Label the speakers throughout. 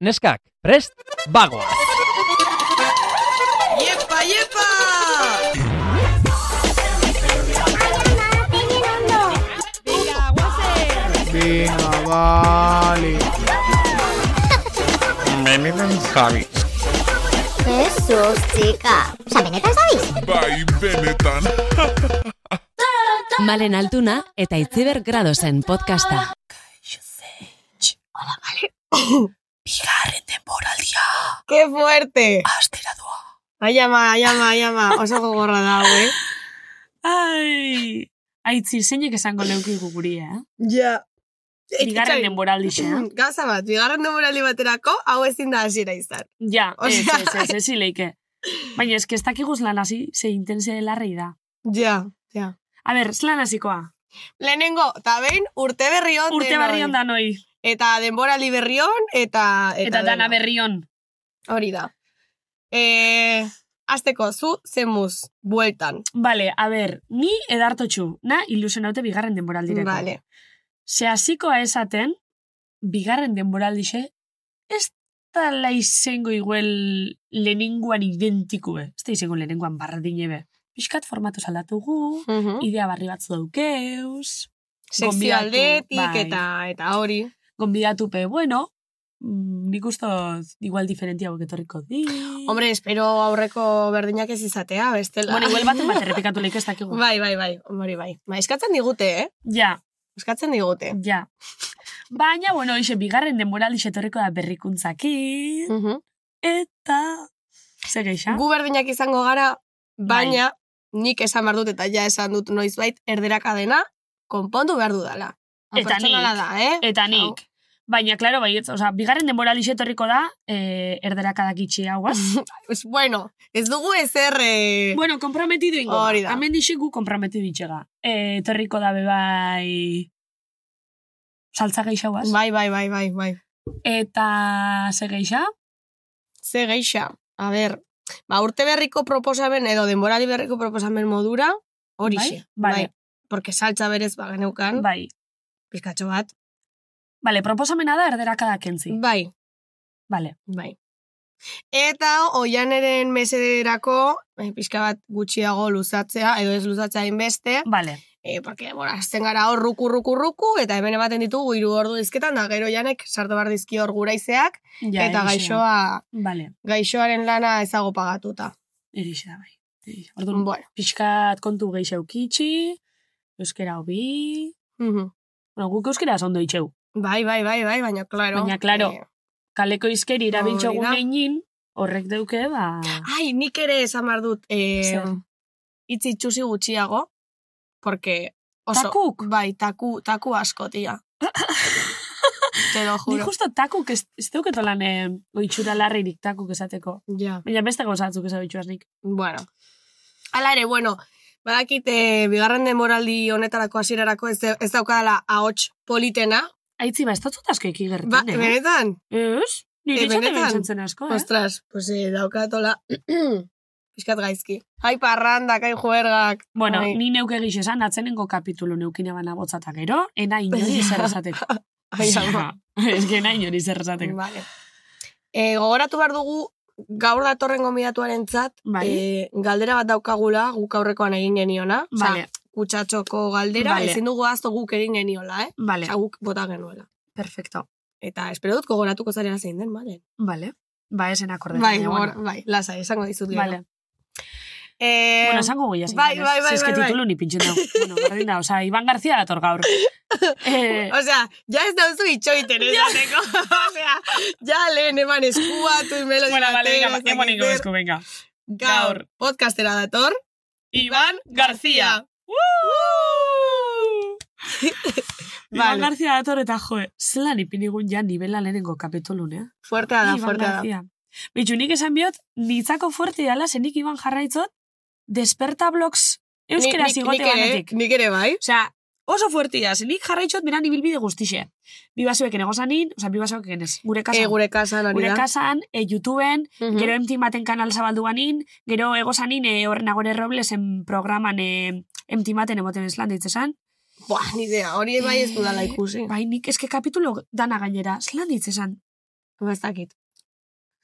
Speaker 1: Neskak, prest, bagoa!
Speaker 2: Iepa, iepa!
Speaker 3: Venga, guazen!
Speaker 4: Venga, vale.
Speaker 5: Jesus, txika. Osa, benetan zabiz?
Speaker 6: Bai, benetan.
Speaker 7: Malen Altuna eta Itziber Gradosen podcasta.
Speaker 2: ¡Qué fuerte! Ai ama, ai ama, ai ama, oso gogorra da, hau, eh?
Speaker 3: Ai! Aitzi, zeinek esango leukigu guri, eh?
Speaker 2: Ja.
Speaker 3: Bigarren denboraldi xea.
Speaker 2: Gaza Mm, bat, bigarren denboraldi baterako, hau ezin da hasiera izan.
Speaker 3: Ja, ez,
Speaker 2: Osea,
Speaker 3: ez, ez, ez, ileike. Baina ez ez dakiguz lan hasi, ze intense larri da.
Speaker 2: Ja, ja.
Speaker 3: A ber, zelan hasikoa.
Speaker 2: Lehenengo, eta behin, urte berri hon.
Speaker 3: Urte
Speaker 2: denoi.
Speaker 3: barri da noi.
Speaker 2: Eta denboraldi berri hon, eta...
Speaker 3: Eta dana berri hon.
Speaker 2: Hori da. E, azteko, zu zemuz, bueltan.
Speaker 3: Vale, a ber, ni edartotxu, na ilusionaute bigarren denboraldireko.
Speaker 2: Vale.
Speaker 3: Ze hasikoa esaten, bigarren denboraldixe, ez tala izango iguel lehenengoan identikue. Ez da izango lehenengoan barradinebe. Piskat formatu salatugu, idea barri batzu daukeuz,
Speaker 2: Sekzio
Speaker 3: Gonbidatu,
Speaker 2: aldetik
Speaker 3: bai.
Speaker 2: eta eta hori.
Speaker 3: gonbidatupe, bueno, mm, nik ustoz igual diferentiago etorriko di.
Speaker 2: Hombre, espero aurreko berdinak ez izatea, bestela.
Speaker 3: bueno, igual baten bat errepikatu lehik ez dakigu.
Speaker 2: Bai, bai, bai, hori bai. Ba, eskatzen digute, eh?
Speaker 3: Ja,
Speaker 2: Eskatzen digute.
Speaker 3: ja. Baina, bueno, ixe, bigarren denboraldixe etorriko da berrikuntzaki,
Speaker 2: Mhm.
Speaker 3: eta... Zer geixa?
Speaker 2: Gu berdinak izango gara, baina nik esan behar dut eta ja esan dut noizbait erderaka dena, konpondu behar dudala. Hau
Speaker 3: Eta
Speaker 2: pertsonala
Speaker 3: nik. E-
Speaker 2: da, eh?
Speaker 3: Eta nik. Baina, klaro, bai, oza, bigarren denboraldixe etorriko da, eh, erderakadak itxi hauaz.
Speaker 2: Pues, bueno, ez dugu ezer... Eh...
Speaker 3: bueno, komprometidu ingo.
Speaker 2: Hori da.
Speaker 3: Hemen dixe gu komprometidu itxega. Eh, etorriko da bebai... Saltza geixa hauaz.
Speaker 2: Bai, bai, bai, bai, bai.
Speaker 3: Eta ze geixa? Bai?
Speaker 2: Ze geixa, a ber, ba, urte berriko proposamen edo denborali berriko proposamen modura, horixe.
Speaker 3: Bai? Vale.
Speaker 2: Porque saltza berez ba geneukan,
Speaker 3: Bai.
Speaker 2: pizkatxo bat.
Speaker 3: Bale, proposamena da erderakadak entzi.
Speaker 2: Bai,
Speaker 3: Bale.
Speaker 2: bai. Eta oianeren mesederako, eh, pixka bat gutxiago luzatzea, edo ez luzatzea inbeste,
Speaker 3: Bale.
Speaker 2: eh, porque, bueno, azten gara hor ruku, ruku, ruku, eta hemen ematen ditugu hiru ordu dizketan, da gero janek sartu behar dizki hor guraizeak,
Speaker 3: Ja, erixe
Speaker 2: eta
Speaker 3: da.
Speaker 2: gaixoa,
Speaker 3: Bale,
Speaker 2: gaixoaren lana ezago pagatuta.
Speaker 3: erixe da bai. Erixe. Orduan,
Speaker 2: Bueno,
Speaker 3: pixkat kontu gehiago kitxi, euskera hobi...
Speaker 2: mhm.
Speaker 3: Bueno, guk euskera ondo itxeu.
Speaker 2: Bai, bai, bai, bai, baina klaro.
Speaker 3: Baina, claro.
Speaker 2: Eh,
Speaker 3: Kaleko izkeri
Speaker 2: Hori
Speaker 3: irabiltxogu
Speaker 2: da.
Speaker 3: neinin, horrek deuke, ba...
Speaker 2: ai, nik ere esan behar dut, eh,
Speaker 3: Zer?
Speaker 2: itz itxusi gutxiago, porque oso...
Speaker 3: Takuk?
Speaker 2: Bai, taku, taku asko, tia. Te lo
Speaker 3: Ni
Speaker 2: juro.
Speaker 3: justo takuk, ez, ez deuketolan eh, oitxura larririk takuk esateko.
Speaker 2: Ja,
Speaker 3: Baina beste gauzatzuk ez oitxuaznik.
Speaker 2: bueno. Hala ere, bueno, badakit, eh, bigarren demoraldi honetarako hasierarako ez, ez daukadala ahots politena.
Speaker 3: Aitzi, ba, ez datzut asko ikigertan,
Speaker 2: Ba,
Speaker 3: eh?
Speaker 2: benetan?
Speaker 3: Ez? Nire
Speaker 2: Eh,
Speaker 3: itxate
Speaker 2: benetan?
Speaker 3: bentsatzen asko, eh?
Speaker 2: Ostras, pues eh, daukatola... Piskat gaizki. Ai, parrandak, ai, juergak.
Speaker 3: Bueno,
Speaker 2: ai,
Speaker 3: ni neuke egiz esan, atzenengo kapitulu neukina bana botzata gero, ena inori zer esateko.
Speaker 2: ai, Bai. ama.
Speaker 3: Ez que ena inori zer esateko.
Speaker 2: Vale. E, gogoratu behar dugu, gaur datorren gomidatuaren zat,
Speaker 3: Bai.
Speaker 2: galdera bat daukagula guk aurrekoan egin geniona. Osea,
Speaker 3: Vale,
Speaker 2: kutsatxoko galdera,
Speaker 3: Vale.
Speaker 2: ezin dugu azto guk egin geniola, eh?
Speaker 3: vale,
Speaker 2: Osea, guk bota genuela.
Speaker 3: perfecto.
Speaker 2: Eta espero dut gogoratuko zarela zein den, bale?
Speaker 3: Vale. Ba, esen akorde.
Speaker 2: Bai, gogor, bai, lasa, esango dizut gero.
Speaker 3: Vale.
Speaker 2: Eh,
Speaker 3: Bueno, esango guia.
Speaker 2: bai, bai, bai,
Speaker 3: Zizke
Speaker 2: bai, bai.
Speaker 3: titulu ni pintxen dago. bueno, berdin da, oza, Iban García dator gaur. Eh,
Speaker 2: O sea, ja ez dauzu itxoiten esateko. o sea, ja lehen eman eskua, tu imelo
Speaker 3: bueno, vale,
Speaker 2: dilatera,
Speaker 3: venga,
Speaker 2: ez dakit
Speaker 3: eman ingo
Speaker 2: zer.
Speaker 3: bezko, venga.
Speaker 2: Gaur,
Speaker 3: Gaur.
Speaker 2: podcastera dator,
Speaker 3: Iban García. Iban
Speaker 2: Vale.
Speaker 3: García dator eta joe, zelan ipinigun ja nibela lehenengo kapitulun, eh?
Speaker 2: fuertea da,
Speaker 3: Iban
Speaker 2: fuertea da.
Speaker 3: García. Bitxu, nik esan biot, nitzako fuerte dela, zenik Iban jarraitzot, desperta blogs euskera
Speaker 2: Ni- nik-
Speaker 3: zigote
Speaker 2: nik ere-
Speaker 3: banetik.
Speaker 2: Nik ere bai.
Speaker 3: Osea, oso fuertia, zenik jarraitzot beran ibilbide guztixe. Bibasuek enegozanin, osea, bibasuek enez, gure kasan.
Speaker 2: E, gure kasan hori
Speaker 3: Gure
Speaker 2: da.
Speaker 3: kasan, e, YouTubeen,
Speaker 2: Mhm.
Speaker 3: gero MTV baten kanal zabaldu banin, gero egozanin e, horren agore roblesen programan e, MTV baten emoten eslan ditzesan. Eh,
Speaker 2: Buah, ni idea, hori bai ez dudala ikusi.
Speaker 3: ba, Bai, nik eske kapitulo dana gainera, eslan ditzesan.
Speaker 2: Ba, ez dakit.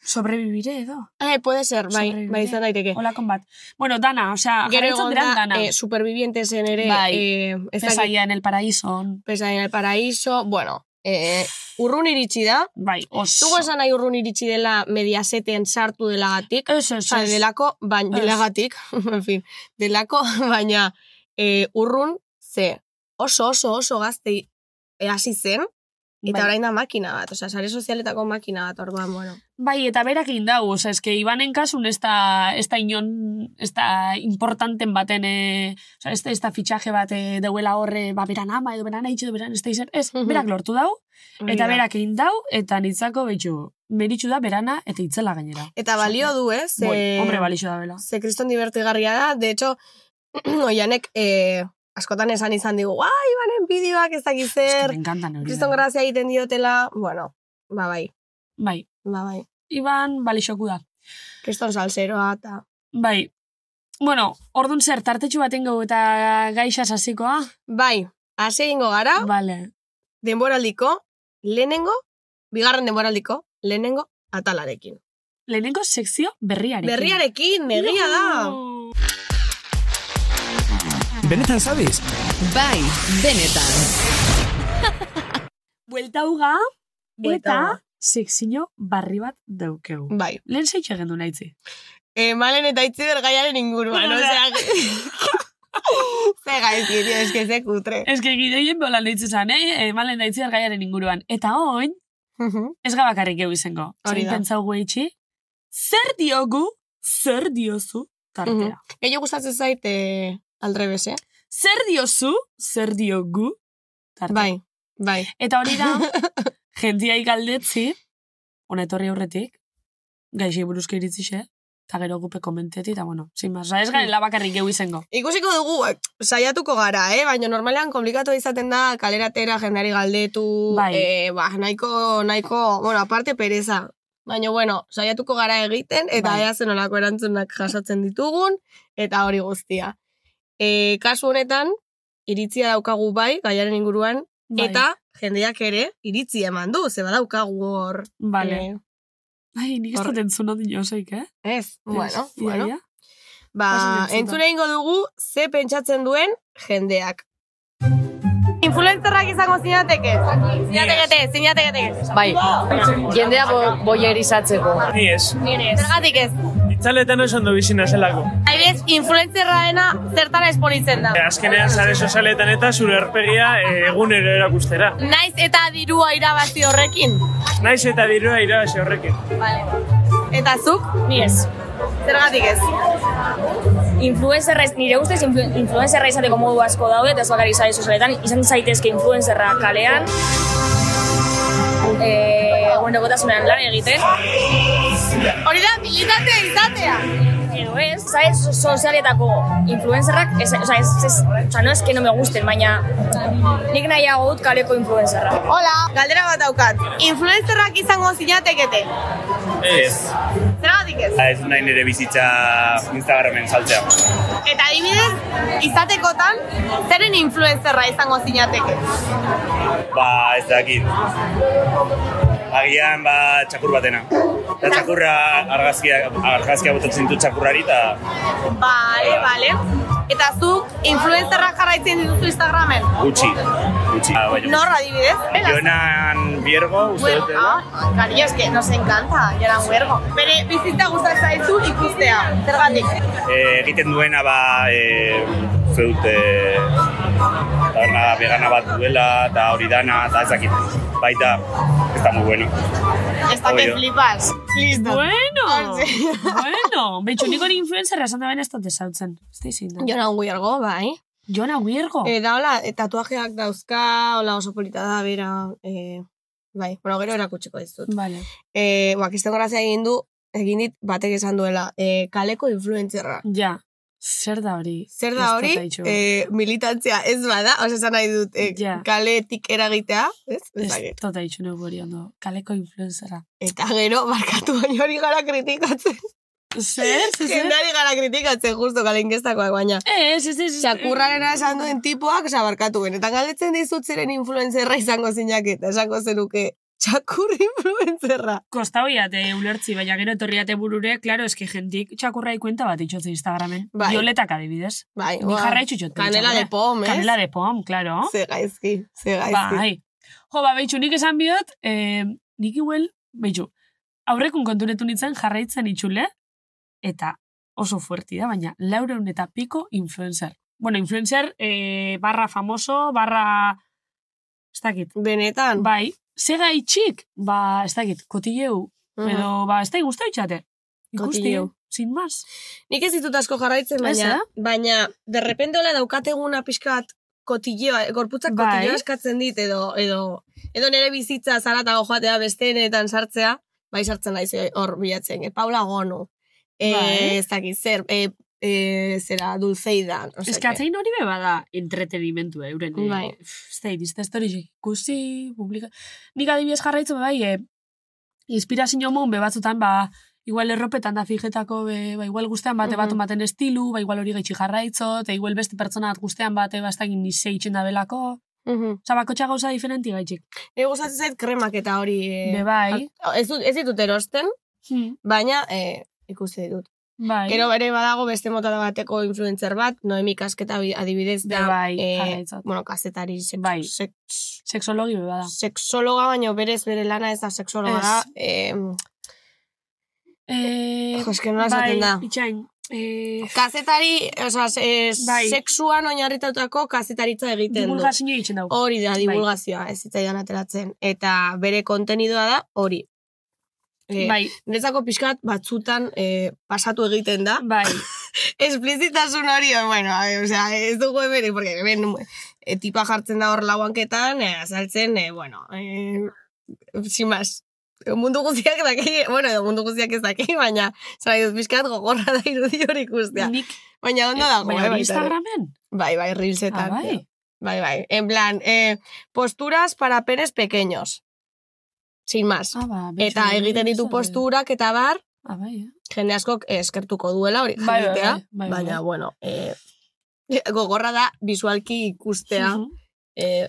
Speaker 3: Sobrevivire edo.
Speaker 2: Eh, puede ser, bai,
Speaker 3: Sobrevivire.
Speaker 2: bai izan daiteke.
Speaker 3: Hola bat. Bueno, dana, osea,
Speaker 2: Gero
Speaker 3: jarraitzen
Speaker 2: egon
Speaker 3: diran
Speaker 2: da,
Speaker 3: dana.
Speaker 2: eh, supervivientesen ere,
Speaker 3: Bai.
Speaker 2: eh, ez dakit,
Speaker 3: Pesaia en el paraíso.
Speaker 2: pesaia en el paraíso, bueno, eh, urrun iritsi da,
Speaker 3: Bai, oso.
Speaker 2: Zugo esan nahi urrun iritsi dela mediaseten sartu delagatik,
Speaker 3: Ez, ez,
Speaker 2: Osa,
Speaker 3: ez.
Speaker 2: delako, baina,
Speaker 3: Ez.
Speaker 2: delagatik, en fin, delako, baina e, urrun, ze, oso, oso, oso gazte e, hasi zen, eta
Speaker 3: Bai.
Speaker 2: orain da makina bat, oza, sare sozialetako makina bat, orduan, bueno.
Speaker 3: Bai, eta berak egin dau, oza, eske Ibanen kasun ez da, ez da inon, ez da importanten baten, e, oza, ez da, ez da fitxaje bat e, dauela horre, ba, beran ama, edo beran haitxe, edo beran ez da izan, ez,
Speaker 2: Mhm.
Speaker 3: berak lortu dau, eta
Speaker 2: Hori da.
Speaker 3: berak egin dau, eta nitzako betxu, meritxu da berana, eta itzela gainera.
Speaker 2: Eta balio du, ez?
Speaker 3: Ze... Boi,
Speaker 2: eh,
Speaker 3: hombre, balixo da bela.
Speaker 2: Ze kriston divertigarria da, de hecho, oianek e, askotan esan izan digu, ai, banen bideoak ez
Speaker 3: Eske,
Speaker 2: dakizer,
Speaker 3: me encantan hori.
Speaker 2: kriston
Speaker 3: da.
Speaker 2: grazia egiten diotela, bueno, ba bai,
Speaker 3: Bai,
Speaker 2: ba bai,
Speaker 3: Iban balixoku da.
Speaker 2: kriston salseroa eta...
Speaker 3: Bai, bueno, ordun zer, tartetxu baten gau eta gaixa sasikoa?
Speaker 2: Bai, hasi egingo gara,
Speaker 3: Vale.
Speaker 2: denboraldiko, lehenengo, bigarren denboraldiko, lehenengo atalarekin.
Speaker 3: Lehenengo sekzio berriarekin.
Speaker 2: Berriarekin, egia da.
Speaker 4: Benetan zabiz?
Speaker 7: Bai, benetan.
Speaker 3: Buelta uga,
Speaker 2: Buelta
Speaker 3: eta
Speaker 2: uga.
Speaker 3: sekzio barri bat daukeu.
Speaker 2: Bai,
Speaker 3: Lehen zeitxe gendu naitzi.
Speaker 2: e, malen eta itziber gaiaren inguruan,
Speaker 3: Hombre.
Speaker 2: osea... ze gaizki, tio, eske ze kutre.
Speaker 3: Ez que gideien bola naitzi zan, eh? E, malen daitzi gaiaren inguruan. Eta oin,
Speaker 2: Mhm.
Speaker 3: ez gabakarrik egu izango.
Speaker 2: Hori
Speaker 3: Zain
Speaker 2: da.
Speaker 3: pentsau guetxi, zer diogu, zer diozu, tartea.
Speaker 2: Mhm. Gehiago gustatzen zait, e, aldrebes, eh?
Speaker 3: Zer diozu, zer diogu, tartea.
Speaker 2: Bai, bai.
Speaker 3: Eta hori da, jendiai galdetzi, honetorri aurretik, gaixi buruzko iritzixe, eta gero gupe komenteti, eta bueno, sin más, ez
Speaker 2: Mm.
Speaker 3: garela bakarrik geu izango.
Speaker 2: Ikusiko dugu, eh, saiatuko gara, eh? Baina normalean komplikatu izaten da kaleratera jendari galdetu,
Speaker 3: Bai.
Speaker 2: eh, ba, nahiko, nahiko, bueno, aparte pereza. Baina, bueno, saiatuko gara egiten, eta
Speaker 3: Bai.
Speaker 2: ea zen olako erantzunak jasotzen ditugun, eta hori guztia. E, kasu honetan, iritzia daukagu bai, gaiaren inguruan,
Speaker 3: Bai,
Speaker 2: eta jendeak ere iritzi eman du, zeba daukagu hor.
Speaker 3: Vale.
Speaker 2: eh,
Speaker 3: Ai, nik ez
Speaker 2: hor-
Speaker 3: dut entzun hori joseik, eh?
Speaker 2: ez, bueno,
Speaker 3: Ez, ia,
Speaker 2: bueno.
Speaker 3: ia.
Speaker 2: Ba,
Speaker 3: Oso
Speaker 2: entzun
Speaker 3: entzuna.
Speaker 2: egingo dugu ze pentsatzen duen jendeak. Influencerrak izango zinateke. Zinatekete, zinatekete.
Speaker 6: Bai, jendea bo, boierizatzeko.
Speaker 8: Ni Bai, ez.
Speaker 2: Zergatik ez.
Speaker 8: Itzaletan oso ondo bizi nazelako.
Speaker 2: Airez, influencerraena zertara esponitzen da.
Speaker 8: E, Azkenean sare sozialetan eta zure erpegia e, egunero erakustera.
Speaker 2: Naiz eta dirua irabazi horrekin.
Speaker 8: Naiz eta dirua irabazi horrekin.
Speaker 2: Eta zuk?
Speaker 6: Ni ez.
Speaker 2: Zergatik ez.
Speaker 6: Influenzerra, ez- nire ustez influ- influenzerra izateko modu asko daude, eta ez bakarrik sare sozialetan, izan zaitezke influenzerra kalean, e, egunerokotasunean lan egiten,
Speaker 2: Hori da, militantea izatea.
Speaker 6: edo ez, sare so- sozialetako influenzerrak, ez, oza, ez, ez, oza, no es que no me gusten, baina nik nahiago dut kaleko influenzerra.
Speaker 2: Hola. Galdera bat daukat. Influencerrak izango zinatekete.
Speaker 9: Ez,
Speaker 2: Zergatik ez.
Speaker 9: ez nahi nire bizitza Instagramen saltzea.
Speaker 2: Eta adibidez, izatekotan, zeren influencerra izango zinateke.
Speaker 9: Ba, ez dakit. Agian, ba, txakur batena. Eta txakurra argazkia, argazkia botatzen dut txakurrari, eta
Speaker 2: Bale, bale. Eta zuk, influencerrak jarraitzen dituzu Instagramen.
Speaker 9: gutxi. Gutxi. Ah, baina,
Speaker 2: Nor adibidez?
Speaker 9: Jonan Biergo, uste
Speaker 2: Bueno,
Speaker 9: dut,
Speaker 2: ah,
Speaker 9: dela.
Speaker 2: cariño, es que nos encanta, Joran Huergo. Bere bizitza gustatzen zaizu ikustea, zergatik.
Speaker 9: Eh, egiten duena, ba, e, uste dut, e, taberna vegana bat duela, eta hori dana, eta ez dakit. Baita, ez da muy bueno.
Speaker 2: Esta que
Speaker 9: Obvio.
Speaker 2: flipas. Listo.
Speaker 3: Bueno,
Speaker 2: Hortxe.
Speaker 3: bueno, betxu nik hori influenzerra esan da baina ez dut ezautzen. Ez da izin da.
Speaker 2: Joran Huergo, bai.
Speaker 3: Jona Huirgo.
Speaker 2: Eh, da, hola, tatuajeak dauzka, hola oso polita da, bera, eh, bai, bueno, gero erakutsiko dizut.
Speaker 3: Vale.
Speaker 2: Eh, ba, kriston grazia egin du, egin dit batek esan duela, eh, kaleko influentzerra.
Speaker 3: Ja, zer da hori?
Speaker 2: Zer da
Speaker 3: Ez
Speaker 2: hori,
Speaker 3: dut aitxu.
Speaker 2: e, militantzia ez bada, oza esan nahi dut, e,
Speaker 3: Ja.
Speaker 2: kaletik eragitea, ez? Ez
Speaker 3: Ez
Speaker 2: dakit.
Speaker 3: tota itxu neu hori ondo. Kaleko influenzerra.
Speaker 2: Eta gero, barkatu baina hori gara kritikatzen.
Speaker 3: Zer, zer, zer?
Speaker 2: Jendari gara kritikatzen, justo kale inkestakoak, baina.
Speaker 3: Ez, ez, ez, ez. Eh,
Speaker 2: Txakurrarena esan duen tipoak, oza, barkatu benetan galdetzen dizut zeren influenzerra izango zinaketa, esango zenuke txakur influenzerra.
Speaker 3: Kosta hoiat eh, ulertzi, baina gero etorriate burure, klaro, eske jentik txakurra ikuenta bat itxotze Instagramen.
Speaker 2: Bai.
Speaker 3: Violetak adibidez.
Speaker 2: Bai,
Speaker 3: Ni
Speaker 2: oa.
Speaker 3: jarraitzu itxotze.
Speaker 2: Kanela de pom, ez?
Speaker 3: Kanela de pom, klaro.
Speaker 2: Ze gaizki, ze gaizki.
Speaker 3: Bai. Jo, ba, behitxu, nik esan bihot, eh, nik iguel, behitxu, aurrekun konturetu nintzen jarraitzen itxule, eta oso fuerti da, baina laureun eta piko influencer. Bueno, influencer eh, barra famoso, barra... Ez dakit.
Speaker 2: Benetan.
Speaker 3: Bai, zega itxik, ba, ez dakit, kotileu,
Speaker 2: Mhm.
Speaker 3: edo, ba, ez da igusta itxate. Ikusti,
Speaker 2: Kotileu.
Speaker 3: sin más.
Speaker 2: Nik ez ditut asko jarraitzen, baina,
Speaker 3: Ez,
Speaker 2: baina derrepende hola daukateguna pixkat kotilloa, eh, gorputzak
Speaker 3: Bai.
Speaker 2: kotilloa eskatzen dit, edo, edo, edo nire bizitza zaratago joatea besteenetan sartzea, bai sartzen naiz eh, hor bilatzen, eh, Paula Gonu, eh,
Speaker 3: Bai.
Speaker 2: ez dakit zer, eh, eh, zera, Dulceida, no
Speaker 3: Ez
Speaker 2: sé
Speaker 3: que
Speaker 2: qué.
Speaker 3: atzain hori beba da entretenimentu euren. eh,
Speaker 2: Bai.
Speaker 3: pff, Ez da, ez da historik ikusi, publika... Nik adibidez jarraitzen bai, e, inspirazio mon bebatzutan, ba, igual erropetan da fijetako, be, ba, igual guztean bate bat
Speaker 2: Mhm.
Speaker 3: baten estilu, ba, igual hori gaitxi jarraitzo, eta igual beste pertsona bat guztean bate ba, bastakin nise itxen da belako.
Speaker 2: Mhm.
Speaker 3: Osa, bakotxa gauza diferenti gaitxik.
Speaker 2: Nire gustatzen zait kremak eta hori... eh,
Speaker 3: Be bai.
Speaker 2: a- Ez, dut- ez ditut erosten,
Speaker 3: Hmm,
Speaker 2: baina eh, ikusi ditut.
Speaker 3: bai.
Speaker 2: Gero ere badago beste mota bateko influencer bat, Noemi Kasketa bi- adibidez da,
Speaker 3: Be bai,
Speaker 2: eh,
Speaker 3: jarraitzat.
Speaker 2: bueno, kazetari sex,
Speaker 3: Bai.
Speaker 2: sex-
Speaker 3: Sexologi beba da.
Speaker 2: sexologa, baino berez bere lana ez da sexologa
Speaker 3: Ez.
Speaker 2: da. Eh,
Speaker 3: E,
Speaker 2: jo, eske nola esaten da.
Speaker 3: itxain. E,
Speaker 2: kazetari, oza, se, eh,
Speaker 3: Bai.
Speaker 2: sexuan oinarritatutako kazetaritza egiten du.
Speaker 3: divulgazio egiten dugu.
Speaker 2: Hori da,
Speaker 3: Bai.
Speaker 2: divulgazioa, ez zitzaidan ateratzen. Eta bere kontenidoa da hori. Eh,
Speaker 3: Bai,
Speaker 2: Niretzako pixkat batzutan eh, pasatu egiten da.
Speaker 3: bai.
Speaker 2: Esplizitasun hori, eh, bueno, a ver, o sea, ez dugu hemen, porque hemen eh, tipa jartzen da hor lauanketan, eh, azaltzen, eh, bueno, eh, sin más. Mundu guztiak daki, bueno, edo mundu guztiak ez daki, baina, zara, dut pixkat gogorra da irudi hori ikustea.
Speaker 3: Nik
Speaker 2: Baina ondo dago,
Speaker 3: Baina hori
Speaker 2: eh, baita ere.
Speaker 3: Instagramen?
Speaker 2: Bai, bai,
Speaker 3: Ah,
Speaker 2: reelsetan.
Speaker 3: bai.
Speaker 2: bai, bai. En plan, eh, posturas para penes pequeños. Sin más.
Speaker 3: Ah, ba, betxo,
Speaker 2: eta
Speaker 3: hori
Speaker 2: egiten ditu
Speaker 3: zer,
Speaker 2: posturak eta bar,
Speaker 3: Ah, bai, eh?
Speaker 2: jende askok eskertuko duela hori
Speaker 3: Bai, bai,
Speaker 2: jakitea,
Speaker 3: bai, bai,
Speaker 2: baina,
Speaker 3: bai.
Speaker 2: bueno, eh, gogorra da visualki ikustea
Speaker 3: Mhm.
Speaker 2: eh,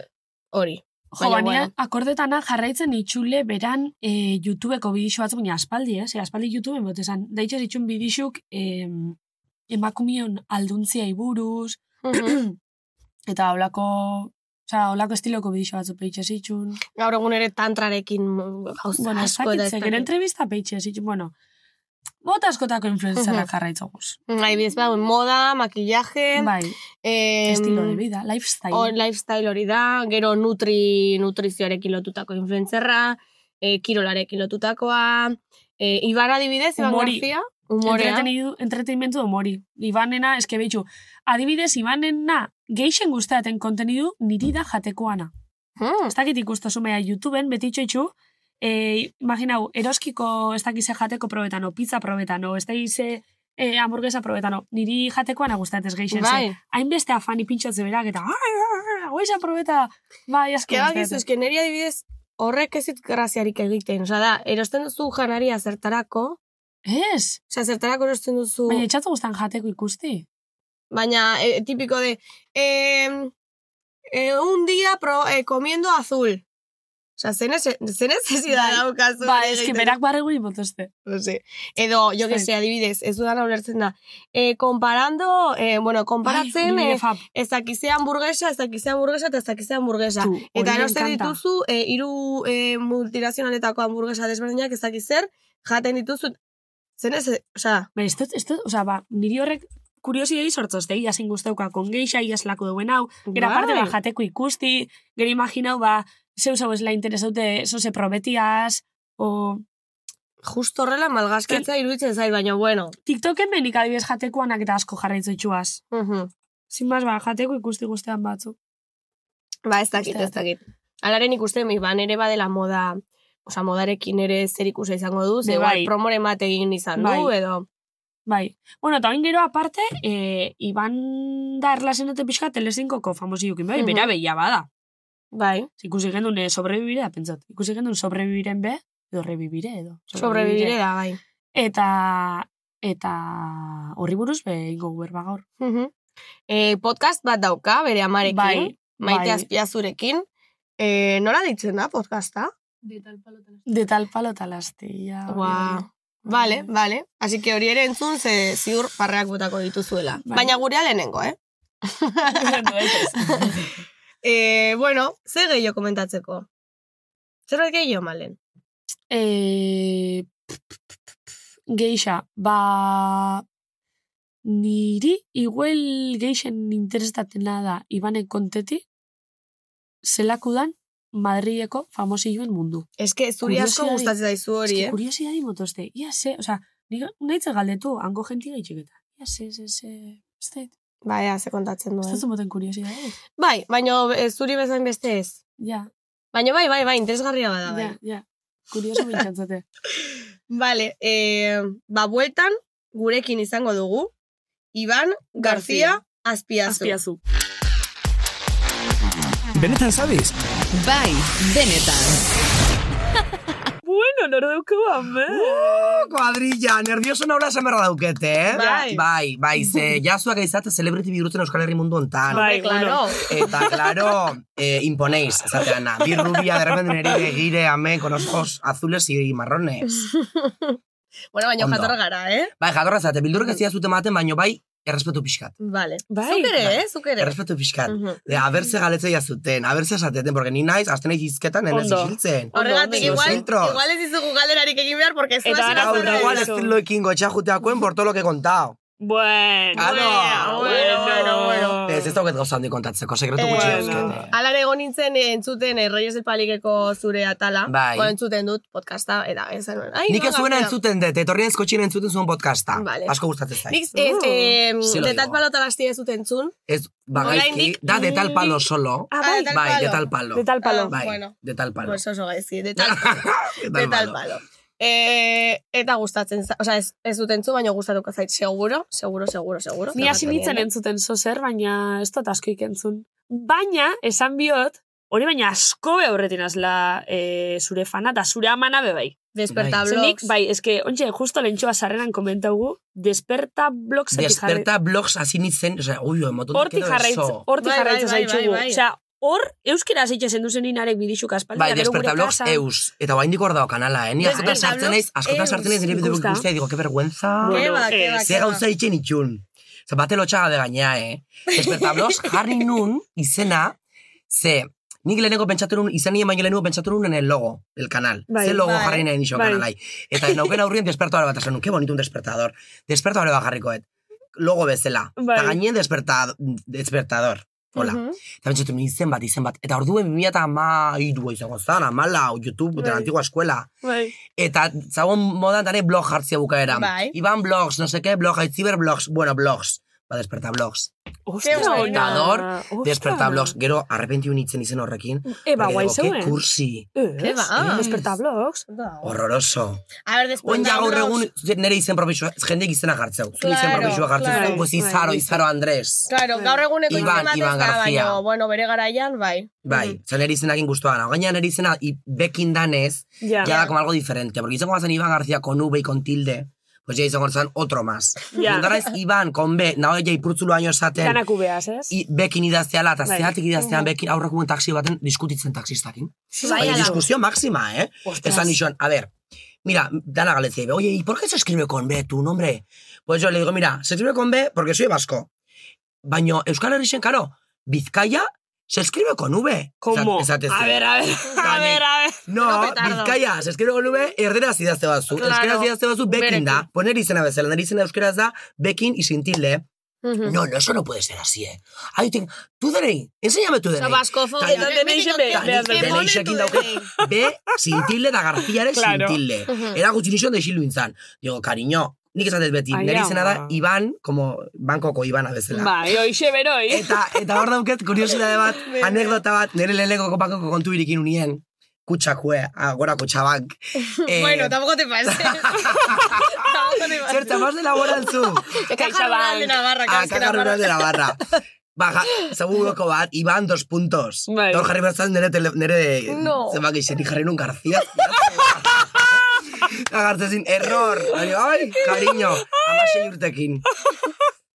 Speaker 2: hori.
Speaker 3: Jo,
Speaker 2: Baina,
Speaker 3: baina,
Speaker 2: bueno.
Speaker 3: akordetana jarraitzen itxule beran e, YouTubeko bidixo batzuk, baina aspaldi, eh? Ze aspaldi YouTubeen bote esan, daitxez itxun bidixuk e, emakumion alduntzia iburuz, eta holako, osea, holako estiloko bidixo batzuk peitxez itxun.
Speaker 2: Gaur egun ere tantrarekin gauza
Speaker 3: Bueno, ez
Speaker 2: asko
Speaker 3: dakit,
Speaker 2: eta
Speaker 3: ze
Speaker 2: ez
Speaker 3: gero
Speaker 2: dakit.
Speaker 3: entrevista peitxez itxun, bueno, bota askotako influencerrak
Speaker 2: Mhm.
Speaker 3: jarraitzoguz.
Speaker 2: Adibidez, badago, bai, moda, makillaje,
Speaker 3: Bai,
Speaker 2: em,
Speaker 3: estilo bai. de vida, lifestyle.
Speaker 2: hor, lifestyle hori da, gero nutri, nutrizioarekin lotutako influencerra, eh, kirolarekin lotutakoa, eh, Ibar adibidez, Iban
Speaker 3: Humori.
Speaker 2: García, humorea.
Speaker 3: Entretenidu- entretenimendu domori. Ibanena, eske behitxu, adibidez, Ibanena geixen guztaten kontenidu niri da jatekoana.
Speaker 2: Hmm,
Speaker 3: Ez dakit ikustozu mea YouTubeen, beti itxoitxu, e, imaginau, eroskiko ez dakize jateko probetano, pizza probetano, ez dakize e, hamburguesa probetano, niri jatekoana guztatez geixen zen.
Speaker 2: bai.
Speaker 3: Hainbeste afani pintxatze berak eta, "Ai, ai, ai, hau izan probeta, bai, asko.
Speaker 2: Ke bakizu,
Speaker 3: gustatzen."
Speaker 2: eske neri adibidez, horrek ez dit graziarik egiten. Osa da, erosten duzu janaria zertarako,
Speaker 3: Ez,
Speaker 2: osa zertarako erosten duzu,
Speaker 3: baina etxatu guztan jateko ikusti.
Speaker 2: baina eh, tipiko de, em, eh, un día pro, eh, comiendo azul. Osa, zenez, zenez ez da
Speaker 3: Bai,
Speaker 2: daukazu.
Speaker 3: Ba,
Speaker 2: hori
Speaker 3: eske
Speaker 2: egiten.
Speaker 3: berak Bai. barreguri botozte.
Speaker 2: No sé. Edo, jo que
Speaker 3: Zait.
Speaker 2: se, adibidez, ez dudana ulertzen da. Eh, komparando, eh, bueno,
Speaker 3: Ai,
Speaker 2: konparatzen,
Speaker 3: Bai, nire
Speaker 2: eh,
Speaker 3: fab,
Speaker 2: ez dakize hamburguesa, ez dakize hamburguesa, eta ez dakize hamburguesa.
Speaker 3: tu, hori
Speaker 2: Eta
Speaker 3: me
Speaker 2: erosten
Speaker 3: encanta.
Speaker 2: dituzu, e, iru e, multinazionaletako hamburguesa desberdinak ez dakit zer, jaten dituzu, zenez, osea,
Speaker 3: Baina, ez dut, ez dut, oza, ba, niri horrek kuriosidei sortzoz, dei, jasen guztauka kongeixa, iaslako duen hau, gero
Speaker 2: Bai.
Speaker 3: aparte ba, jateko ikusti, gero imaginau, ba, zeus hau ez la interesaute, eso se probetiaz, o
Speaker 2: justo horrela malgasketza iruditzen zait, baina bueno.
Speaker 3: TikToken benik adibidez jatekoanak eta asko jarraitzu itxuaz.
Speaker 2: Mhm.
Speaker 3: Zin bas, ba, jateko ikusti guztean batzu.
Speaker 2: Ba, ez dakit, ez dakit. Alaren ikusten, mi, ba, nere badela moda, osea, modarekin ere zer ikusia izango du, ze
Speaker 3: Be,
Speaker 2: igual
Speaker 3: bai.
Speaker 2: promore mate egin izan du,
Speaker 3: Bai.
Speaker 2: edo.
Speaker 3: Bai. Bueno, eta oin gero aparte, e, Iban da erlazenete pixka telesinkoko famosiukin, bai,
Speaker 2: Mhm.
Speaker 3: bera behia bada.
Speaker 2: Bai,
Speaker 3: Ikusi gendun eh, sobrebibirea, pentsat. Ikusi gendun sobrebibiren be, edo rebibire, edo.
Speaker 2: sobrebibire da, bai.
Speaker 3: Eta eta horri buruz be ingo berba gaur.
Speaker 2: Mhm. Eh, podcast bat dauka, bere amarekin,
Speaker 3: Bai,
Speaker 2: maite
Speaker 3: bai.
Speaker 2: azpiazurekin. Eh, nola ditzen da podcasta?
Speaker 3: De tal palo tal astilla. hori, hori.
Speaker 2: Guau. Vale, vale. Así que hori ere entzun, ze ziur parreak botako dituzuela.
Speaker 3: Bai.
Speaker 2: Baina gurea lehenengo, eh? eh, bueno, ze gehiago komentatzeko? Zerbait gehiago, malen?
Speaker 3: Eh, pf, pf, pf, pf, geixa, ba... Niri, igual geixen interestatena da Ibanen konteti, zelakudan Madrileko famosilloen mundu.
Speaker 2: Ez que zuri asko
Speaker 3: Kuriosidade-
Speaker 2: gustatzen daizu hori,
Speaker 3: Eske
Speaker 2: eh?
Speaker 3: kuriosidadi motoste. Ia ze, osea, nik nahitze galdetu, hango jenti gaitxeketa. Ia ze, ze, ze, ez da, ez
Speaker 2: Bai, ze kontatzen
Speaker 3: da
Speaker 2: duen.
Speaker 3: zumoten kuriosidadi.
Speaker 2: Bai, baina eh, zuri bezain beste ez.
Speaker 3: Ja,
Speaker 2: Baina bai, bai, bai, interesgarria bada, bai.
Speaker 3: ja, ja. Kurioso bintxantzate.
Speaker 2: Vale, eh, ba, bueltan, gurekin izango dugu, Iban García, Azpiazu.
Speaker 3: Azpiazu.
Speaker 4: Benetan sabes?
Speaker 7: Bai, benetan.
Speaker 3: Bueno, nor dauko ame.
Speaker 10: Kuadrilla, nervioso naula esan berra daukete, eh?
Speaker 2: Bai.
Speaker 10: Bai, bai, ze jasuak aizate celebrity bihurtzen Euskal Herri mundu ontan.
Speaker 2: Hombre,
Speaker 8: Bai,
Speaker 2: Ah, claro.
Speaker 10: Eta, claro, eh, imponéis, esateana. Bi rubia, de repente nire begire, amén, con ojos azules y marrones.
Speaker 2: Bueno, baina
Speaker 10: Ondo.
Speaker 2: jatorra gara, eh?
Speaker 10: Bai, jatorra zate, bildurrek ez dira maten, baino bai, errespetu pixkat.
Speaker 2: Vale.
Speaker 3: Bai,
Speaker 2: zuk ere,
Speaker 10: bai.
Speaker 2: eh? Zuk ere.
Speaker 10: Errespetu pixkat.
Speaker 2: Mhm.
Speaker 10: De, abertze galetzea zuten, abertze esateten, porque ni naiz, azten naiz izketan, enez
Speaker 3: Ondo.
Speaker 10: isiltzen.
Speaker 2: Horregatik,
Speaker 10: Ondo, ondo.
Speaker 2: igual,
Speaker 10: Zentro.
Speaker 2: igual ez izugu galerarik egin behar, porque ez
Speaker 8: Eta
Speaker 2: da
Speaker 8: Ana
Speaker 10: Gaur,
Speaker 8: Zorra
Speaker 10: igual ez
Speaker 8: eso.
Speaker 10: lo ekingo etxajuteakoen por todo lo que he contado.
Speaker 8: Bueno.
Speaker 10: Ano!
Speaker 2: Bueno, Ah, bueno, bueno.
Speaker 10: Ez ez dauket gauza handi kontatzeko, sekretu gutxi
Speaker 2: Eh,
Speaker 10: dauzkete.
Speaker 2: Alan egon nintzen eh, entzuten eh, Reyes del Palikeko zure atala.
Speaker 10: Bai.
Speaker 2: Bueno, entzuten dut podcasta, eta ez nuen. Ai,
Speaker 10: Nik ez
Speaker 2: no,
Speaker 10: zuena
Speaker 2: García.
Speaker 10: entzuten dut, etorri ez kotxin entzuten zuen podcasta.
Speaker 2: Vale.
Speaker 10: Asko gustatzen zait.
Speaker 2: Nik ez, eh,
Speaker 10: Sí lo
Speaker 2: de tal
Speaker 10: digo.
Speaker 2: palo talastia ez dut entzun.
Speaker 10: Ez, bagaizki,
Speaker 2: Oraindik
Speaker 10: da de tal palo
Speaker 3: niri-
Speaker 10: solo.
Speaker 3: Ah,
Speaker 2: Ah,
Speaker 3: bai,
Speaker 2: de tal
Speaker 10: Bai,
Speaker 2: palo.
Speaker 10: de tal palo.
Speaker 3: de tal palo.
Speaker 2: Ah,
Speaker 10: Bai,
Speaker 2: bueno.
Speaker 10: de tal palo.
Speaker 2: Pues oso gaizki, de tal palo.
Speaker 10: De
Speaker 2: de
Speaker 10: tal
Speaker 2: tal
Speaker 10: palo.
Speaker 2: palo. Eh, eta gustatzen, za- osea, ez, ez dut entzun, baina gustatuko zait, seguro, seguro, seguro, seguro.
Speaker 3: Ni hasi nintzen
Speaker 2: Bai.
Speaker 3: entzuten zozer, baina ez dut asko ikentzun. Baina, esan biot, hori baina asko behorretin azla e, zure fana, eta zure amana bebai.
Speaker 2: Desperta
Speaker 3: Ze Nik,
Speaker 2: blogs.
Speaker 3: bai, eske, ontxe, justo lehentxoa sarrenan komentaugu, desperta blog zetik jarri...
Speaker 10: Desperta blogs hasi nintzen, osea, ui, emototik
Speaker 3: Hortik jarraitza, hortik
Speaker 2: Bai, bai,
Speaker 3: jarraitza
Speaker 2: bai, bai,
Speaker 3: zaitxugu.
Speaker 2: bai.
Speaker 3: Osea, hor, euskera zeitxe zendu zen inarek bidixuk aspaldi.
Speaker 10: Bai,
Speaker 3: da gero
Speaker 10: desperta
Speaker 3: gure
Speaker 10: blogs
Speaker 3: kasan.
Speaker 10: eus. Eta oraindik hor dago kanala, eh? Ni askotan
Speaker 2: Desperta
Speaker 10: sartzen
Speaker 2: blogs
Speaker 10: naiz, askotan sartzen naiz nire
Speaker 3: eus.
Speaker 10: bideo
Speaker 3: Ikusta.
Speaker 10: guztia digo, que vergüenza.
Speaker 2: Ke
Speaker 8: Bueno,
Speaker 2: ba, ke
Speaker 8: eh,
Speaker 2: ba,
Speaker 10: Ze
Speaker 2: ke ba.
Speaker 10: gauza itxen itxun. Ze bate lotxaga de gaina, eh? Despertablos jarri nun izena, ze nik leheneko pentsatu nun, izan nien baino leheneko pentsatu nun en el logo, el kanal.
Speaker 3: Bai,
Speaker 10: ze logo
Speaker 2: bai.
Speaker 10: jarri nahi nixo
Speaker 3: Bai.
Speaker 10: kanalai. Eta nauken aurrien despertadore bat esan nun, que bonito un despertador. Despertadore bat jarrikoet. Logo bezala.
Speaker 3: Bai.
Speaker 10: Eta gainen desperta, despertador. Hola.
Speaker 2: Mhm.
Speaker 10: Eta pentsatu nun izen bat, izen bat. Eta orduen 2008 izango zan, amala, YouTube, de la
Speaker 3: Bai.
Speaker 10: antigua escuela.
Speaker 3: Bai.
Speaker 10: Eta zagon modan tare blog jartzea bukaera.
Speaker 2: Bai.
Speaker 10: Iban blogs, no seke, blog, aitziber blogs, bueno, blogs. Ba, desperta blogs.
Speaker 3: Ostra,
Speaker 10: Despertador,
Speaker 3: ona.
Speaker 10: Desperta
Speaker 3: Ostra.
Speaker 10: blogs, gero arrepentiu nintzen izen horrekin.
Speaker 3: Eba,
Speaker 10: Porque
Speaker 3: guai
Speaker 10: digo,
Speaker 3: zeuen.
Speaker 10: Ke kursi,
Speaker 3: Ez,
Speaker 2: Ke ba.
Speaker 3: eh, Desperta blogs.
Speaker 10: horroroso.
Speaker 2: A ver, desperta
Speaker 10: Oen ja gaur
Speaker 2: blogs.
Speaker 10: egun nere izen propisua, jendek izena jartzeu. Zure izen
Speaker 2: Claro,
Speaker 10: propisua jartzeu.
Speaker 2: claro.
Speaker 10: Pues Izaro,
Speaker 3: Bai.
Speaker 10: Izaro Andres.
Speaker 2: Claro, gaur eguneko
Speaker 10: Iban-
Speaker 2: izen bat ez
Speaker 10: Iban
Speaker 2: da,
Speaker 10: García.
Speaker 2: baina, bueno, bere garaian, bai.
Speaker 10: Bai, zan nere izenakin guztua gana. Gaina nere izena i- bekin danez,
Speaker 3: Ja.
Speaker 10: ya da como algo diferente. Porque izango bazen Iban García con V y con tilde, pues ya izango zan otro más.
Speaker 3: Ja.
Speaker 10: Yeah. Naiz Iban, con B, nao ja ipurtzulo haino esaten,
Speaker 3: Danak ubeaz, ez?
Speaker 10: i, bekin idazteala, eta
Speaker 3: Bai.
Speaker 10: zehatik idaztean bekin aurrakuen taksi baten diskutitzen taksistakin.
Speaker 2: Bai,
Speaker 10: Bai,
Speaker 2: ala.
Speaker 10: diskusio máxima, ¿eh? Esan nixon, a ver, mira, dana Galicia, oye, ¿y por qué se escribe con B tu nombre? Pues yo le digo, mira, se escribe con B porque soy vasco. Baño, Euskal Herrixen, claro, Vizcaya se escribe con V.
Speaker 3: Como?
Speaker 10: Esa- esatez.
Speaker 3: A ver, a ver, a ver, a ver.
Speaker 10: No,
Speaker 2: no, petardo.
Speaker 10: Bizkaia, se escribe con V, erderaz idazte bazu.
Speaker 2: Claro.
Speaker 10: Euskeraz idazte bazu, bekin da.
Speaker 2: Berekin.
Speaker 10: Poner izena bezala, nire izena euskeraz da, bekin y sin tilde.
Speaker 2: Mhm.
Speaker 10: No, no, eso no puede ser así, ¿eh? Ahí te... Tú, DNI, enséñame tu DNI.
Speaker 2: Oso baskofo-
Speaker 10: Eta-
Speaker 2: Eta
Speaker 3: deneixen be-
Speaker 2: Eta
Speaker 3: behar dut.
Speaker 2: nik-
Speaker 10: Deneixekin
Speaker 2: Emanen du
Speaker 10: dauke-
Speaker 2: denei.
Speaker 10: B, sin tilde da Garciare
Speaker 3: Claro.
Speaker 10: sin tilde. Era gutxi nixon de Xilu intzan. Digo, cariño, nik esatez beti,
Speaker 3: Ai,
Speaker 10: nire
Speaker 3: ama.
Speaker 10: izena da Iban, como bankoko Ibana bezala.
Speaker 2: Ba.
Speaker 3: Bai, hoxe beroi.
Speaker 10: Eta, eta hor dauket, kuriosidade bat, anekdota bat, nire leheneko bankoko kontu irikin unien, kutsakue, agora kutsabank. Eh,
Speaker 2: Bueno, tampoco te pases. Tampoco te pases.
Speaker 10: Zertza, más de laboral zu.
Speaker 2: Caja Rural de Navarra,
Speaker 10: Ah,
Speaker 2: Caja
Speaker 10: caca rural de Navarra. Baja, seguroko bat, Iban, dos puntos.
Speaker 3: Bai.
Speaker 10: Dor jarri bertzat nire, tele, nire
Speaker 2: No.
Speaker 10: zenbaki zen, jarri nun García. Agartzen zin, error. Baina, Ai, cariño, amasei urtekin.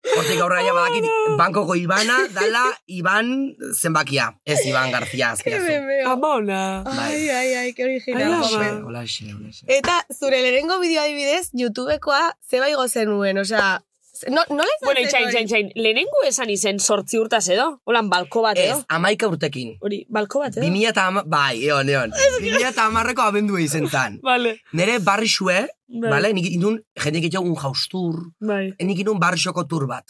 Speaker 10: Hortik aurrera ja badakit,
Speaker 2: Ah.
Speaker 10: bankoko Ibana, dala Iban zenbakia. Ez Iban Garzia azpiazu.
Speaker 3: Amona.
Speaker 10: Ah,
Speaker 2: Ai, ai, ai, que original.
Speaker 3: Ala,
Speaker 2: joder.
Speaker 3: ba.
Speaker 10: Hola, xe, hola, xe.
Speaker 2: Eta zure lehenengo bideo adibidez, YouTubekoa zeba igo zenuen, osea, ze- no, nola izan
Speaker 3: Bueno,
Speaker 2: zen
Speaker 3: itxain,
Speaker 2: hori?
Speaker 3: itxain, itxain. Lehenengo esan izen sortzi urtaz edo? Holan, balko bat
Speaker 10: Ez,
Speaker 3: edo?
Speaker 10: amaika urtekin.
Speaker 3: Hori, balko bat eh? edo?
Speaker 10: 2000 eta ama... Bai, eon, eon. 2000 eta amarreko abendua izen zan.
Speaker 3: Vale,
Speaker 10: Nere barri xue,
Speaker 3: Bai.
Speaker 10: bale, nik indun, jendik itxogun jaustur,
Speaker 3: bai,
Speaker 10: E, nik indun barri xoko tur bat.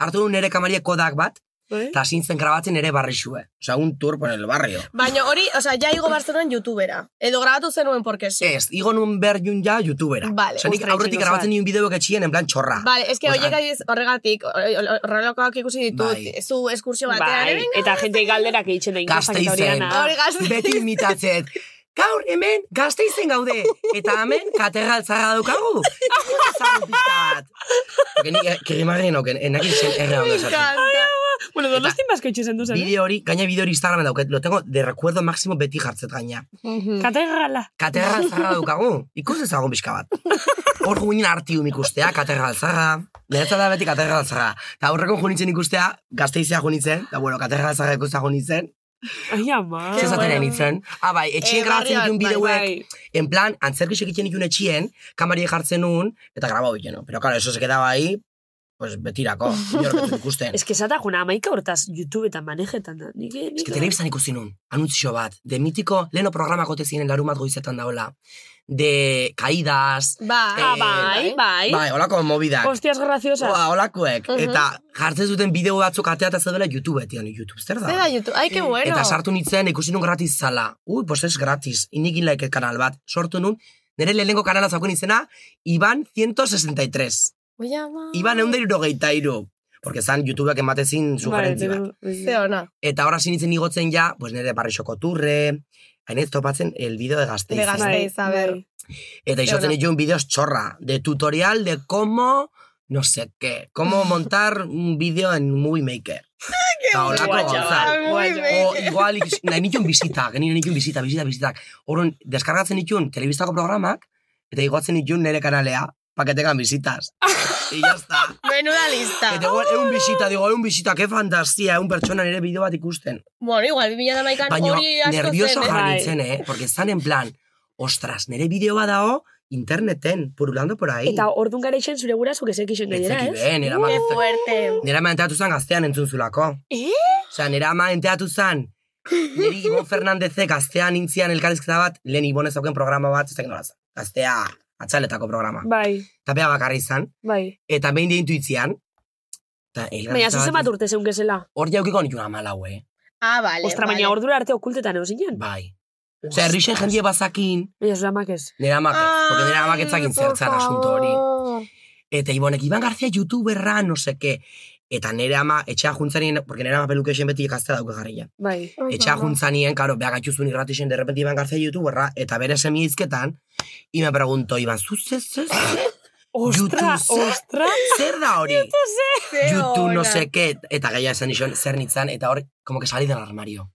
Speaker 10: Artu nuen nere kamaria kodak bat,
Speaker 3: bai.
Speaker 10: eta zintzen grabatzen nere barri xue. Osa, un tur por el barrio.
Speaker 2: Baina hori, osea, ja igo bar zenuen YouTubera. Edo grabatu zenuen porque sí.
Speaker 10: Ez, igo nun behar jun ja youtubera.
Speaker 2: Vale,
Speaker 10: Osa, nik
Speaker 3: ostra,
Speaker 10: aurretik
Speaker 3: itxaso
Speaker 10: grabatzen
Speaker 3: bat.
Speaker 10: nien bideoak etxien, en plan txorra.
Speaker 2: Vale, es que
Speaker 10: Osea,
Speaker 2: horiek adibidez, horregatik, hor- horrelakoak ikusi ditut,
Speaker 10: Bai.
Speaker 2: zu eskursio batean.
Speaker 3: Bai,
Speaker 2: Bai.
Speaker 3: eta jente galderak egiten da ingazak eta hori
Speaker 10: Gasteizen.
Speaker 3: dana.
Speaker 2: Hori gazte.
Speaker 10: Beti imitatzen. Gaur hemen gazteizen gaude, eta hemen katerral zarra daukagu. Zagun pizkat. Porque nik eh, kirrimarri noken, enakin zen erra ondo esaten.
Speaker 3: Bueno, donostin bazko itxezen duzen, eh?
Speaker 10: Bideo hori, gaina bideo hori Instagramen dauket, lo tengo de recuerdo máximo beti jartzet gaina.
Speaker 3: oh. Katedrala.
Speaker 10: Katerral zarra daukagu, ikus ezagun pixka bat. Hor guinen artium ikustea, katerral zarra. Niretza da beti katerral zarra. Eta horreko junitzen ikustea, gazteizea junitzen, eta bueno, katerral zarra ikustea junitzen.
Speaker 3: Ai, ama.
Speaker 10: Ez esaten nintzen. Ah, bai,
Speaker 2: Eh,
Speaker 10: etxien grabatzen
Speaker 2: barrian,
Speaker 10: ditun
Speaker 2: bai,
Speaker 10: bideoek,
Speaker 3: Bai,
Speaker 10: En plan, antzerkisek egiten dituen etxien, kamari jartzen nun, eta grabau no? Pero claro, eso se quedaba ahí, pues betirako, inork ez zuen ikusten.
Speaker 3: Ez que esata juna amaika hortaz YouTubeetan manejetan da. Nik, nik,
Speaker 10: Es que telebizan ikusi nun, anuntzio bat, de mitiko leno programako tezien larumat goizetan daola, de caídas,
Speaker 2: Bai.
Speaker 10: Eh,
Speaker 3: Ah, bai, bai.
Speaker 10: bai, holako movidak.
Speaker 3: Hostias graciosas.
Speaker 10: Ba, holakoek.
Speaker 2: Mhm.
Speaker 10: Eta jartzen zuten bideo batzuk atea eta zeudela YouTube etian, YouTube, zer da?
Speaker 2: Zer da YouTube? Ai,
Speaker 10: eh,
Speaker 2: que bueno.
Speaker 10: Eta sartu nintzen, ikusi nun gratis zala. Ui, pues ez gratis, inikin laike kanal bat. Sortu nun, nire lehenengo kanala zaukun izena, Iban 163.
Speaker 2: Oi, ama.
Speaker 10: Iban egun da irurogeita iru. Porque zan YouTubeak ematezin
Speaker 2: Bai,
Speaker 10: sugerentzi bat.
Speaker 2: Ze ona.
Speaker 10: Eta horra sinitzen igotzen ja, pues nire barrixoko turre, hainez topatzen el bideo de
Speaker 2: De
Speaker 10: gazteiz.
Speaker 2: gazte. Gasteiz, a ber.
Speaker 3: Bai.
Speaker 10: Eta isotzen
Speaker 2: Eona.
Speaker 10: dituen bideos txorra, de tutorial de cómo, no sé qué, cómo montar un vídeo en Movie Maker. Eta holako
Speaker 3: guay,
Speaker 10: gauzak.
Speaker 3: chaval.
Speaker 2: Ah, muy
Speaker 3: Guayo.
Speaker 2: bien.
Speaker 10: O igual, ikis- nahi nituen bizita, genien nituen bizita, bizita, bizitak. Horren, deskargatzen nituen telebistako programak, eta igotzen nituen nire kanalea, paketekan bizitas. y ya está.
Speaker 2: Menuda lista.
Speaker 10: Eta igual, egun bisita, digo, egun bisita, que fantasia, egun pertsona nire bideo bat ikusten.
Speaker 2: Bueno, igual, 2011an
Speaker 10: Baina,
Speaker 2: hori asko zen.
Speaker 10: nervioso
Speaker 2: eh?
Speaker 10: jarri
Speaker 3: Bai.
Speaker 10: nintzen, eh? Porque zan en plan, ostras, nire bideo bat dao, interneten, purulando por ahí.
Speaker 3: Eta ordun gara ixen zure gura zuk ezek ixen gainera,
Speaker 10: Betzeki
Speaker 3: ez?
Speaker 10: ben, nire
Speaker 2: Qué
Speaker 10: ama,
Speaker 2: fuerte.
Speaker 10: nire ama enteatu zan gaztean entzun zulako.
Speaker 3: Eh?
Speaker 10: Osea, nire ama enteatu zan, niri Ibon Fernandezek gaztean intzian elkarrizketa bat, lehen Ibonez auken programa bat, ez dakit nola zen. Gaztea, atxaletako programa.
Speaker 3: Bai,
Speaker 10: Eta bea bakarri izan,
Speaker 3: bai.
Speaker 10: eta behin deintu itzian, eta
Speaker 3: Baina, zuzen bat
Speaker 10: elkarrizketa bat,
Speaker 3: urte zeun gezela.
Speaker 10: hor jaukiko nituen amalau, eh?
Speaker 2: Ah, vale,
Speaker 3: Ostra,
Speaker 2: vale.
Speaker 3: baina ordura arte okultetan egon zinen.
Speaker 10: Bai. Osea, herrixen jendie bazakin,
Speaker 3: Baina, zure amak ez.
Speaker 10: nire amak, ez, porque nire amak
Speaker 2: Ay,
Speaker 10: etzakin
Speaker 2: por
Speaker 10: zertzan asunto hori.
Speaker 2: favor.
Speaker 10: Eta Ibonek, Iban Garzia youtuberra, no seke. Eta nire ama, etxea juntzanien, porque nire ama pelukexen beti ikaztea dauke jarria.
Speaker 3: Bai.
Speaker 10: Etxea juntzanien, karo, beha gaituzun irratixen, de repente Iban Garzia youtuberra, eta bere semia izketan, y me pregunto, Iban, zuz ez, ez, ez?
Speaker 3: Ostra,
Speaker 10: YouTube zer?
Speaker 3: ostra.
Speaker 10: zer da hori?
Speaker 2: Ze
Speaker 10: YouTube, no
Speaker 2: ona.
Speaker 10: seke, eta gaia esan nixon, zer nintzen, eta hor, como que salí del armario.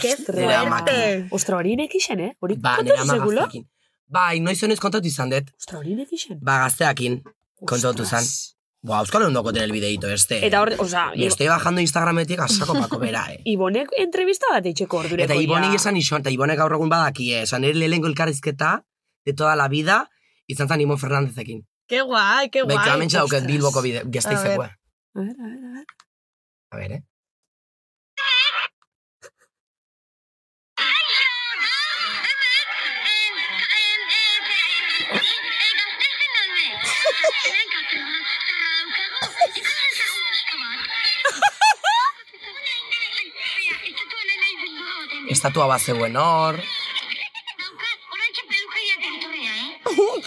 Speaker 2: Qué
Speaker 10: Nire amak.
Speaker 2: fuerte.
Speaker 3: Ostra, hori nek ixen, eh? Hori
Speaker 10: Ba, nire
Speaker 3: kontatu
Speaker 10: ama
Speaker 3: segulo?
Speaker 10: gazteakin. Bai, noiz honez kontatu izan dut.
Speaker 3: Ostra, hori nek ixen.
Speaker 10: Ba, gazteakin. Kontatu zan.
Speaker 3: Ostras.
Speaker 10: Ba, euskal ondoko el bideito, este.
Speaker 3: Eta hor, oza,
Speaker 2: Bai,
Speaker 10: Y estoy bajando Instagrametik asako pako bera, eh.
Speaker 3: Ibonek entrevista bat eitxeko ordureko.
Speaker 10: Eta Ibonei esan ison, eta Ibonek gaur egun badaki, eh? Esan, nire lehenko elkarrizketa, de toda la vida, izan zan Ibon Fernandezekin.
Speaker 2: Qué guay, qué guay.
Speaker 10: Beka, amentsa dauket
Speaker 3: ostras.
Speaker 10: Bai, Bilboko bide,
Speaker 2: A ver.
Speaker 10: gazteizeko. eh.
Speaker 3: A ver, a ver, a ver.
Speaker 10: A ver, eh? Estatua bat zegoen hor.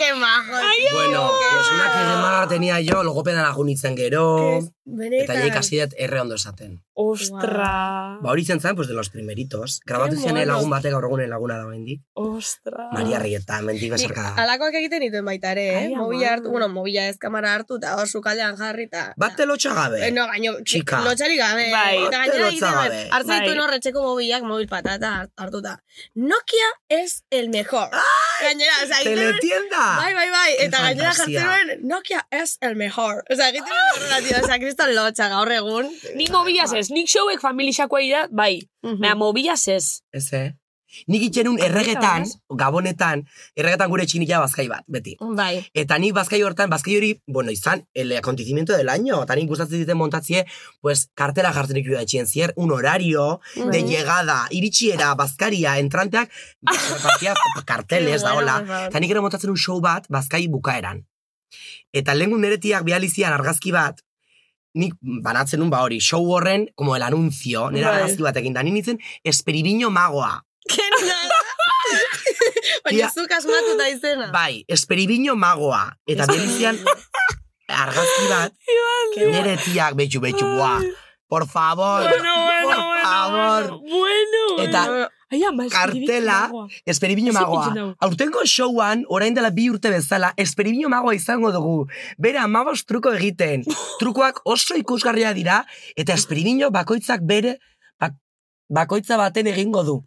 Speaker 2: Qué majo.
Speaker 10: Bueno,
Speaker 2: oh.
Speaker 10: pues una que de maga tenía yo, logopedana junitzen gero.
Speaker 2: Benetan.
Speaker 10: Eta jaik hasi dut erre ondo esaten.
Speaker 11: Ostra.
Speaker 10: Ba, hori zen zen, pues, de los primeritos. Grabatu
Speaker 2: Qué
Speaker 10: zen
Speaker 2: mono.
Speaker 10: lagun batek gaur egunen laguna da bendik.
Speaker 11: Ostra.
Speaker 2: Ah.
Speaker 10: Maria Rieta, mendik bezarka.
Speaker 2: Alakoak egiten dituen baita ere, eh?
Speaker 10: Ai, ama.
Speaker 2: Mobila hartu, bueno, mobila ez kamara hartu, eta hor sukaldean jarri, eta...
Speaker 10: Bate lotxa gabe.
Speaker 2: Eh, no, gaino,
Speaker 10: Txika.
Speaker 2: lotxarik gabe.
Speaker 11: Bai.
Speaker 2: eta
Speaker 10: Bate
Speaker 2: gainera
Speaker 10: lotxa
Speaker 2: egiten gabe.
Speaker 10: gabe.
Speaker 2: Hartzen
Speaker 11: Bai.
Speaker 2: dituen horretxeko mobilak, mobil patata hart- hartuta. Nokia es el mejor. Gainera, o sea, egiten-
Speaker 10: Teletienda.
Speaker 2: Bai, bai, bai.
Speaker 10: Qué
Speaker 2: Eta gainera
Speaker 10: fantasia.
Speaker 2: jartzen nuen, Nokia es el mejor. O sea, egiten
Speaker 10: Ah!
Speaker 2: nuen horrela, tío. O sea, kriston lotxa gaur egun.
Speaker 11: Nik mobilaz ez, nik showek familixakoa dira, bai.
Speaker 2: Mhm.
Speaker 11: Baina mobilaz ez.
Speaker 10: Ez, eh? Nik itxenun erregetan, gabonetan, erregetan gure txinila bazkai bat, beti.
Speaker 2: Bai.
Speaker 10: Eta nik bazkai hortan, bazkai hori, bueno, izan, el acontecimiento del año, eta nik gustatzen ziten montatzie, pues, kartela jartzen iku da etxien zier, un horario, de
Speaker 2: Mhm.
Speaker 10: llegada, iritsiera, bazkaria, entranteak, repartia, karteles,
Speaker 2: Qué
Speaker 10: da,
Speaker 2: bueno,
Speaker 10: hola.
Speaker 2: por favor.
Speaker 10: Eta nik ere montatzen un show bat, bazkai bukaeran. Eta lehengun neretiak bializian argazki bat, nik banatzen nun ba hori, show horren, como el anuncio, nera
Speaker 11: Bai.
Speaker 10: argazki batekin, da nintzen, esperibiño magoa.
Speaker 2: Baina
Speaker 10: Tia.
Speaker 2: zuk asmatuta izena.
Speaker 10: Bai, esperibiño magoa. Eta bializian argazki bat, nere tiak betxu, betxu, bua. Por favor, por favor.
Speaker 11: bueno.
Speaker 10: Eta
Speaker 11: Ai, ama,
Speaker 10: kartela, esperibiño magoa.
Speaker 11: Esperibiño.
Speaker 10: Aurtengo showan, orain dela bi urte bezala, esperibiño magoa izango dugu. Bera, amabos truko egiten. Trukoak oso ikusgarria dira, eta esperibiño bakoitzak bere, bak- bakoitza baten egingo du.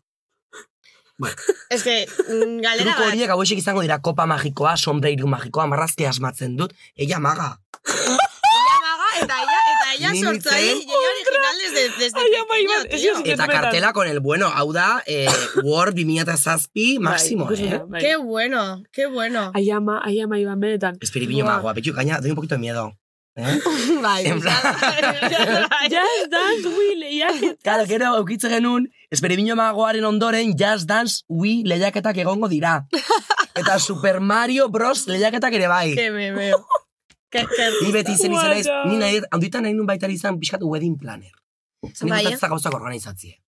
Speaker 2: Ez que, mm, galera
Speaker 10: Truko
Speaker 2: bat.
Speaker 10: horiek hauexek izango dira kopa magikoa, sombreiru magikoa, marrazki asmatzen dut, ella maga.
Speaker 2: Ella maga, eta ella, eta ella
Speaker 10: Ni
Speaker 2: sortzaile,
Speaker 10: nintzen.
Speaker 2: y ella original desde, desde
Speaker 11: Ai, ama,
Speaker 2: pequeño,
Speaker 11: Iban, ez
Speaker 2: tío.
Speaker 11: jazuk-
Speaker 10: Eta
Speaker 11: Benetan.
Speaker 10: kartela con el bueno, hau da, eh, Word
Speaker 2: Bai,
Speaker 10: 2007,
Speaker 11: Bai,
Speaker 10: máximo, eh?
Speaker 2: Qué bueno, qué bueno.
Speaker 11: Ai, ama, ai, ama, iban benetan.
Speaker 10: Esperibiño
Speaker 11: Buah.
Speaker 10: magoa, betxu, gaina, doy un poquito de miedo. Eh?
Speaker 2: Bai,
Speaker 10: En plan-
Speaker 11: Jazz dance, Will, jazz.
Speaker 10: Claro, gero aukitze genuen, esperibiño magoaren ondoren Jazz Dance Wii lehiaketak egongo dira. Eta Super Mario Bros lehiaketak ere bai.
Speaker 2: que me veo. Que,
Speaker 10: Ni
Speaker 2: que,
Speaker 10: beti izen izan naiz,
Speaker 11: Guara.
Speaker 10: ni nahi, handitan nahi nun baitari izan pixkat wedding planner. Zene
Speaker 2: Bai, eh?
Speaker 10: gustatzen gauzak organizatzie. eh?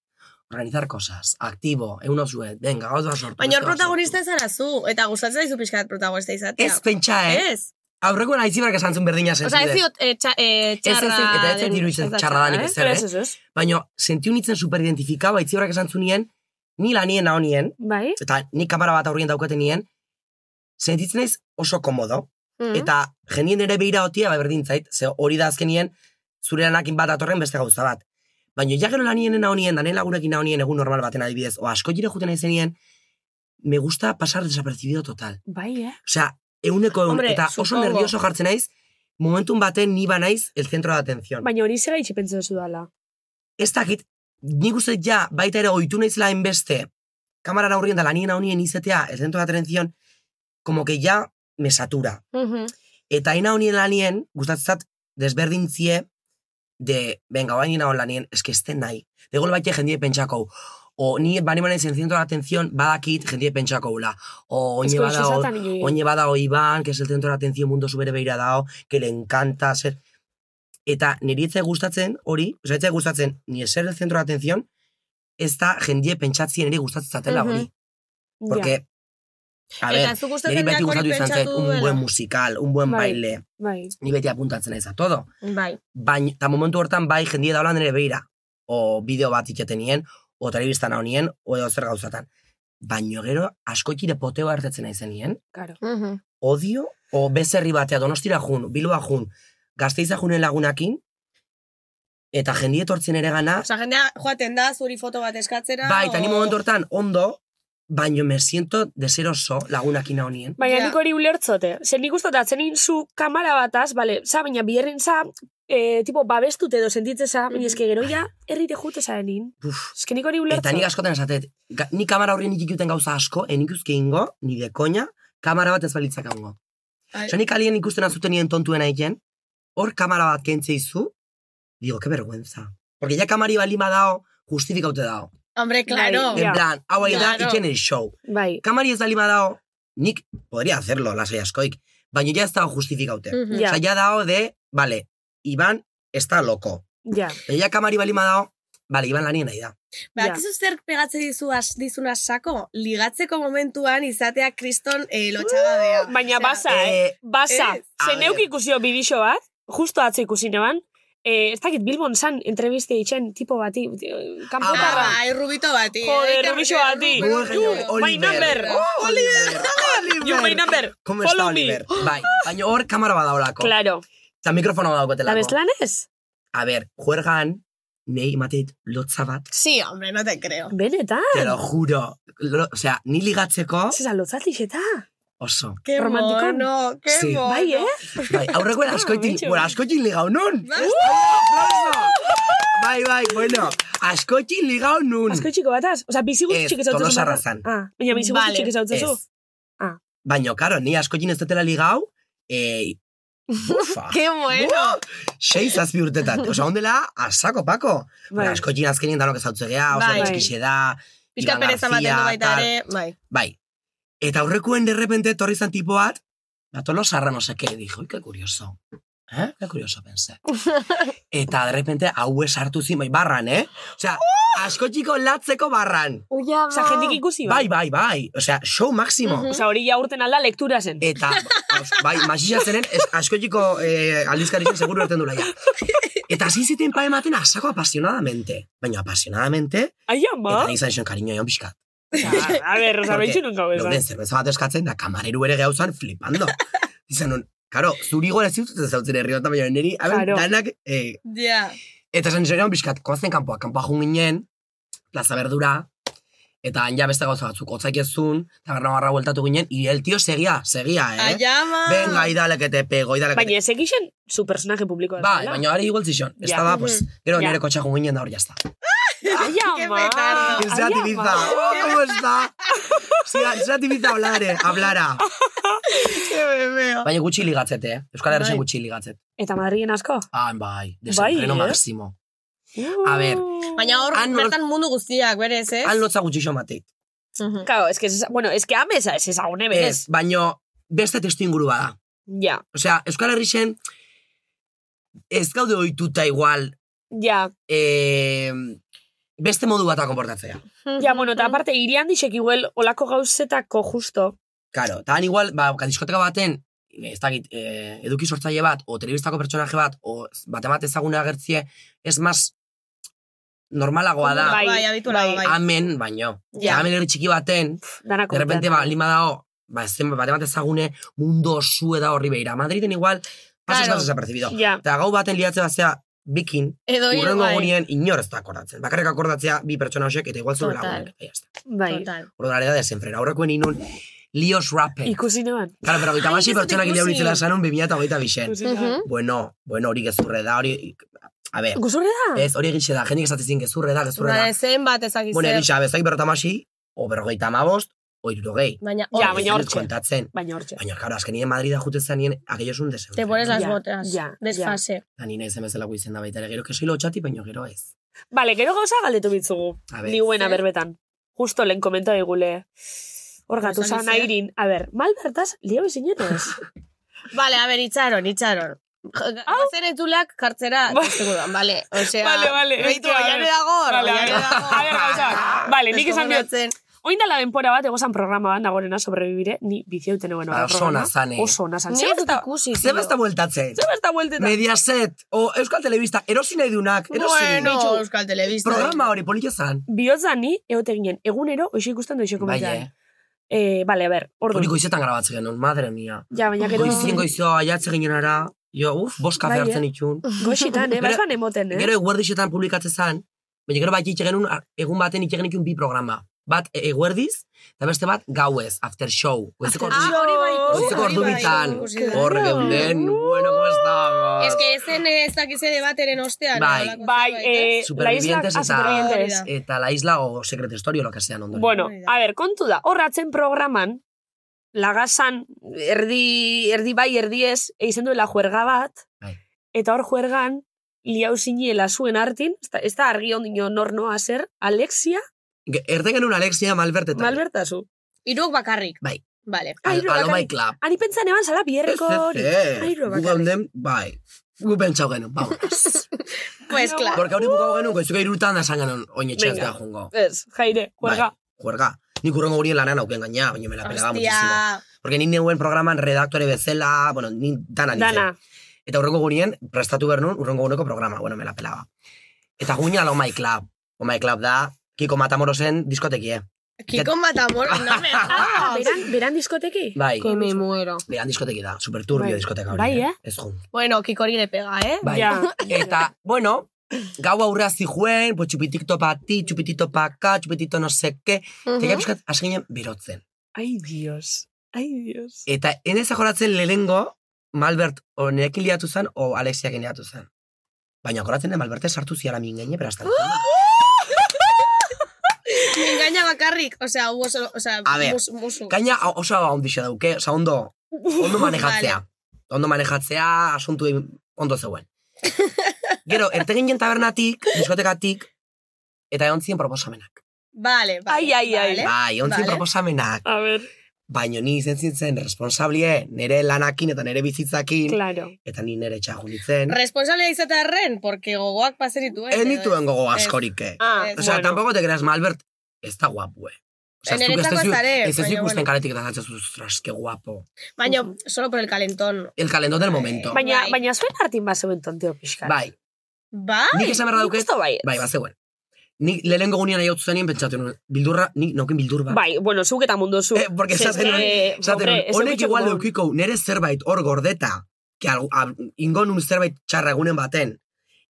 Speaker 10: Organizar cosas, aktibo, egun osue, venga, gauz da sortu.
Speaker 2: Baina hor
Speaker 10: beste bat
Speaker 2: protagonista zara zu, eta gustatzen zaizu pixkat protagonista
Speaker 10: sortu.
Speaker 2: izatea.
Speaker 10: Ez pentsa, eh?
Speaker 2: Ez.
Speaker 10: Aurreko nahi zibarka esan zuen berdina
Speaker 2: Osa, ez
Speaker 10: sentide.
Speaker 2: ziot eh, txa, eh,
Speaker 10: ez,
Speaker 2: txarra...
Speaker 10: ez, eta ez zait
Speaker 2: den-
Speaker 10: iruditzen
Speaker 2: ez da
Speaker 10: txarra danik
Speaker 2: eh?
Speaker 10: ezer,
Speaker 11: Ez,
Speaker 10: eh?
Speaker 11: ez, ez.
Speaker 10: Baina, sentiu nintzen superidentifikaua, itzibarak esan zunien, ni lanien nahonien,
Speaker 11: Bai?
Speaker 10: eta ni kamera bat aurrien daukaten nien, sentitzen naiz oso komodo.
Speaker 2: Mhm.
Speaker 10: Eta jendien ere behira otia, ba, berdin zait, ze hori da azkenien, zure lanakin bat atorren beste gauza bat. Baina ja gero lanien nahonien, danen lagunekin nahonien egun normal baten adibidez, o asko jire juten naizenien, me gusta pasar desapercibido total.
Speaker 11: Bai, eh?
Speaker 10: Osea, euneko eun,
Speaker 2: Hombre,
Speaker 10: eta oso
Speaker 2: supongo.
Speaker 10: nervioso jartzen naiz, momentun baten ni ba naiz el centro de atención.
Speaker 11: Baina hori zera itxipentzen zu dala.
Speaker 10: ez dakit, nik uste dut ja, baita ere oitu naizela enbeste, kamarara aurrien da lanien honien izatea, el centro de atención, como que ja me satura.
Speaker 2: Mhm.
Speaker 10: Eta ina honien lanien, gustatzat, desberdintzie, de, venga, oain ina hon lanien, eske ez den nahi. De gol baite jendie pentsako, o ni banima naiz el centro de atención, badakit jendie pentsako gula. O oine
Speaker 11: Esko
Speaker 10: badao,
Speaker 11: izatan inoi.
Speaker 10: Oñe badao Iván, que es el centro de atención mundu zubere beira dao, que le encanta ser... Eta niri etzai gustatzen, hori, oza, etzai gustatzen, ni ser el centro de atención, ez da jendie pentsatzen niri gustatzen zatela hori.
Speaker 11: Ja.
Speaker 10: Porque, a
Speaker 2: Eta
Speaker 10: ber,
Speaker 2: zu
Speaker 10: niri
Speaker 2: gustatzen
Speaker 10: beti
Speaker 2: dako
Speaker 10: gustatu
Speaker 2: hori
Speaker 10: izan zait,
Speaker 2: pentsatu
Speaker 10: un buen musical, un buen
Speaker 11: Bai.
Speaker 10: baile,
Speaker 11: Bai.
Speaker 10: ni beti apuntatzen naiz a todo.
Speaker 2: Bai.
Speaker 10: Baina, eta momentu hortan bai jendie daula nire beira, o bideo bat iketen nien, o telebistan hau nien, o edo zer gauzatan. Baino gero, askotxire poteo hartetzen naizen nien,
Speaker 11: Claro.
Speaker 2: Mhm.
Speaker 10: odio, o bezerri batea donostira jun, bilua jun, gazteiza junen lagunakin, eta jendi etortzen ere gana,
Speaker 2: Osa, jendea joaten da, zuri foto bat eskatzera.
Speaker 10: bai, eta ni
Speaker 2: o-
Speaker 10: momentu hortan ondo, baino me siento deseroso lagunakin honien.
Speaker 11: Baina
Speaker 2: Ja.
Speaker 11: nik hori ulertzote. Zer nik uste dut atzenin zu kamara bataz, bale, za, baina biherrin za, eh, tipo, babestute edo sentitze za,
Speaker 2: Mhm.
Speaker 11: baina eske gero ja, herrite jute zarenin.
Speaker 10: Uf.
Speaker 11: Eske nik hori
Speaker 10: Eta
Speaker 11: ulertzote.
Speaker 10: nik askotan esatet, ga, ni kamara horrien ikikuten gauza asko, enik uzke ingo, ni dekoina, kamara bat ez balitzak hango.
Speaker 2: Ai.
Speaker 10: Osa, nik alien ikusten azuten nien tontuen aiken, hor kamara bat kentze izu, digo, que vergüenza. Porque ya kamari balima dao, justifikaute dao.
Speaker 2: Hombre, claro.
Speaker 11: Bai,
Speaker 10: En
Speaker 11: Ja.
Speaker 10: plan, hau ari da,
Speaker 2: Claro.
Speaker 10: iken el show.
Speaker 11: Bai.
Speaker 10: kamari ez balima dao, nik podría hacerlo, lasai askoik, baina ja ez dago justifikaute. Mm.
Speaker 2: Mhm.
Speaker 11: Ja,
Speaker 10: Osa, ja dao de, vale, Iban está loco.
Speaker 11: ja.
Speaker 10: Baina ja kamari balima dao, vale, Iban lanien nahi da.
Speaker 2: Bakizu Ba, zer pegatzen dizu as, dizuna sako? Ligatzeko momentuan izatea kriston eh, lotxagabea.
Speaker 11: Baina
Speaker 2: Osea,
Speaker 11: basa, eh?
Speaker 10: Eh,
Speaker 11: Basa.
Speaker 2: ez.
Speaker 10: A
Speaker 11: Ze
Speaker 10: ver.
Speaker 11: neuk ikusio bidixo bat, justo atzo ikusi neban,
Speaker 3: eh, ez dakit, Bilbon zan entreviste itxen tipo bati, eh, kanpotarra.
Speaker 2: Ah, bai, rubito bati.
Speaker 3: Joder,
Speaker 2: eh,
Speaker 3: Rubixo
Speaker 2: que-
Speaker 3: bati.
Speaker 2: Rubito-
Speaker 3: You, my number.
Speaker 10: Oh, Oliver.
Speaker 3: You, my number.
Speaker 10: Como ez da
Speaker 3: Follow me.
Speaker 10: Oliver? Bai, baina hor kamera badaolako.
Speaker 3: Claro.
Speaker 10: Eta mikrofono
Speaker 3: La
Speaker 10: badaukotelako.
Speaker 3: bezlan ez?
Speaker 10: A ber, juergan, nei imatit lotza bat.
Speaker 2: Sí, hombre, no te creo.
Speaker 3: Benetan.
Speaker 10: Te lo juro. Lo, o sea, ni ligatzeko
Speaker 3: Zesa lotzatik eta.
Speaker 10: oso.
Speaker 2: Qué
Speaker 3: Romántico.
Speaker 2: mono, qué
Speaker 10: Sí.
Speaker 2: mono.
Speaker 3: Bai, eh?
Speaker 10: Bai, aurrekoen askoitin,
Speaker 3: bitxo.
Speaker 10: bueno, askoitin ligau nun.
Speaker 2: Bai.
Speaker 10: ¡Oh, Bai, bai, bueno, askoitin ligau nun.
Speaker 3: Azko txiko bataz. Osa, bizi
Speaker 10: Ez,
Speaker 3: guztik ez hau
Speaker 10: Tolosa Razan.
Speaker 3: Ah, baina bizi
Speaker 2: Vale.
Speaker 3: guztik ez hau
Speaker 10: Ez. Baina, karo, ni askoitin ez dutela ligau, eh, bufa.
Speaker 2: Qué bueno.
Speaker 10: Sei zazpi urtetan. Osa, ondela, asako, pako.
Speaker 3: Bai.
Speaker 10: Bai. Askoitin azkenien danok ezautze gea, oso
Speaker 2: Bai.
Speaker 10: bai. da,
Speaker 2: Pizka
Speaker 10: Iban
Speaker 2: pereza ematen
Speaker 10: García,
Speaker 2: du baita
Speaker 10: tal.
Speaker 2: ere. Bai.
Speaker 10: Bai. Eta aurrekuen derrepente etorri zan tipo bat, ba, tolosarra no seke, dijo, "Ui, qué curioso. Eh? Qué curioso pensé. Eta derrepente hau esartu zin, bai, barran, eh? Osea, asko txiko latzeko barran.
Speaker 2: Uia,
Speaker 3: Osa, jendik ikusi
Speaker 10: Bai, bai, bai. Osea, show máximo.
Speaker 3: Osa, hori ja urten alda lektura zen.
Speaker 10: Eta, aus, bai, masixa zenen, ez, asko txiko eh, aldizkarixen seguru erten dula ja. Eta hasi ziten pa ematen asako apasionadamente. Baina apasionadamente,
Speaker 3: Ai, ama.
Speaker 10: eta izan zen kariño egon pixkat.
Speaker 3: Osa, A ber, osa,
Speaker 10: Porque
Speaker 3: bentsu nunca hau
Speaker 10: Dauden
Speaker 3: esan.
Speaker 10: zerbeza bat eskatzen, da kamareru ere gauzan flipando. Dizan nun, karo, zuri gola ez dut zautzen herri bat, baina niri, aben,
Speaker 3: Claro.
Speaker 10: danak, eh,
Speaker 2: Ja.
Speaker 10: eta esan zorean bizkat, koazten kanpoa, kanpoa jun ginen, plaza berdura, eta han ja beste gauza batzuk, otzak ezun, taberna barra bueltatu ginen, y el tío seguía, seguía, eh?
Speaker 2: Ah, Ayama.
Speaker 10: Venga, idale que te pego, idale que te...
Speaker 3: Baina ez egixen zu personaje publikoa.
Speaker 10: Bai,
Speaker 3: zela.
Speaker 10: baina hori igual zizon. Ez
Speaker 3: Ja.
Speaker 10: da, pues, gero
Speaker 3: Ja.
Speaker 10: nire kotxa jun ginen da hor jazta.
Speaker 3: Ai,
Speaker 2: Qué
Speaker 3: ama.
Speaker 2: petardo.
Speaker 10: Que sea
Speaker 3: Ai, ama.
Speaker 10: tibiza. Oh, ¿Cómo está? Sea, sea tibiza hablar, eh? Hablara.
Speaker 2: Qué bebeo.
Speaker 10: Baina gutxi ligatzete, eh? Euskal Herrixen
Speaker 2: Bai.
Speaker 10: gutxi ligatzet.
Speaker 3: Eta Madrilen asko?
Speaker 10: Ah, bai, desentreno
Speaker 3: Bai, eh?
Speaker 10: maximo. A ber.
Speaker 3: Uh.
Speaker 2: Baina hor,
Speaker 10: Han nor-
Speaker 2: bertan mundu guztiak, berez, ez?
Speaker 10: Han lotza gutxi mateit.
Speaker 2: Mhm.
Speaker 3: Claro, es que, es, bueno, es que amesa ez ezagune
Speaker 10: Ez,
Speaker 3: berez.
Speaker 10: baino beste testu inguru bada.
Speaker 3: Ja,
Speaker 10: Osea, Euskal Herrixen ez gaude ohituta igual
Speaker 3: ja.
Speaker 10: eh, beste modu bata konportatzea.
Speaker 3: Ja, bueno, eta aparte, irian dixek iguel olako gauzetako justo.
Speaker 10: Claro, eta han igual, ba, ka diskoteka baten, ez dakit, eh, eduki sortzaile bat, o telebistako pertsonaje bat, o bat emate ezaguna agertzie, ez mas normalagoa da,
Speaker 3: Bai,
Speaker 2: Bai, abitura,
Speaker 3: bai.
Speaker 2: bai.
Speaker 10: amen, baino.
Speaker 3: Ja.
Speaker 10: Ja. Amen herri txiki baten,
Speaker 3: Danako.
Speaker 10: De repente, ba, lima dao, ba, ez zen, bat ezagune mundu osue da horri beira. Madriden igual,
Speaker 2: Claro.
Speaker 10: pasas claro. desapercibido.
Speaker 3: Ja,
Speaker 10: Eta gau baten liatze bazea, bikin,
Speaker 2: Edo hil,
Speaker 10: urrengo
Speaker 2: bai.
Speaker 10: gunien inor ez da akordatzen. Bakarrik akordatzea, bi pertsona horiek, eta igual zure
Speaker 2: Total.
Speaker 10: lagunek. Ahí está.
Speaker 3: bai.
Speaker 2: Total.
Speaker 10: Orduan, ari da desenfrena. Aurrekoen inun, Lios Rappen.
Speaker 3: Ikusi neban.
Speaker 10: Claro, pero gita basi
Speaker 2: ez dut
Speaker 10: pertsonak
Speaker 2: ikusi.
Speaker 10: idea horitzela sanun 2008 bixen.
Speaker 3: Ikusi neban.
Speaker 10: Bueno, bueno, hori gezurre da, hori... A ver,
Speaker 3: Guzurre da?
Speaker 10: ez, hori egixe da, jendik esatzen gezurre da, gezurre da.
Speaker 2: Baina Ba, zenbat ezakiz
Speaker 10: Bueno,
Speaker 2: zer.
Speaker 10: egixe, abezak berrotamasi, o berrogeita amabost, o irurogei.
Speaker 2: Baina,
Speaker 3: Ja,
Speaker 2: hor,
Speaker 3: baina
Speaker 10: Ez dut
Speaker 3: hortxe.
Speaker 10: Kontatzen.
Speaker 3: Baina hortxe.
Speaker 10: Baina, claro, azkenien Madrida jute zanien, aquello es un desenfreno.
Speaker 2: te pones las
Speaker 3: Ja,
Speaker 2: botas.
Speaker 3: ja, ja.
Speaker 2: Desfase.
Speaker 10: Da, ni nahi zemezela guizen da baita ere, gero, que soy lotxati, baino gero ez.
Speaker 3: Vale, gero gauza galdetu bitzugu.
Speaker 10: A ber,
Speaker 3: Niuena
Speaker 2: Zer?
Speaker 3: berbetan. Justo lehen komenta digule. Hor gatu
Speaker 2: Gauzak
Speaker 3: zan
Speaker 2: zer?
Speaker 3: airin. A ber, mal bertaz, lio bizinen ez?
Speaker 2: Vale, a ver, itxaron, itxaron. Gazen entulak kartzera
Speaker 3: Ah. Ba-
Speaker 2: testugudan, vale. Osea,
Speaker 3: Vale, vale, ez
Speaker 2: Beitu,
Speaker 3: du, a
Speaker 2: oian
Speaker 3: ver.
Speaker 2: dago, hor,
Speaker 3: Vale, a
Speaker 2: oian
Speaker 3: ver.
Speaker 2: dago.
Speaker 3: A ver, gauzak. Vale, nik esan diot.
Speaker 2: Deskonfinatzen.
Speaker 3: Oindala denpora bat, egozan programa bat nagorena sobrevivire, ni biziauten egon
Speaker 10: Ba, oso ona zan, eh.
Speaker 3: Oso ona zan.
Speaker 2: Nik
Speaker 3: Zer
Speaker 2: ez dut
Speaker 3: besta-
Speaker 2: ikusi,
Speaker 10: Zer
Speaker 2: tio.
Speaker 10: besta bueltatzen?
Speaker 3: zer besta bueltetan?
Speaker 10: Mediaset, o Euskal Telebista, erosi nahi dunak, erosi.
Speaker 2: Bueno, Euskal Telebista.
Speaker 10: Programa hori polita zan.
Speaker 3: Bihotza ni, egote ginen, egunero, oixo ikusten doixo
Speaker 10: Bai,
Speaker 3: komentan.
Speaker 10: eh.
Speaker 3: Bai, eh, vale, a ber, ordu.
Speaker 10: Hori goizetan grabatzen genuen, madre mia.
Speaker 3: Ja, baina gero...
Speaker 10: Goizien goizioa aiatze ginenara, jo, uf, bost kafe
Speaker 3: Bai, eh.
Speaker 10: hartzen itxun.
Speaker 3: Goixitan, eh?
Speaker 10: Gero-
Speaker 3: Baizban emoten, eh?
Speaker 10: Gero eguerdixetan publikatzen zan, baina gero bat itxe genuen, egun baten itxe genuen bi programa. Bat e- eguerdiz, eta beste bat gauez, after show. Goizeko ordu-
Speaker 2: Ah, hori bai ikusi,
Speaker 10: Goizeko
Speaker 2: hori
Speaker 10: ordu
Speaker 2: bai
Speaker 10: bitan.
Speaker 2: ikusi da.
Speaker 10: Hor geunden, bueno, como estamos.
Speaker 2: Ez que ezen ez dakize debateren ostean.
Speaker 10: Bai.
Speaker 2: holako
Speaker 3: Bai,
Speaker 2: zerbait,
Speaker 3: eh, la isla...
Speaker 10: Supervivientes
Speaker 3: Ah,
Speaker 10: eta-
Speaker 3: supervivientes.
Speaker 2: Hori
Speaker 10: Eta la isla o secret story o lo que sean ondoren.
Speaker 3: Bueno,
Speaker 2: Hori da.
Speaker 3: a ber, kontu da, horratzen programan, lagazan, erdi, erdi bai, erdi ez, eizen duela juerga bat,
Speaker 10: Bai.
Speaker 3: eta hor juergan, liau ziniela zuen hartin, ez da, ez da argi ondino nor noa zer, Alexia,
Speaker 10: Ge- Erten genuen Alexia Malbert eta...
Speaker 3: malbertazu.
Speaker 2: Hiruk bakarrik.
Speaker 10: Bai.
Speaker 2: Vale.
Speaker 10: Al,
Speaker 3: Airo
Speaker 10: Alomai
Speaker 3: bakarrik.
Speaker 10: Club.
Speaker 3: Ani pentsan eban zala bierreko hori. Airo
Speaker 10: Gu
Speaker 3: bakarrik.
Speaker 10: geunden, bai. Gu pentsau genuen, vamos.
Speaker 2: Pues, claro.
Speaker 10: Gorka hori bukau genuen, goizuko irutan da zan genuen oinetxe ez
Speaker 3: Venga.
Speaker 10: da jungo.
Speaker 3: Ez, jaire, juerga.
Speaker 10: Bai, juerga. Nik urrengo gurien lanan auken gaina, baina me la pelaba muchísimo.
Speaker 2: Hostia.
Speaker 10: Bai, Porque ni neuen programan redaktore bezala, bueno, ni dana nintzen.
Speaker 3: Dana,
Speaker 10: Eta urrengo gunien, prestatu behar nun, urrengo guneko programa, bueno, me la pelaba. Eta guinean Oh My Club. Oh My Club da, Kiko Matamorosen diskotekie.
Speaker 2: Kiko Matamoros, no me
Speaker 11: Ah, beran, beran diskoteki?
Speaker 10: Bai.
Speaker 2: Que me muero.
Speaker 10: Beran diskoteki da, superturbio
Speaker 2: Bai.
Speaker 10: diskoteka hori.
Speaker 2: Bai, eh?
Speaker 10: Ez jun.
Speaker 2: Bueno, Kikori le pega, eh?
Speaker 10: Bai. Eta, bueno, gau aurrea zihuen, pues, txupitito pati, txupitito paka, txupitito no seke, uh
Speaker 11: Mhm.
Speaker 10: -huh. eta buskat, hasi ginen berotzen.
Speaker 11: Ai, dios. Ai, dios.
Speaker 10: Eta enez joratzen lehenengo, Malbert o nerekin liatu zen, o Alexiakin liatu zen. Baina joratzen da, Malberte sartu ziala mingaine, berastan.
Speaker 2: Engaña bakarrik, o sea, hubo solo, o sea,
Speaker 10: A ver,
Speaker 2: musu, musu.
Speaker 10: Gaina hau- oso ondixe dauke, oza, ondo, ondo manejatzea. Ondo manejatzea, asuntu egin- ondo zegoen. Gero, erte ginen tabernatik, diskotekatik, eta egon ziren proposamenak.
Speaker 2: Vale, vale. Ay, ay, ay.
Speaker 10: Bai, egon ziren proposamenak.
Speaker 11: A ver.
Speaker 10: Baina ni izen zintzen responsablie nere lanakin eta nere bizitzakin.
Speaker 11: Claro.
Speaker 10: Eta ni nere txagun nintzen.
Speaker 2: Responsable izatearren, porque gogoak pazerituen.
Speaker 10: Ez nituen gogo askorik. eh.
Speaker 2: Ah,
Speaker 10: Osea,
Speaker 2: bueno.
Speaker 10: tampoco te creas, Malbert, ez da guapo, eh. Osea, ez duk- ez
Speaker 2: Niretzako
Speaker 10: duzu-
Speaker 2: ez are,
Speaker 10: ez duzu
Speaker 2: baina
Speaker 10: ikusten
Speaker 2: bueno.
Speaker 10: kaletik eta zatzen ostras, que guapo.
Speaker 2: Baina, solo por el calentón.
Speaker 10: El calentón del momento.
Speaker 11: Baina, baina zuen hartin bat zeuen tonteo pixka.
Speaker 10: Bai.
Speaker 2: Bai?
Speaker 10: Nik esan behar dauket.
Speaker 11: Bai,
Speaker 10: Bai, bazegoen. Nik lehenengo gunean aiautu zenien pentsatu nuen. Bildurra, nik naukin bildur bat.
Speaker 11: Bai, bueno, zuk eta mundu zu. Eh,
Speaker 10: Porque esaten nuen, esaten nuen, honek igual leukiko nere zerbait hor gordeta, que algo, a, ingo nun zerbait txarra egunen baten,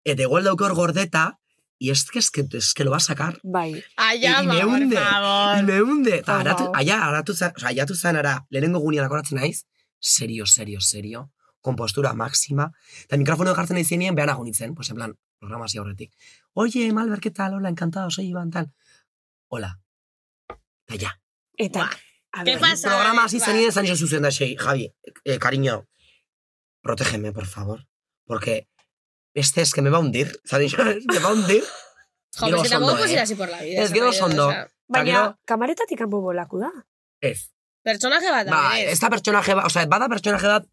Speaker 10: eta igual dauke hor gordeta, y es que, es que, es que lo va a sacar.
Speaker 11: Bai.
Speaker 2: Allá,
Speaker 10: y, y me hunde, y me hunde. Eta
Speaker 2: Por
Speaker 10: aratu,
Speaker 2: favor.
Speaker 10: aia, aratu zan, oza, aiatu zan ara, lehenengo gunean akoratzen naiz, serio, serio, serio, kompostura máxima, eta mikrofono jartzen nahi zienien, behan agonitzen, pues en plan, programa hasi aurretik. Oye, Malber, ¿qué tal? Hola, encantado, soy Iván, tal. Hola. Eta ja.
Speaker 11: Eta, a
Speaker 2: ¿Qué
Speaker 11: ver,
Speaker 2: pasa?
Speaker 10: Programa hasi
Speaker 2: Ba.
Speaker 10: zenien zan zuzen da xei, Javi, eh, cariño, protégeme, por favor, porque este es que me va a hundir, zan me va a hundir.
Speaker 2: Jo,
Speaker 10: Gero
Speaker 2: pues que
Speaker 10: oso
Speaker 2: tampoco
Speaker 10: ondo,
Speaker 2: puedes
Speaker 10: eh.
Speaker 2: ir así por la vida.
Speaker 10: Ez, gero
Speaker 2: esa
Speaker 10: oso ondo.
Speaker 2: mayoría, o sea,
Speaker 10: Eta
Speaker 11: baina
Speaker 10: gero-
Speaker 11: kamaretatik kanpo bolaku da.
Speaker 10: Ez.
Speaker 2: Pertsonaje bat da,
Speaker 10: Ba,
Speaker 2: berez.
Speaker 10: ez da pertsonaje bat, osea, bada pertsonaje bat,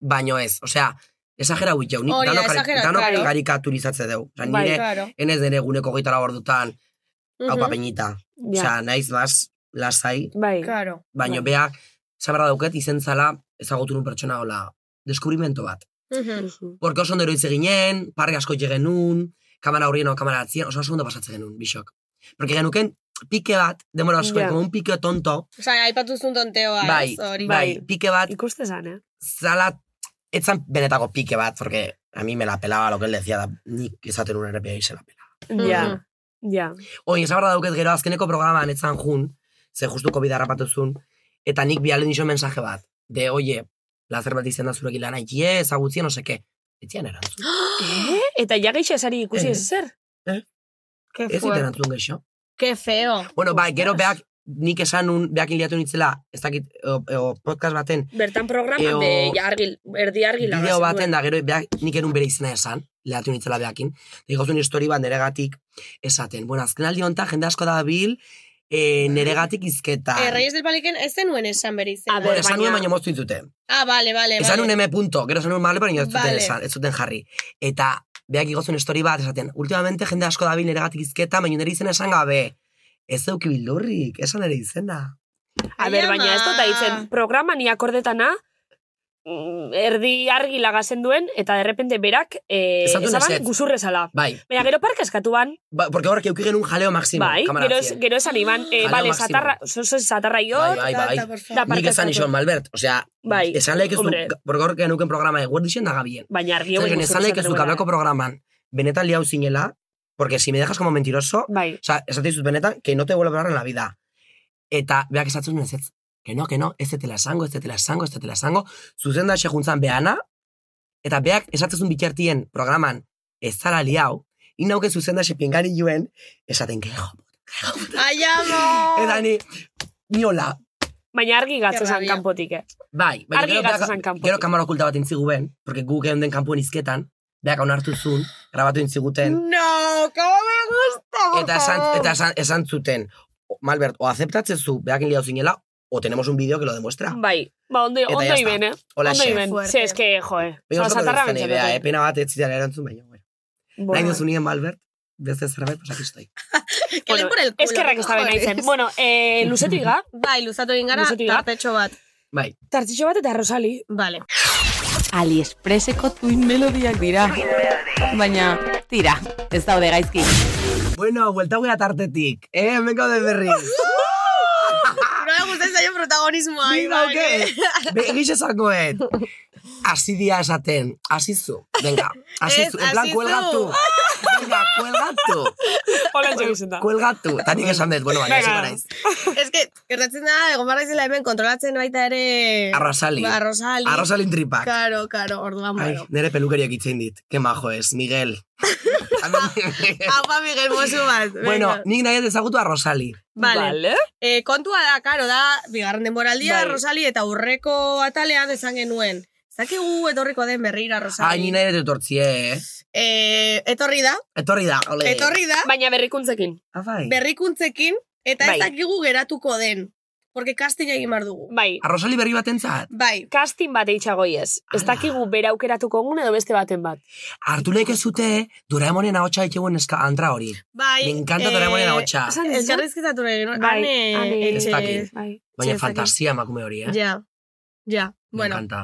Speaker 10: baino ez, osea, esagera hui jau, nik
Speaker 2: Hori da,
Speaker 10: danok,
Speaker 2: esagera,
Speaker 10: danok
Speaker 2: claro.
Speaker 10: karikaturizatze dugu. Osea,
Speaker 2: Bai,
Speaker 10: nire,
Speaker 2: claro.
Speaker 10: enez dene guneko goitara hor dutan,
Speaker 2: Mhm.
Speaker 10: hau papeñita.
Speaker 2: Ja.
Speaker 10: Osea, naiz bas, lasai,
Speaker 11: Bai.
Speaker 2: Claro.
Speaker 10: baino beak, saberra dauket, izen zala, ezagutu nun pertsona hola, deskurimento bat.
Speaker 2: Mhm.
Speaker 10: Porque oso ondero hitz ginen, parri asko jegen nun, kamara horrien o kamara atzien, oso oso ondo pasatze genuen, bisok. Porque genuken, pike bat, demora asko,
Speaker 2: Ja.
Speaker 10: como un pike tonto,
Speaker 2: O sea, aipatu zuen tonteoa,
Speaker 10: Bai,
Speaker 2: ez, hori.
Speaker 10: bai, pike bat.
Speaker 11: Ikuste zan, eh?
Speaker 10: Zala, etzan benetako pike bat, porque a mí me la pelaba lo que él decía, da, nik esaten un errepia se la pelaba.
Speaker 2: Mm.
Speaker 11: Ja,
Speaker 10: Mm.
Speaker 11: ja.
Speaker 10: Oin, esa barra dauket gero azkeneko programan etzan jun, ze justu COVID harrapatu zuen, eta nik bialen iso mensaje bat, de, oye, lazer bat izan da zurekin lana, je, ezagutzia, no seke. Etzian erantzun.
Speaker 11: Eh? Eta ja gehiago esari ikusi
Speaker 10: Eh.
Speaker 11: ez zer?
Speaker 2: Qué
Speaker 10: Ez dut erantzun geixo.
Speaker 2: Qué feo.
Speaker 10: Bueno, bai, gero beak, nik esan un, beak iliatu nintzela, ez dakit, o, o, podcast baten,
Speaker 11: Bertan programa
Speaker 10: Eo-
Speaker 11: de ja argil, erdi argila.
Speaker 10: bideo
Speaker 11: bazen duen.
Speaker 10: baten da gero beak, nik erun bere izena esan, lehatu nintzela beakin. Digozun histori bat niregatik esaten. Bueno, azken aldi honetan jende asko da bil, e, niregatik izketa.
Speaker 2: Eh, Reyes del Paliken, ez zenuen esan bere izena.
Speaker 10: Bueno, esan nuen baina moztu ditute.
Speaker 2: Ah, vale, vale,
Speaker 10: Esan
Speaker 2: vale.
Speaker 10: nuen M punto, gero esan nuen mal, baina ez zuten,
Speaker 2: Vale.
Speaker 10: esan, ez zuten jarri. Eta beak igozun histori bat esaten, últimamente jende asko da bil niregatik izketa, baina nire izena esan gabe. Ez zeuki bildurrik, esan nire izena.
Speaker 11: A ber, baina ez dut daitzen, programa ni akordetana, mm, erdi argila gazen duen, eta derrepente berak, eh,
Speaker 10: Esan zuen
Speaker 11: esaban
Speaker 10: ezetz.
Speaker 11: guzurrezala.
Speaker 10: Bai,
Speaker 11: Baina gero parka eskatu ban,
Speaker 10: ba, porque horrek euki genuen jaleo maximo.
Speaker 11: bai,
Speaker 10: kamara
Speaker 11: gero,
Speaker 10: batzien.
Speaker 11: gero esan iban, eh,
Speaker 10: Jaleo
Speaker 11: bale,
Speaker 10: maximo.
Speaker 11: zatarra, zozo zatarra jo,
Speaker 10: Bai, bai, bai.
Speaker 11: da
Speaker 10: Nik
Speaker 11: parka
Speaker 10: esan
Speaker 11: eskatu.
Speaker 10: nixon, Malbert, osea,
Speaker 11: Bai,
Speaker 10: esan lehik ez du,
Speaker 11: hombre. Bai,
Speaker 10: porque hor genuken programa eguer dixen da gabien.
Speaker 11: Baina argi
Speaker 10: Esan
Speaker 11: hauek
Speaker 10: esan lehik ez du, kablako programan, benetan liau zinela, porque si me dejas como mentiroso,
Speaker 11: bai.
Speaker 10: osea, esate dizut benetan, que no te vuelvo a hablar en la vida. Eta, beak esatzen nuen, ez, que no, que no, ez tetela esango, ez tetela esango, ez tetela esango, zuzen da juntzan behana, eta beak esatzen zuen bitartien programan, ez zara liau, inauke zuzen da pingari joen, esaten, que jo,
Speaker 2: Ai,
Speaker 11: Bai.
Speaker 2: amo!
Speaker 10: eta ni, ni hola,
Speaker 11: Baina argi
Speaker 2: Ke
Speaker 11: gatzo zan
Speaker 2: rabia.
Speaker 11: kanpotik, eh.
Speaker 10: Bai, baina
Speaker 11: Argi
Speaker 10: gero,
Speaker 11: geratu
Speaker 10: beak-
Speaker 11: zen kanpotik.
Speaker 10: gero kamara okulta bat intzigu ben, porque gu geunden den kanpuen izketan, beak onartu zuen, grabatu intziguten,
Speaker 2: No, como me gusta, Mm, por
Speaker 10: eta esan,
Speaker 2: favor.
Speaker 10: eta esan, esan zuten, o- Malbert, o aceptatzezu beakin liau zinela, o tenemos un vídeo que lo demuestra.
Speaker 11: Bai, ba, ondo,
Speaker 10: Eta
Speaker 11: ondo
Speaker 10: ya está.
Speaker 11: iben, eh.
Speaker 10: Hola,
Speaker 11: ondo
Speaker 10: chef.
Speaker 11: iben.
Speaker 10: Fuerte.
Speaker 11: Ze, eske, joe. Osa,
Speaker 10: Baina oso
Speaker 11: zatarra
Speaker 10: zatarra
Speaker 11: bentsatu.
Speaker 10: idea, eh? pena bat ez zidan erantzun, baina, bueno. Nahi duzu nien, Malbert, beste zerbait, pues aquí estoy.
Speaker 2: le por el culo,
Speaker 11: Eskerrak ez da bena
Speaker 2: cojones.
Speaker 11: izen. Bueno, eh, luzetu iga.
Speaker 2: Bai, luzatu egin gara,
Speaker 11: Luzatu iga.
Speaker 2: tartetxo bat.
Speaker 10: Bai.
Speaker 11: Tartitxo bat eta Rosali.
Speaker 2: Vale.
Speaker 7: AliExpresseko tuin melodiak dira. Baina, tira, ez daude gaizki.
Speaker 10: Bueno, buelta guea tartetik, eh? Hemen gaude berriz.
Speaker 2: Nola gustatzen zaio protagonismoa.
Speaker 10: Ni
Speaker 2: Iban,
Speaker 10: dauke. Be- Egiz esakoet. Hasi dia esaten. Hasi zu. Venga, hasi
Speaker 2: Ez,
Speaker 10: zu. En plan,
Speaker 2: hasi zu.
Speaker 10: kuelgatu. Venga, kuelgatu.
Speaker 11: Hola, entxegizun da.
Speaker 10: Kuelgatu. Eta nik esan dut, bueno, baina
Speaker 11: Venga.
Speaker 10: esan naiz.
Speaker 2: Ez que, gertatzen da, egon barra izela hemen kontrolatzen baita ere...
Speaker 10: Arrasali.
Speaker 2: Ba, Arrosali.
Speaker 10: Arrosalin tripak.
Speaker 2: Karo, karo, orduan,
Speaker 10: Ai,
Speaker 2: bueno.
Speaker 10: nere pelukariak itzein dit. Ke majo ez, Miguel.
Speaker 2: Apa, Miguel, mozu bat. venga.
Speaker 10: bueno, nik nahi dut ezagutu a Rosali.
Speaker 2: Vale. Eh, kontua da, karo, da, bigarren denboraldia,
Speaker 10: Bai.
Speaker 2: Rosali, eta urreko atalean esan genuen. Zakigu etorriko den berrira,
Speaker 10: Ai,
Speaker 2: Rosali.
Speaker 10: ni nahi dut etortzie, eh?
Speaker 2: Eh, etorri da,
Speaker 10: Etorri da, ole.
Speaker 2: etorri da,
Speaker 11: Baina berrikuntzekin.
Speaker 10: Abai.
Speaker 2: berrikuntzekin, eta ez
Speaker 10: Bai.
Speaker 2: dakigu geratuko den. Porque casting egin behar dugu.
Speaker 11: Bai.
Speaker 10: A Rosali berri batentzat.
Speaker 2: Bai.
Speaker 11: Casting bat eitxagoi ez. Ez dakigu bera aukeratuko gun edo beste baten bat.
Speaker 10: Artu nahi zute, Doraemonen ahotsa itxegoen eska antra hori.
Speaker 2: Bai.
Speaker 10: Me encanta Doraemonen
Speaker 2: eh,
Speaker 10: ahotsa.
Speaker 11: esan duzu?
Speaker 2: Elkarrizketatu nahi genuen.
Speaker 11: Bai,
Speaker 2: Ane, eh,
Speaker 11: Ane
Speaker 10: Ez
Speaker 2: etxe-
Speaker 10: dakit.
Speaker 11: Bai.
Speaker 10: Baina
Speaker 2: ez dakit.
Speaker 10: fantasia emakume hori, eh?
Speaker 2: Ja, ja.
Speaker 10: Me
Speaker 2: Bueno,
Speaker 10: encanta.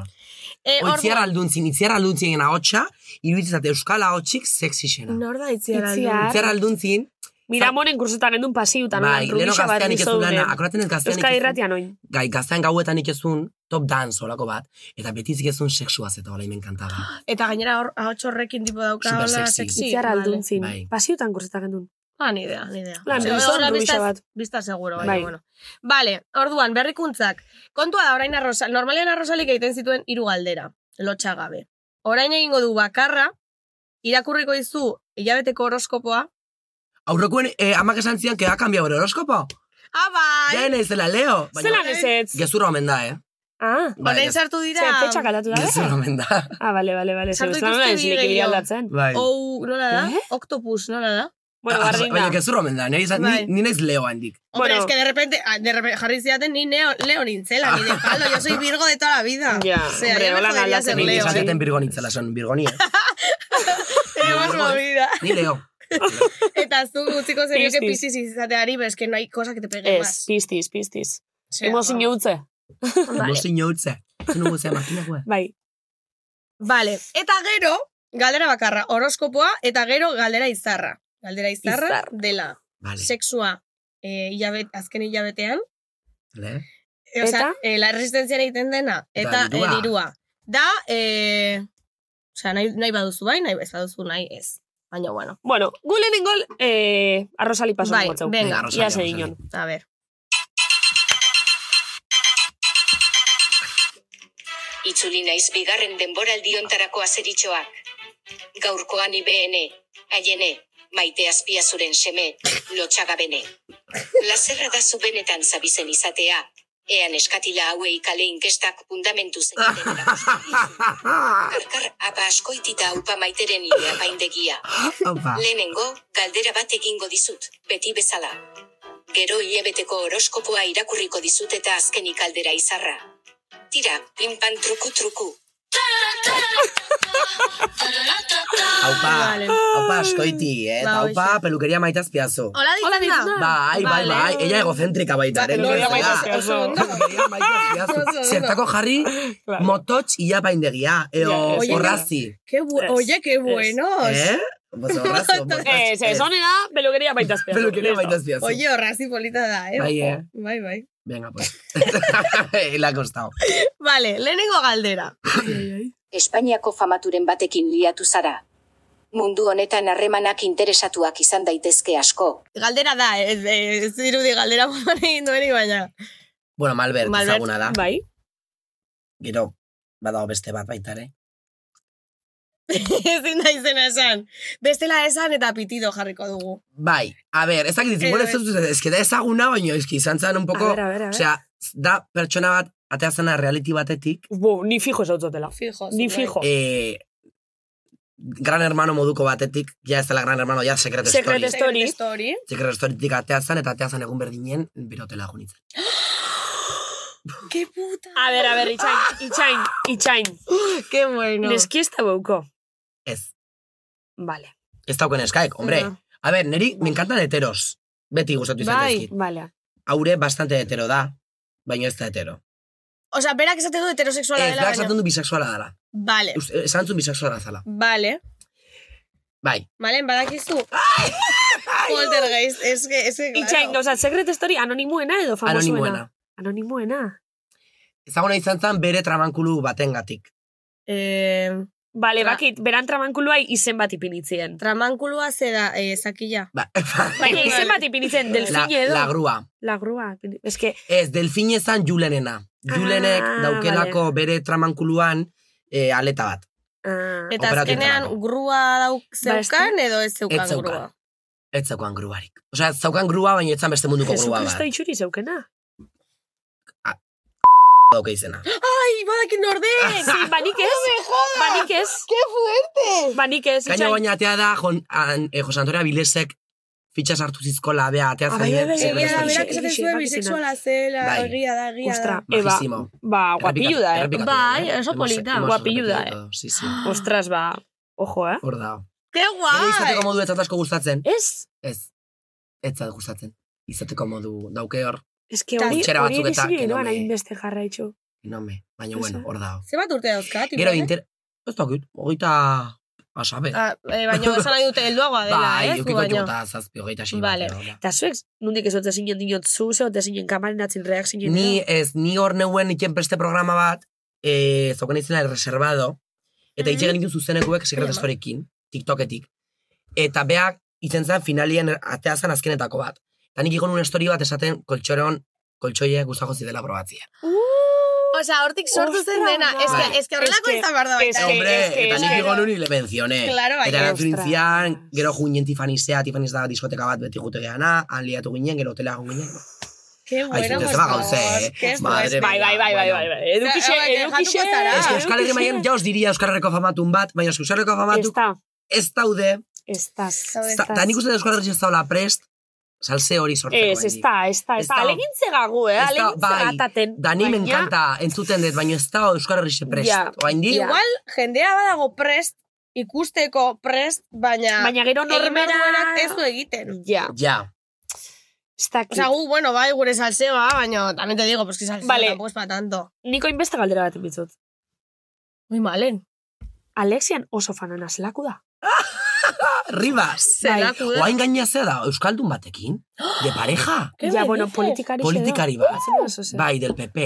Speaker 2: eh,
Speaker 10: Eh,
Speaker 2: ordu-
Speaker 10: oitziar alduntzin, itziar alduntzien ahotsa, iruditzat euskal ahotsik sexixena.
Speaker 2: Nor da itziar
Speaker 11: Itziar.
Speaker 2: aldun?
Speaker 10: Itziar alduntzin,
Speaker 11: Miramonen kursutan endun pasiutan.
Speaker 10: bai,
Speaker 11: holan,
Speaker 10: leno
Speaker 11: rubixa bat
Speaker 10: gaztean ikezun
Speaker 11: gizodunen.
Speaker 10: lana, akoratzen ez gaztean
Speaker 11: Euskadi
Speaker 10: ikezun,
Speaker 11: irratian oin.
Speaker 10: gai, gaztean gauetan ikezun, top dance olako bat, eta beti zikezun sexuaz eta hola imen kantaba.
Speaker 2: Eta gainera hor, ahots horrekin tipo dauka
Speaker 10: Super
Speaker 2: hola
Speaker 10: sexy.
Speaker 2: sexy.
Speaker 11: Itziar alduntzin.
Speaker 10: Bai.
Speaker 11: Pasiutan kursutan endun.
Speaker 2: Ah, ni idea, ni idea.
Speaker 11: Lan,
Speaker 2: Sí,
Speaker 11: bizon
Speaker 2: hola,
Speaker 11: rubixa
Speaker 2: biztaz-
Speaker 11: bat.
Speaker 2: Bizta seguro, bai.
Speaker 11: Bai.
Speaker 2: bueno. Vale, orduan, berrikuntzak. Kontua da, orain arrosa, normalean arrosalik egiten zituen hiru galdera, lotxagabe. Orain egingo du bakarra, irakurriko dizu hilabeteko horoskopoa.
Speaker 10: Aurrekoen, eh, amak esan zian, que ha cambiado el horoskopo.
Speaker 2: Ah,
Speaker 10: Ja,
Speaker 2: bai!
Speaker 10: ene zela leo.
Speaker 11: Zelan ez ez?
Speaker 10: Gezurra omen da, eh?
Speaker 11: Ah,
Speaker 10: Bai,
Speaker 2: Horain
Speaker 10: gez-
Speaker 2: sartu dira...
Speaker 11: ze fetxak aldatu da.
Speaker 10: gezurra omen da.
Speaker 11: Ah, bale, bale, bale. Zer,
Speaker 2: Sartu
Speaker 11: ez da nola
Speaker 2: dituzte
Speaker 11: ez nire
Speaker 2: bi gehiago.
Speaker 11: aldatzen.
Speaker 10: Bai.
Speaker 2: Ou, nola da?
Speaker 11: Eh?
Speaker 2: Octopus, nola da?
Speaker 11: Bueno,
Speaker 10: Ah,
Speaker 11: bardin
Speaker 10: Baina,
Speaker 11: da.
Speaker 10: gezurra omen da, nire izan, ni,
Speaker 2: Bai.
Speaker 10: ni naiz leo handik.
Speaker 2: Hombre,
Speaker 11: Bueno.
Speaker 2: es que de repente, ah, de repente jarri zidaten ni neo, leo nintzela, ni de palo, yo soy virgo de toda la vida.
Speaker 11: Ya,
Speaker 2: o sea,
Speaker 11: hombre,
Speaker 2: ya me
Speaker 11: hola
Speaker 2: jodería
Speaker 11: naldatzen
Speaker 2: ser
Speaker 10: Ni
Speaker 2: leo,
Speaker 10: esan
Speaker 11: bai.
Speaker 10: jaten birgonitzela, son birgoni, eh?
Speaker 2: Tenemos movida.
Speaker 10: Ni leo.
Speaker 2: Eta zu utziko zenioke
Speaker 11: Piscis.
Speaker 2: piscis izateari, pero es que no hay cosa que te pegue
Speaker 11: Ez,
Speaker 2: más.
Speaker 11: piztiz, piztiz.
Speaker 2: O sea,
Speaker 11: Hemos inutze.
Speaker 10: No sinautze. Zenu guzea makinak, eh?
Speaker 11: Bai.
Speaker 2: Vale, eta gero, galdera bakarra, horoskopoa, eta gero galdera izarra. Galdera izarra
Speaker 11: Izar.
Speaker 2: dela
Speaker 10: Vale.
Speaker 2: sexua eh, hilabet, azken hilabetean,
Speaker 10: Vale.
Speaker 2: e, osea,
Speaker 11: Eta?
Speaker 2: eh, la resistentzian egiten dena,
Speaker 10: Eta
Speaker 2: eta eh,
Speaker 10: dirua.
Speaker 2: dirua. Da, eh, osea, nahi, nahi baduzu bai, nahi ez baduzu nahi ez. Baina, bueno,
Speaker 11: Bueno, gu lehenengo eh, arrozali paso
Speaker 2: Bai,
Speaker 11: ningotzeu.
Speaker 2: venga,
Speaker 10: Venga, Rosario,
Speaker 11: Ia ze
Speaker 10: Rosario.
Speaker 11: dinon.
Speaker 2: a ver.
Speaker 7: Itzuli naiz bigarren denboraldi ontarako azeritxoak. Gaurkoan IBN, aiene, maite azpiazuren seme, lotxagabene. Lazerra da zu benetan zabizen izatea, ean eskatila hauei kale inkestak fundamentu zen. Karkar, apa askoitita upa maiteren ire apaindegia.
Speaker 10: Opa.
Speaker 7: Lehenengo, galdera bat egingo dizut, beti bezala. Gero hilabeteko horoskopoa irakurriko dizut eta azkenik aldera izarra. Tira, pinpan truku truku.
Speaker 10: Aupa,
Speaker 2: Vale.
Speaker 10: aupa askoiti, eh? Eta
Speaker 2: Ba,
Speaker 10: aupa pelukeria maitazpiazu.
Speaker 2: Hola,
Speaker 11: Hola,
Speaker 2: ditzen da?
Speaker 11: ditzen da.
Speaker 10: Bai, bai,
Speaker 2: Vale.
Speaker 10: bai, ella egocentrika baita, eh, ere.
Speaker 2: Ba,
Speaker 10: nire
Speaker 11: pelukeria
Speaker 10: bezala.
Speaker 11: maitazpiazu.
Speaker 2: oso ondo.
Speaker 10: Pelukeria maitazpiazu. Zertako jarri,
Speaker 11: Claro.
Speaker 10: motots ia paindegia, eh,
Speaker 11: Ja,
Speaker 10: eo
Speaker 2: ez.
Speaker 10: horrazi.
Speaker 2: Qué bu-
Speaker 11: Es,
Speaker 2: Oye, qué
Speaker 11: es.
Speaker 2: buenos.
Speaker 10: Eh? Pues horrazo, motots,
Speaker 3: Eh,
Speaker 11: Ez, ez, honena, pelukeria baitazpea.
Speaker 10: Pelukeria maitazpiazu.
Speaker 2: Oye, horrazi polita da, eh?
Speaker 10: Bai, eh.
Speaker 2: Bai, bai.
Speaker 10: Venga, pues. Le ha costado.
Speaker 2: Vale, lehenengo galdera.
Speaker 7: Espainiako famaturen batekin liatu zara. Mundu honetan harremanak interesatuak izan daitezke asko.
Speaker 2: Galdera da, ez, ez dirudi galdera moduan egin duenik, baina.
Speaker 10: Bueno, Malbert,
Speaker 2: Malbert,
Speaker 10: ezaguna da.
Speaker 11: Bai.
Speaker 10: Gero, badago beste bat baita, ere.
Speaker 2: Ezin da izena esan. Bestela esan eta pitido jarriko dugu.
Speaker 10: Bai, a ber, ez dakit,
Speaker 2: Eh,
Speaker 10: igual ez dut, ez que da ezaguna, baino, ez que izan zen un poco,
Speaker 11: A ver, a ver, a ver.
Speaker 10: osea, da pertsona bat, atea zena reality batetik,
Speaker 11: Bo, ni fijo esautzotela.
Speaker 2: Fijo.
Speaker 11: Ni
Speaker 2: bai.
Speaker 11: fijo.
Speaker 10: eh, gran hermano moduko batetik, ja ez dela gran hermano, ja secret,
Speaker 2: bai.
Speaker 11: Secret
Speaker 10: story.
Speaker 11: Story.
Speaker 2: Secret story.
Speaker 10: Secret storytik atea zen, eta atea zen egun berdinen, birotela junitzen.
Speaker 2: Qué puta.
Speaker 11: A ber, a ber, itxain, itxain, itxain.
Speaker 2: Qué bueno.
Speaker 11: Neski ez da bauko.
Speaker 10: Ez,
Speaker 11: Vale,
Speaker 10: ez dauken eskaik, hombre.
Speaker 2: Ja.
Speaker 10: A ber, neri, me encantan heteros. Beti gustatu izan
Speaker 2: Bai.
Speaker 10: dizkit.
Speaker 11: vale.
Speaker 10: Aure bastante hetero da, baino ez da hetero.
Speaker 2: Osa, berak esaten du heterosexuala
Speaker 10: Ez,
Speaker 2: dela.
Speaker 10: berak
Speaker 2: baina-
Speaker 10: esaten du bisexuala dela.
Speaker 2: Vale,
Speaker 10: Uste- eh, Esan zuen bisexuala zala.
Speaker 2: vale.
Speaker 10: Bai.
Speaker 2: Malen, badakizu. Poltergeist, es que, es que, claro.
Speaker 3: Itxain, gauza, secret story anonimuena edo famosuena?
Speaker 10: Anonimoena.
Speaker 3: Anonimuena.
Speaker 10: Ezaguna izan zen bere trabankulu batengatik.
Speaker 2: Eh,
Speaker 3: Bale, bakit, beran tramankulua izen bat ipinitzien.
Speaker 2: Tramankulua zera, eh, zakila.
Speaker 10: Ba,
Speaker 11: Bai,
Speaker 3: Baina izen bat ipinitzen, delfine Bai, edo.
Speaker 10: La, la grua.
Speaker 3: La grua. Ez que,
Speaker 10: Ez, delfine zan julenena. Julenek
Speaker 3: Ah,
Speaker 10: daukelako bere tramankuluan eh, aleta bat.
Speaker 3: ah,
Speaker 2: Eta
Speaker 10: Operatu
Speaker 2: azkenean grua dauk
Speaker 11: Ba,
Speaker 2: zeukan edo ez zeukan
Speaker 10: Ez zeukan.
Speaker 2: grua.
Speaker 10: Ez zeukan gruarik. Osea, zeukan grua, baina etzan beste munduko
Speaker 3: Jesu
Speaker 10: grua
Speaker 3: Kristo
Speaker 10: bat.
Speaker 3: itxuri zeukena.
Speaker 10: Dauka izena.
Speaker 2: Ai, badakin norden!
Speaker 3: Sí, banik Ba, ez.
Speaker 2: No me jodas!
Speaker 3: Banik ez.
Speaker 2: ¡Qué fuerte!
Speaker 3: Banik ez,
Speaker 10: Kaina
Speaker 3: itxain.
Speaker 10: baina atea da, Jon, an, eh, Jose Antonio Avilesek fitxas hartu zizko labea atea Eh,
Speaker 3: Ah, bai,
Speaker 10: zaien.
Speaker 3: bai, bai,
Speaker 10: zerbait
Speaker 2: Egia da,
Speaker 10: izan
Speaker 2: berak esaten
Speaker 10: zen.
Speaker 3: Egixe,
Speaker 2: zuen
Speaker 3: egixe,
Speaker 2: bisexuala zela,
Speaker 10: Bai.
Speaker 2: egia da, egia
Speaker 3: Ostra,
Speaker 2: da.
Speaker 3: eba,
Speaker 10: Majísimo.
Speaker 3: ba, guapillu da, eh.
Speaker 10: Errepikatu,
Speaker 3: Bai,
Speaker 10: eh?
Speaker 3: oso
Speaker 10: Hemos-
Speaker 3: polita,
Speaker 10: hemos
Speaker 3: guapillu da,
Speaker 10: repetido,
Speaker 3: eh.
Speaker 10: Sí, sí.
Speaker 3: Ostras, ba, ojo, eh.
Speaker 10: Hor da.
Speaker 2: ¡Qué
Speaker 10: Gero
Speaker 2: guay!
Speaker 10: izateko modu ez zait asko gustatzen.
Speaker 3: Ez,
Speaker 10: Ez. Ez zait gustatzen. Izateko modu dauke hor.
Speaker 3: ez que hori,
Speaker 10: Kutxera
Speaker 3: hori
Speaker 10: batzuk eta
Speaker 3: egizio
Speaker 10: genome.
Speaker 3: iruan hainbeste jarraitxu.
Speaker 10: Nome. Baina, bueno, hor da.
Speaker 2: Ze bat urte dauzka, tipo?
Speaker 10: Gero
Speaker 2: eh?
Speaker 10: inter... Ez dakit, hogeita... Asabe.
Speaker 2: Ah, eh, baina esan nahi dute helduagoa dela,
Speaker 10: Bai,
Speaker 2: eh? zu
Speaker 10: eukiko
Speaker 2: baino.
Speaker 10: jota zazpi, hogeita sei.
Speaker 2: Vale.
Speaker 10: bat, hola.
Speaker 3: Eta zuek, nundik ez dute zinen dinot zu, ze dute zinen kamaren atzinreak zinen.
Speaker 10: Ni ez, ni hor neuen iken beste programa bat, eh, zauken izena reservado, eta
Speaker 2: Mhm.
Speaker 10: itxe genitun zuzenekuek
Speaker 2: Ama.
Speaker 10: sekretestorekin, TikToketik. Eta beak, itzen zen finalien atea zen azkenetako bat. Eta nik ikon un story bat esaten koltsoron, koltsoiek guztako zidela probatzia.
Speaker 2: Osea, hortik sortu zen
Speaker 3: Ostra,
Speaker 2: dena.
Speaker 3: bai.
Speaker 2: Ez que, ez que horrelako
Speaker 3: Ez que-
Speaker 2: izan behar da
Speaker 3: ez
Speaker 2: baita.
Speaker 3: que-
Speaker 10: Hombre,
Speaker 3: eske,
Speaker 10: eta nik
Speaker 3: eske.
Speaker 10: ikon un hile menzione.
Speaker 2: Claro,
Speaker 10: Eta
Speaker 2: baina.
Speaker 10: erantzun intzian, gero juinen tifanizea, tifaniz da diskoteka bat beti jute geana, han liatu ginen, gero hotelea egon ginen.
Speaker 2: Qué bueno,
Speaker 10: Aizu,
Speaker 2: por
Speaker 10: ez da
Speaker 2: favor.
Speaker 10: gauze, eh?
Speaker 2: Qué
Speaker 10: Madre
Speaker 2: fuerte.
Speaker 3: Bai, bai, bai, bai, bai, Ah. bai. Edukixe,
Speaker 2: Ze- hauek
Speaker 3: edukixe.
Speaker 2: jatuko zara.
Speaker 10: Ez que Euskal Herri maian, ja os diria Euskal Herriko famatun bat, baina eske Euskal Herriko famatu
Speaker 3: Ez da,
Speaker 10: ez daude,
Speaker 3: ez da.
Speaker 2: Zaude,
Speaker 10: Za- Da nik uste dut Euskal Herri ez daula prest, salse hori sortzeko.
Speaker 3: Ez, ez
Speaker 10: baindik.
Speaker 3: da, ez da, ez
Speaker 10: Ez
Speaker 3: da.
Speaker 10: da.
Speaker 3: Alegin zegagu, eh?
Speaker 10: Ez da,
Speaker 3: Alegin
Speaker 10: bai.
Speaker 3: zegataten.
Speaker 10: Da ni me
Speaker 3: Baina-
Speaker 10: encanta entzuten dut, baina ez da Euskal Herri prest.
Speaker 3: Ja.
Speaker 10: Oraindik
Speaker 3: Ja.
Speaker 2: Igual, jendea badago prest, ikusteko prest, baina...
Speaker 3: Baina gero
Speaker 2: egin behar
Speaker 3: normera...
Speaker 2: duenak ez du egiten.
Speaker 3: Ja,
Speaker 10: ja.
Speaker 3: ez dakit.
Speaker 2: O sea, gu, bueno, bai, gure salseba, baina también te digo, pues que salseo
Speaker 3: Vale.
Speaker 2: tampoco es para tanto.
Speaker 3: Niko inbeste galdera bat bitzut.
Speaker 2: Muy eh. malen.
Speaker 3: Alexian oso fanana zelaku da.
Speaker 10: Ribas.
Speaker 2: Zelako da.
Speaker 10: Oain gaina zea da, Euskaldun batekin? De pareja?
Speaker 2: ¿Qué
Speaker 3: ja,
Speaker 2: me
Speaker 3: bueno,
Speaker 2: dices?
Speaker 3: politikari
Speaker 10: Politikari bat.
Speaker 3: Bai,
Speaker 10: Bai, del PP.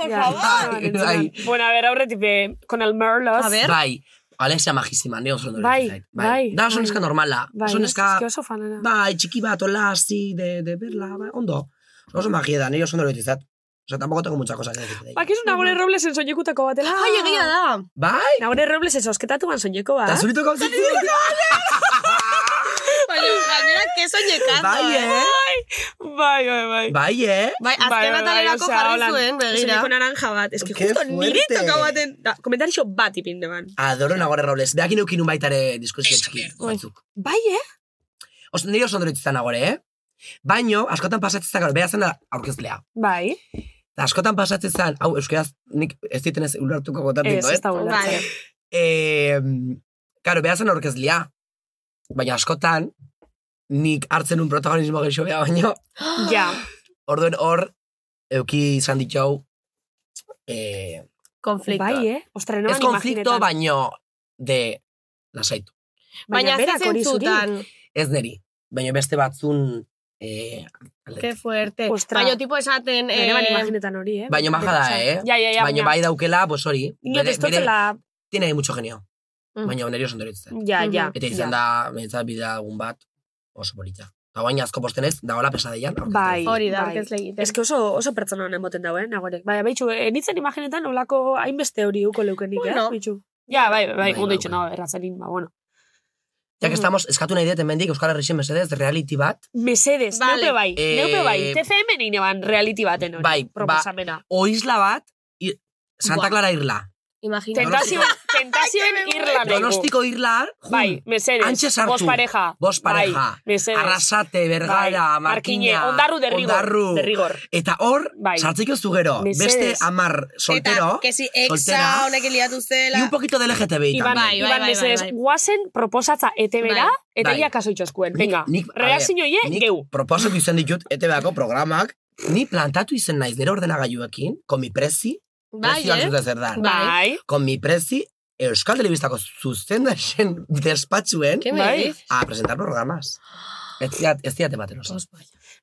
Speaker 2: Por
Speaker 3: ja,
Speaker 2: favor.
Speaker 10: Bai,
Speaker 3: entzunan, entzunan.
Speaker 10: bai.
Speaker 3: Bueno, a ver, aurretik, eh, con el Merlos.
Speaker 2: A ver.
Speaker 10: Bai, Alexia majísima, ne oso ondo
Speaker 3: Bai,
Speaker 10: iruditzen zait.
Speaker 3: bai,
Speaker 10: Da oso
Speaker 3: bai.
Speaker 10: neska normala.
Speaker 3: Bai,
Speaker 10: oso neska,
Speaker 3: eske oso fanana.
Speaker 10: bai, txiki bat, hola, así, de, de berla, bai, ondo. Oso magia da, nire oso ondo iruditzen zait. O sea, tampoco tengo muchas cosas que decir. de ella.
Speaker 3: Bak, Ba, ez nagore Roblesen soinekutako batela.
Speaker 2: Ai, egia da.
Speaker 10: Bai,
Speaker 3: Nagore Roblesen sosketatuan soineko
Speaker 10: eta
Speaker 3: bat.
Speaker 10: zurito gauzitzu.
Speaker 2: Baina, gainera, keso nekatu.
Speaker 10: Bai, eh?
Speaker 3: Bai, bai, bai.
Speaker 10: Bai, eh?
Speaker 2: Bai, azken bat alerako jarri zuen, begira.
Speaker 3: Soineko naranja bat. Ez que
Speaker 10: Qué
Speaker 3: justo niri
Speaker 10: fuerte.
Speaker 3: toka baten. Da, komentarixo bat ipin deban.
Speaker 10: Adoro Nagore Robles. Beakin eukin un baitare diskusio txiki batzuk.
Speaker 3: Bai, eh?
Speaker 10: Oso, nire oso ondo izan Nagore, eh? Baino, askotan pasatzen zan, bera zen aurkezlea.
Speaker 3: Bai.
Speaker 10: Eta askotan pasatzen zan, hau, euskaraz, nik ez diten ez ulertuko
Speaker 3: Ez,
Speaker 10: gotatuko,
Speaker 3: ez
Speaker 10: eh?
Speaker 3: da
Speaker 2: Vale.
Speaker 3: ulertzen.
Speaker 10: Eh, karo, bera zen aurkezlea. Baina askotan, nik hartzen un protagonismo gehiago bea baino,
Speaker 3: Ja.
Speaker 10: orduen hor, euki izan ditu, eh,
Speaker 2: Konflikto.
Speaker 3: Bai, eh? Ostra,
Speaker 10: ez
Speaker 3: noan
Speaker 10: konflikto,
Speaker 3: imaginetan.
Speaker 10: baino, de, lasaitu.
Speaker 2: Baina, ze
Speaker 3: berak hori zuri.
Speaker 2: zentzutan,
Speaker 10: Ez neri, baina beste batzun eh, aldetik.
Speaker 2: que fuerte.
Speaker 3: Ostra.
Speaker 2: Baina, tipo esaten...
Speaker 3: Baina
Speaker 2: eh,
Speaker 3: ban imaginetan hori, eh?
Speaker 10: Baina maja da,
Speaker 3: Beratxa.
Speaker 10: eh?
Speaker 3: Ja, ja, ja.
Speaker 10: baina bai daukela, pues hori,
Speaker 3: Inot
Speaker 10: bere,
Speaker 3: ez
Speaker 10: bere,
Speaker 3: totzela...
Speaker 10: tiene ahí mucho genio.
Speaker 3: Mm.
Speaker 10: Baina neri oso ondo iruditzen zait.
Speaker 3: Ja, ja.
Speaker 10: Eta izan da, benetan bidea egun bat, oso polita. Eta baina asko postenez, da hola pesadeian. aurkezten
Speaker 3: Bai.
Speaker 10: zait.
Speaker 2: Hori da,
Speaker 3: Bai.
Speaker 2: orkez legiten.
Speaker 3: Ez que oso, oso pertsona honen moten dago, eh, nagorek. Bai, baitxu, enitzen imaginetan olako hainbeste hori uko leukenik,
Speaker 2: Bueno.
Speaker 3: eh, baitxu. Ja, bai, bai, bai,
Speaker 10: Bai,
Speaker 3: ondo
Speaker 10: bai,
Speaker 3: itxu,
Speaker 10: bai.
Speaker 3: no, erratzenin, ba, bueno.
Speaker 10: Ja que
Speaker 3: Mhm.
Speaker 10: estamos, eskatu nahi dut hemendik Euskal Herrixen mesedez, reality bat,
Speaker 3: Mesedes,
Speaker 2: Vale.
Speaker 3: neupe bai,
Speaker 10: Eh,
Speaker 3: neupe bai, TCM nin eban reality baten hori,
Speaker 10: Bai, ba-
Speaker 3: proposamena.
Speaker 10: o isla bat, i, Santa
Speaker 2: Buah.
Speaker 10: Clara irla.
Speaker 2: Imagina.
Speaker 3: Tentazio, tentazioen irla nahi
Speaker 10: Donostiko irla, har, jun,
Speaker 3: Bai, mesedes,
Speaker 10: Antxe sartu.
Speaker 3: bos pareja.
Speaker 10: Bost pareja.
Speaker 3: Bai, mesedes.
Speaker 10: Arrasate,
Speaker 11: Bai,
Speaker 10: Bergara,
Speaker 3: Markine,
Speaker 10: Markina,
Speaker 3: ondarru derrigor.
Speaker 10: Bai, Ondarru.
Speaker 3: Derrigor.
Speaker 10: Eta hor,
Speaker 3: Bai.
Speaker 10: sartzeko zu gero,
Speaker 3: Mesedes.
Speaker 10: beste amar soltero,
Speaker 2: Eta, que si exa
Speaker 10: soltera.
Speaker 2: honek liatu
Speaker 10: y un
Speaker 2: zela.
Speaker 10: poquito del LGTBI
Speaker 3: Iban,
Speaker 2: bai,
Speaker 10: también.
Speaker 2: bai,
Speaker 3: Iban
Speaker 2: bai,
Speaker 3: mesedes,
Speaker 2: bai.
Speaker 3: guazen proposatza ETB-ra,
Speaker 2: Bai.
Speaker 3: eta
Speaker 10: Bai.
Speaker 3: ia kaso itxoskuen. Venga,
Speaker 10: Nik- nik- a ber,
Speaker 3: reakzinoie,
Speaker 10: Nik
Speaker 3: geu.
Speaker 10: proposatu izan ditut ETV-ako E programak, Ni plantatu izen naiz nire ordenagailuekin, kon mi prezi,
Speaker 2: Bai,
Speaker 10: prezioak
Speaker 2: eh?
Speaker 10: zuzte zer dan.
Speaker 2: Bai.
Speaker 10: Kon mi prezi, Euskal Telebistako zuzendasen despatxuen
Speaker 11: ¿Qué me Bai. dices?
Speaker 10: a presentar programas. Ez ziat, ez ziat ematen oso.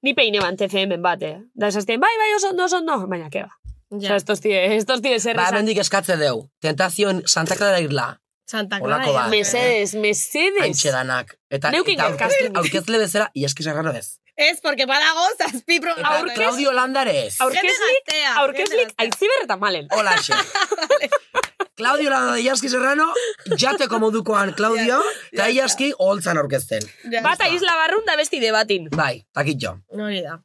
Speaker 11: Ni peine ban TFM bate. Da esazten, bai, bai, oso, ondo, oso, no. Baina, keba. Ja. Osa, estos tie, estos tie zer
Speaker 10: Ba,
Speaker 11: esan.
Speaker 10: bendik eskatze deu. Tentazioen Santa Clara Irla.
Speaker 2: Santa
Speaker 10: Holako bat.
Speaker 11: Mesedes, mesedes.
Speaker 10: Antxe danak. Eta,
Speaker 11: Neukin
Speaker 10: eta aurkez,
Speaker 11: gerkasten.
Speaker 10: aurkezle bezala, iaski sarrano bez.
Speaker 2: Ez, porque badago zazpi programa.
Speaker 10: Aurkez... Claudio Landare ez.
Speaker 11: Aurkezlik, aurkezlik, aitziber eta malen.
Speaker 10: Hola, xe. Claudio Landare iaski serrano, jateko modukoan Claudio, eta iaski holtzan aurkezten.
Speaker 11: Bata isla barrun da besti debatin.
Speaker 10: Bai, takit jo.
Speaker 2: Hori da.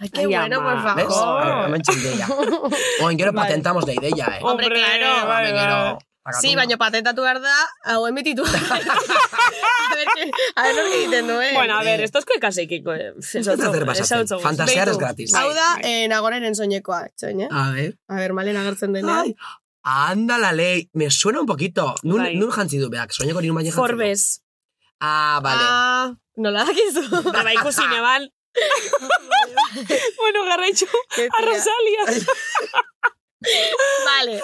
Speaker 2: Ay,
Speaker 11: Ai,
Speaker 2: qué bueno,
Speaker 11: ama.
Speaker 2: por favor.
Speaker 10: ¿Ves? Ah, Hemen ideia. Oen gero patentamos la ideia, eh.
Speaker 2: Hombre, claro.
Speaker 10: Hemen gero.
Speaker 2: Sí, baina patentatu behar da, hau emititu. a ver, que- a ver, norki egiten duen.
Speaker 11: Bueno, a ver, esto es ikaseikiko.
Speaker 10: Zaten zer pasatzen. Fantasiar ez gratis.
Speaker 2: Hau da, eh, nagoren soinekoa, etxoin, eh?
Speaker 10: A ver.
Speaker 2: A ver, malen agertzen denean.
Speaker 10: Ai, anda la ley. Me suena un poquito. Nun, nun jantzi du beak, soineko nirun baina jantzi du.
Speaker 11: Forbes.
Speaker 10: Ah, vale.
Speaker 2: Ah, nola dakizu?
Speaker 11: Ba, ikusi neban. bueno, garraitxu. Arrosalia.
Speaker 2: vale.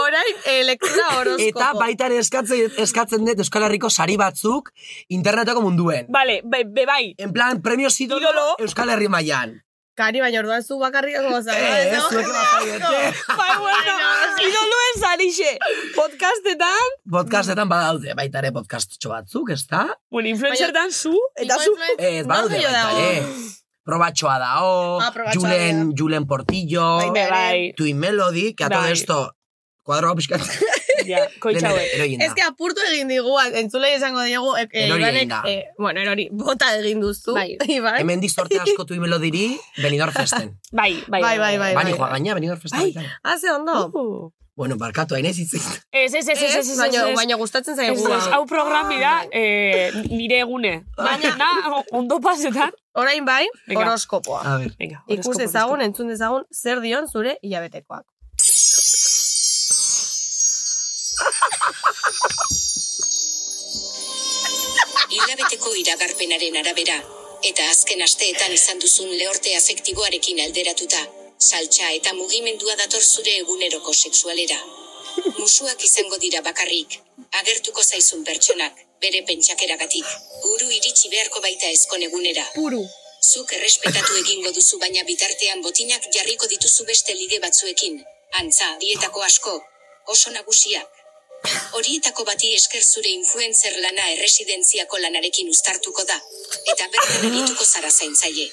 Speaker 2: Orain, eh, lektura horoskopo.
Speaker 10: Eta baitan eskatzen, eskatzen dut Euskal Herriko sari batzuk internetako munduen.
Speaker 11: Vale, be, be bai.
Speaker 10: En plan, premios idolo, Euskal Herri mailan.
Speaker 2: Kari, baina orduan zu bakarrik goza.
Speaker 10: Eh, ez, zuek bazaiete.
Speaker 11: Bai, bueno, idoluen zarixe. Podcastetan,
Speaker 10: Podcastetan badaude, baita ere podcastotxo batzuk, ez da?
Speaker 11: bueno, influencertan zu, eta zu.
Speaker 10: Ez, badaude baita ere. Probatxoa dao,
Speaker 11: Ah, probatxoa
Speaker 10: Julen, Julen Portillo,
Speaker 11: Bai, bai, bai.
Speaker 10: Twin Melody, que a todo
Speaker 11: Bai.
Speaker 10: esto, kuadroa pixkat.
Speaker 11: Ja,
Speaker 10: koitxa hauek. Eroin da.
Speaker 2: Ez que apurtu egin digu, entzulei esango diegu, e, e,
Speaker 10: Erori egin
Speaker 2: Ibanek,
Speaker 10: da.
Speaker 2: e, bueno, erori, bota egin duzu, bai. Iban.
Speaker 10: Hemen dizorte asko Twin Melodiri, Benidorm Festen.
Speaker 11: Bai,
Speaker 2: bai, bai, bai, bai.
Speaker 10: Bani joa gaina, Benidorm Festen. baitan.
Speaker 2: Ah, ze ondo.
Speaker 11: Oh. Uh,
Speaker 10: Bueno, barkatu, hain ez hitz-
Speaker 11: Ez, ez, ez, ez, ez, ez,
Speaker 2: Baina-
Speaker 11: ez.
Speaker 2: baina gustatzen zaigu ba.
Speaker 11: Ez, ez,
Speaker 2: hau.
Speaker 11: hau programi da, eh, nire egune. Baina, na, ondo pasetan.
Speaker 2: Orain bai,
Speaker 11: Venga.
Speaker 2: horoskopoa.
Speaker 10: A ver.
Speaker 11: Venga,
Speaker 2: Ikus dezagun, entzun dezagun, zer dion zure hilabetekoak.
Speaker 7: Hilabeteko iragarpenaren arabera, eta azken asteetan izan duzun lehorte afektiboarekin alderatuta, saltsa eta mugimendua dator zure eguneroko sexualera. Musuak izango dira bakarrik, agertuko zaizun pertsonak, bere pentsakeragatik, guru iritsi beharko baita ezkon egunera.
Speaker 2: Puru.
Speaker 7: Zuk errespetatu egingo duzu baina bitartean botinak jarriko dituzu beste lide batzuekin, antza, dietako asko, oso nagusiak. Horietako bati esker zure influencer lana erresidentziako lanarekin uztartuko da, eta bertan erituko zara zaintzaile.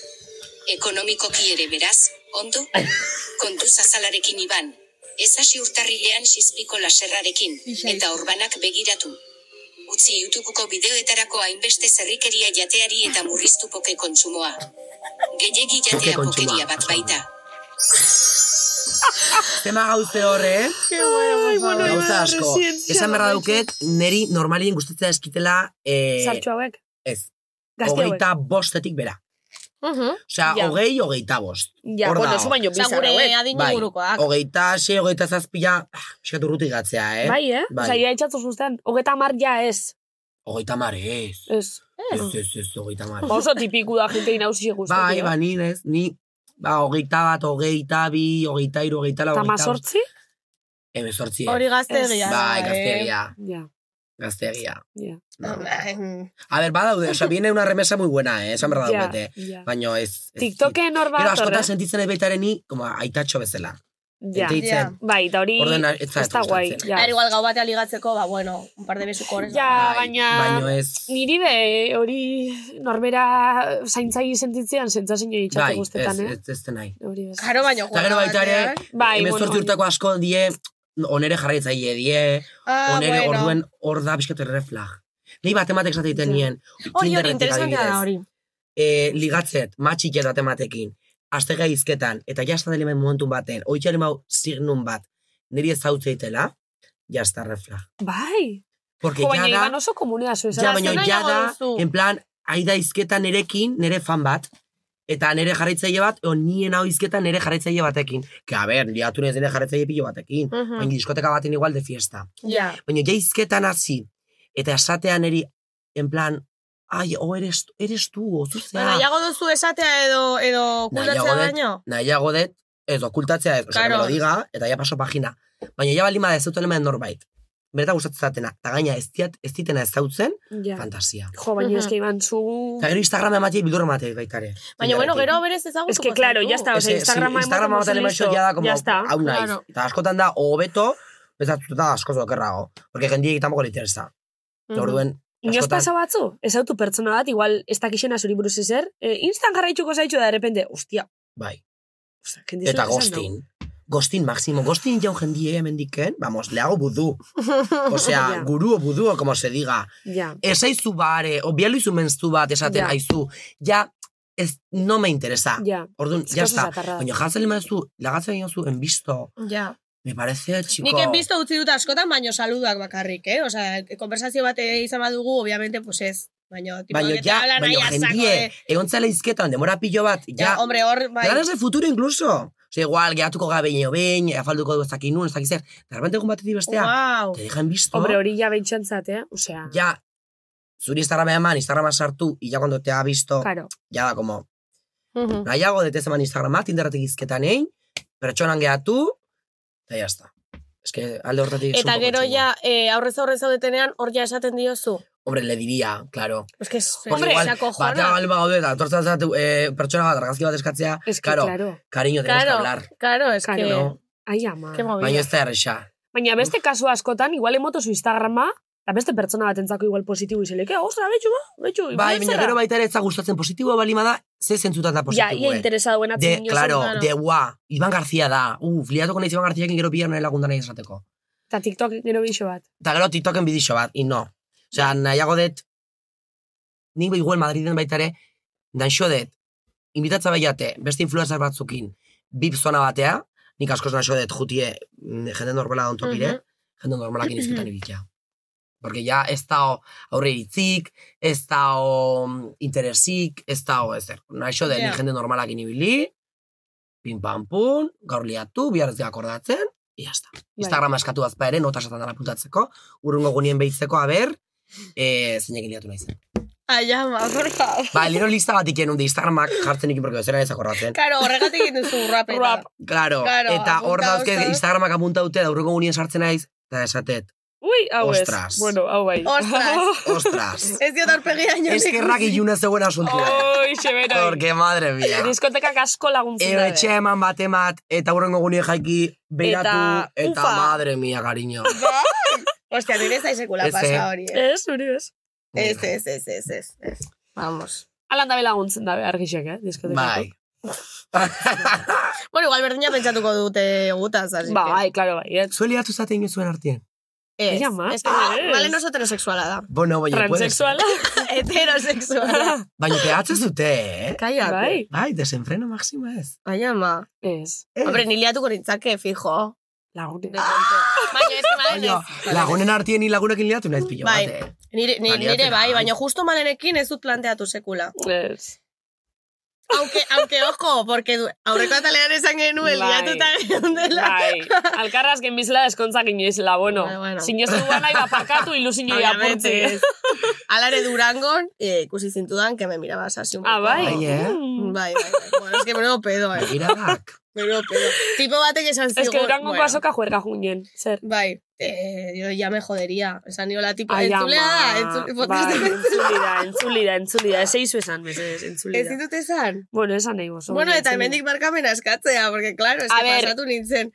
Speaker 7: Ekonomikoki ere beraz, ondo, kontuz azalarekin iban, ez hasi urtarrilean sizpiko laserrarekin, eta orbanak begiratu. Utzi YouTubeko bideoetarako hainbeste zerrikeria jateari eta murriztu poke kontsumoa. Gehiegi
Speaker 10: Poke
Speaker 7: jatea
Speaker 10: kontsumoa.
Speaker 7: pokeria bat baita.
Speaker 10: Tema gauze horre, eh?
Speaker 2: Ai,
Speaker 10: bueno, Gauza asko.
Speaker 11: residentzia
Speaker 10: Esan berra dauket, neri normalien gustatzea eskitela... Eh,
Speaker 11: Sartxo hauek.
Speaker 10: Ez.
Speaker 11: Gazte hauek.
Speaker 10: Hogeita bostetik bera. Osea,
Speaker 11: Ja.
Speaker 10: hogei, hogeita bost.
Speaker 11: Ja,
Speaker 10: Hor
Speaker 11: bueno,
Speaker 10: dago.
Speaker 11: zu baino bizarra, Osea,
Speaker 2: bai.
Speaker 11: gure
Speaker 10: Bai,
Speaker 11: hauek. adin
Speaker 2: Ah.
Speaker 11: ingurukoak.
Speaker 10: Hogeita sei, hogeita zazpila, ah, pixkat urrutik gatzea, eh?
Speaker 11: Bai, eh? Bai. Osa,
Speaker 10: Bai.
Speaker 11: ja itxatzu zuzten. Hogeta mar ja ez.
Speaker 10: Hogeita mar, ez.
Speaker 11: Ez.
Speaker 10: Ez, ez, ez, hogeita mar.
Speaker 3: Oh,
Speaker 11: Oso tipiku da jente inauzi eh? guztu.
Speaker 10: Bai, ba, ni, ez, ni, ba, hogeita bat, hogeita bi, hogeita iru, hogeita lau,
Speaker 11: Eta
Speaker 10: hogeita bost.
Speaker 11: mazortzi?
Speaker 10: Hemezortzi, eh.
Speaker 2: Hori gaztegia da,
Speaker 10: Bai,
Speaker 2: eh?
Speaker 10: gaztegia. Bai.
Speaker 11: Ja.
Speaker 10: Gaztegia.
Speaker 11: Ja.
Speaker 2: Ah, bai.
Speaker 10: A ber, badaude, oza, viene una remesa muy buena, eh, esan berra
Speaker 11: Ja,
Speaker 10: daukete.
Speaker 11: ja.
Speaker 10: Baina ez... ez
Speaker 11: TikToken hor bat,
Speaker 10: Gero askotan
Speaker 11: horre?
Speaker 10: sentitzen ez baita ere ni, como aitatxo bezala.
Speaker 11: Ja.
Speaker 10: sentitzen.
Speaker 11: Bai, eta hori
Speaker 10: Ordena, ez
Speaker 11: ez
Speaker 10: zait
Speaker 11: da guai.
Speaker 10: gustatzen.
Speaker 11: Ja.
Speaker 2: Eta igual gau batean ligatzeko, ba, bueno, un par de besuko horrez.
Speaker 10: Bai.
Speaker 11: Ja, baina...
Speaker 10: baino ez.
Speaker 11: Niri be, hori norbera zaintzai sentitzean zentzazen jo
Speaker 10: Bai,
Speaker 11: itxatu
Speaker 10: ez,
Speaker 11: guztetan, eh?
Speaker 10: ez, ez da nahi.
Speaker 11: Hori bez.
Speaker 2: Karo, baina
Speaker 10: Eta gero baita ere,
Speaker 2: eh?
Speaker 11: Bai,
Speaker 10: hemezortzi
Speaker 11: bueno,
Speaker 10: urteko asko die, onere jarraitzaile die,
Speaker 2: Ah,
Speaker 10: onere
Speaker 2: bueno.
Speaker 10: orduen hor da bizkatu reflag. Ni bat ematek esate egiten nien.
Speaker 2: Hori hori,
Speaker 10: Tinderretik
Speaker 2: interesantea da
Speaker 10: adibidez.
Speaker 2: hori.
Speaker 10: e, ligatzet, matxik eta tematekin, astega izketan, eta jazta delimen momentu baten, oitxaren mau signun bat, niri ez hau zeitela, jazta refla.
Speaker 11: Bai.
Speaker 10: Porque
Speaker 11: Jo, baina
Speaker 10: jada-
Speaker 11: Iban oso komunea zu.
Speaker 10: Ja, baina jada, en plan, aida izketa nerekin, nere fan bat, eta nere jarraitzaile bat, o nien hau izketa nere jarraitzaile batekin. Que, a ber, liatu nez nere jarraitzaile pilo batekin,
Speaker 2: Mhm.
Speaker 10: baina diskoteka baten igual de fiesta.
Speaker 2: Ja.
Speaker 10: Baina ja izketan hasi, eta esatean neri, en plan, ai, o eres, eres tu, ozu zea.
Speaker 2: Ba, Nahiago duzu esatea edo, edo
Speaker 10: Nahiago
Speaker 2: kultatzea
Speaker 10: dut-
Speaker 2: baino?
Speaker 10: Nahiago dut, ez okultatzea ez, osea,
Speaker 2: Claro.
Speaker 10: que me lo diga, eta ja paso pagina. Baina ja balima da ez dutela hemen norbait. Berta gustatzen zatena, eta gaina ez, diat, ez ditena ez dautzen,
Speaker 3: Ja.
Speaker 10: fantasia.
Speaker 3: Jo, baina
Speaker 2: Mhm.
Speaker 3: eske iban zu...
Speaker 10: Eta gero Instagram ematei bildurra ematei baita ere.
Speaker 2: Baina, bueno, gero berez ezagutuko
Speaker 3: Es que, claro, ya está, o sea, Instagrama
Speaker 10: Instagrama Instagram
Speaker 3: ematen
Speaker 10: ematen
Speaker 3: duzu listo.
Speaker 10: ja da, como,
Speaker 3: Ya está,
Speaker 10: hau naiz.
Speaker 3: claro.
Speaker 10: Eta askotan da, o hobeto, bezatuta askoz okerrago. Porque jendiek tampoco le interesa. Eta
Speaker 3: Mhm.
Speaker 10: Orduen,
Speaker 3: Inoz pasa batzu, ez autu pertsona bat, igual ez dakixena zuri buruz ezer, e, instan jarraituko zaitxu da, de repente, ostia,
Speaker 10: bai.
Speaker 3: jende
Speaker 10: Eta
Speaker 3: zuen esan
Speaker 10: gostin. Gostin, Maximo, gostin jaun jendie hemendiken, vamos, le hago vudú. Osea,
Speaker 3: Ja.
Speaker 10: guru o vudú, o como se diga.
Speaker 3: Ja.
Speaker 10: Esaizu bare, o bializu menztu bat esaten
Speaker 3: Ja.
Speaker 10: aizu. Ja, ez, no me interesa.
Speaker 3: Ja.
Speaker 10: Orduan,
Speaker 3: Ez
Speaker 10: Ah, ya
Speaker 3: kasu
Speaker 10: está.
Speaker 3: zatarra da.
Speaker 10: Baina jartzen lima zu, lagatzen diozu, enbisto.
Speaker 2: Ja.
Speaker 10: Me parece, chico.
Speaker 2: Nik enbizto utzi dut askotan, baino saludak bakarrik, eh? Osea, konversazio bat e, izan badugu, obviamente, pues ez. Baina, tipo,
Speaker 10: Baina
Speaker 2: que te
Speaker 10: ja,
Speaker 2: hablan ahí
Speaker 10: baina
Speaker 2: a saco
Speaker 10: jendie,
Speaker 2: de-
Speaker 10: egon zela izketan, demora pilo bat, ja,
Speaker 2: Ja, hombre, hor, bai.
Speaker 10: planes de futuro incluso. Ose, igual, gehatuko gabe inio behin, afalduko du ez dakin nun, ez dakin zer. De repente egun batetik bestea,
Speaker 2: Guau.
Speaker 10: te dejan visto.
Speaker 3: Hombre, hori ja behintxantzat, eh? Osea,
Speaker 10: Ja, zuri Instagrama eman, Instagrama sartu, y ya cuando te ha visto,
Speaker 3: Claro.
Speaker 10: ya da como, nahiago detez eman Instagrama, tinderretik izketan egin, pertsonan gehatu, eta ya está. Es que alde hortatik...
Speaker 2: Eta gero ja, eh, aurrez aurrez zaudetenean, hor ja esaten diozu.
Speaker 10: Hombre, le diría, claro.
Speaker 2: Es que,
Speaker 10: Porque
Speaker 2: hombre,
Speaker 10: igual,
Speaker 2: esa cojona.
Speaker 10: batea galba gaude, eta tortzen zatu, eh, pertsona bat, argazki bat eskatzea,
Speaker 3: Es que,
Speaker 10: claro,
Speaker 3: claro. Eh,
Speaker 10: cariño, tenemos que hablar.
Speaker 2: claro, es
Speaker 10: que- No.
Speaker 3: Ai, ama.
Speaker 10: Baina ez da erresa.
Speaker 3: Baina beste kasu askotan, igual emotozu Instagrama, eta beste pertsona batentzako igual positibo izeleke, ostra, betxu, ba, betxu,
Speaker 10: Bai, baina gero baita ere ez da gustatzen positiboa balima da, ze zentzutan da
Speaker 3: Ja,
Speaker 10: positiboa.
Speaker 11: eh,
Speaker 3: ia interesado en
Speaker 10: De, claro, de gua, Iban García da. Uf, liatuko nahi Iban García gero bihar nahi lagundan nahi esateko.
Speaker 3: Eta TikTok gero bixo bat.
Speaker 10: Eta gero TikToken bidixo bat, i no. Osea, nahiago dut, nik igual Madriden baita ere, danxo dut, invitatza baiate, beste influencer batzukin, bip zona batea, nik askoz nahiago dut jutie, mm, jende normala don tokire,
Speaker 3: Mhm.
Speaker 10: jende normalakin izketan ibitia. Porque ja ez dao aurre iritzik, ez dao mm, interesik, ez dao ezer. Naixo den,
Speaker 3: Ja.
Speaker 10: yeah. jende normalakin ibili, pin pam pun, gaur liatu, bihar ez gara akordatzen, i jazta.
Speaker 2: Bai.
Speaker 10: Instagrama eskatu azpa ere, nota esatan dara puntatzeko, urrungo gunien behitzeko, aber, e, zeinekin liatu nahi zen.
Speaker 2: Ai, ama, por favor.
Speaker 10: Ba, lero lista bat ikenun de Instagramak jartzen ikin, porque bezera ez akordatzen.
Speaker 2: Claro, horregatik egin duzu rap eta.
Speaker 10: Claro,
Speaker 2: Claro,
Speaker 10: eta hor
Speaker 2: apunta
Speaker 10: dauzke
Speaker 2: oso.
Speaker 10: Instagramak apunta dute, da urrungo gunien sartzen naiz, eta esatet,
Speaker 3: Ui, hau ez.
Speaker 10: Ostras.
Speaker 3: Bueno, hau bai.
Speaker 2: Ostras.
Speaker 10: ostras,
Speaker 2: Ez diot aurpegia inoiz.
Speaker 10: eskerrak iluna zeuen asuntua.
Speaker 2: Oh,
Speaker 3: Oi, xebera.
Speaker 10: Porque, madre mia.
Speaker 3: Diskotekak asko laguntzen
Speaker 10: Ero
Speaker 3: dabe.
Speaker 10: etxe eman bat emat, eta urrengo gunien jaiki, beiratu,
Speaker 3: Eta,
Speaker 10: eta,
Speaker 3: ufa.
Speaker 10: madre mia, cariño.
Speaker 2: Ostia, nire ez da sekula
Speaker 10: Ez, eh.
Speaker 2: pasa hori. eh.
Speaker 3: Ez, hori ez.
Speaker 2: Ez, ez, ez, ez, ez. ez. Vamos.
Speaker 3: Alan dabe laguntzen dabe argixek, eh? Diskotekako.
Speaker 10: Bai.
Speaker 2: Bueno, igual berdina pentsatuko dute gutaz, así
Speaker 3: Ba,
Speaker 2: que-
Speaker 3: bai, klaro, bai. Ez.
Speaker 10: Zueli atu zaten zuen artien.
Speaker 2: Ez,
Speaker 3: Ella mata,
Speaker 2: ez, que
Speaker 3: ez.
Speaker 2: Malen oso heterosexuala da.
Speaker 10: Bueno, baina, puedes.
Speaker 3: Transexuala.
Speaker 2: Heterosexuala.
Speaker 10: Baina, pegatzen zute, eh?
Speaker 2: Kaiak.
Speaker 3: Bai.
Speaker 10: Bai, desenfreno maxima ez. Eh,
Speaker 2: Ai, ama.
Speaker 3: Ez.
Speaker 2: Hombre, ni liatuko nintzake, fijo.
Speaker 3: Lagunen.
Speaker 2: Baina, ez que Malen
Speaker 10: Baina,
Speaker 2: ez.
Speaker 10: lagunen artien ni lagunekin liatu naiz pilo
Speaker 2: Bai.
Speaker 10: bat, eh?
Speaker 2: Nire, nire,
Speaker 10: Baliatzen
Speaker 2: nire bai,
Speaker 10: da.
Speaker 2: baina justo malenekin ez dut planteatu sekula.
Speaker 3: Ez.
Speaker 2: Aunque, aunque ojo, porque du- aurreko atalean esan genuen
Speaker 3: Bai.
Speaker 2: liatuta geundela.
Speaker 3: Bai, alkarrazken bizla eskontzak inoizela, bueno.
Speaker 2: Bai, bueno.
Speaker 3: Sinestu guan nahi baparkatu ilusinoi
Speaker 2: Obviamente,
Speaker 3: apurtzi.
Speaker 2: ez. Hala ere Durangon, eh, ikusi zintudan, que me mirabas así un poco.
Speaker 3: Ah, bai.
Speaker 10: Bai, eh?
Speaker 3: Mm.
Speaker 2: Bai, bai, bai. Bueno, es que menudo pedo, eh.
Speaker 10: Begiradak.
Speaker 2: Menudo pedo. Tipo batek esan zigun.
Speaker 3: Ez que durango
Speaker 2: bueno,
Speaker 3: azoka juerga junien, zer.
Speaker 2: Bai, eh, yo ya me jodería. Esan niola tipo,
Speaker 3: Ai, ama.
Speaker 2: Ba, entzulea da, entzule,
Speaker 3: Bai,
Speaker 2: podcast
Speaker 3: entzuli da, entzuli da, entzuli da. Ez eizu esan, mesedez, entzuli
Speaker 2: Ez
Speaker 3: da.
Speaker 2: ditut esan.
Speaker 3: Bueno, esan nahi gozo.
Speaker 2: Bueno, eta hemendik markamena eskatzea, porque claro, es
Speaker 3: A
Speaker 2: que
Speaker 3: ver.
Speaker 2: pasatu nintzen.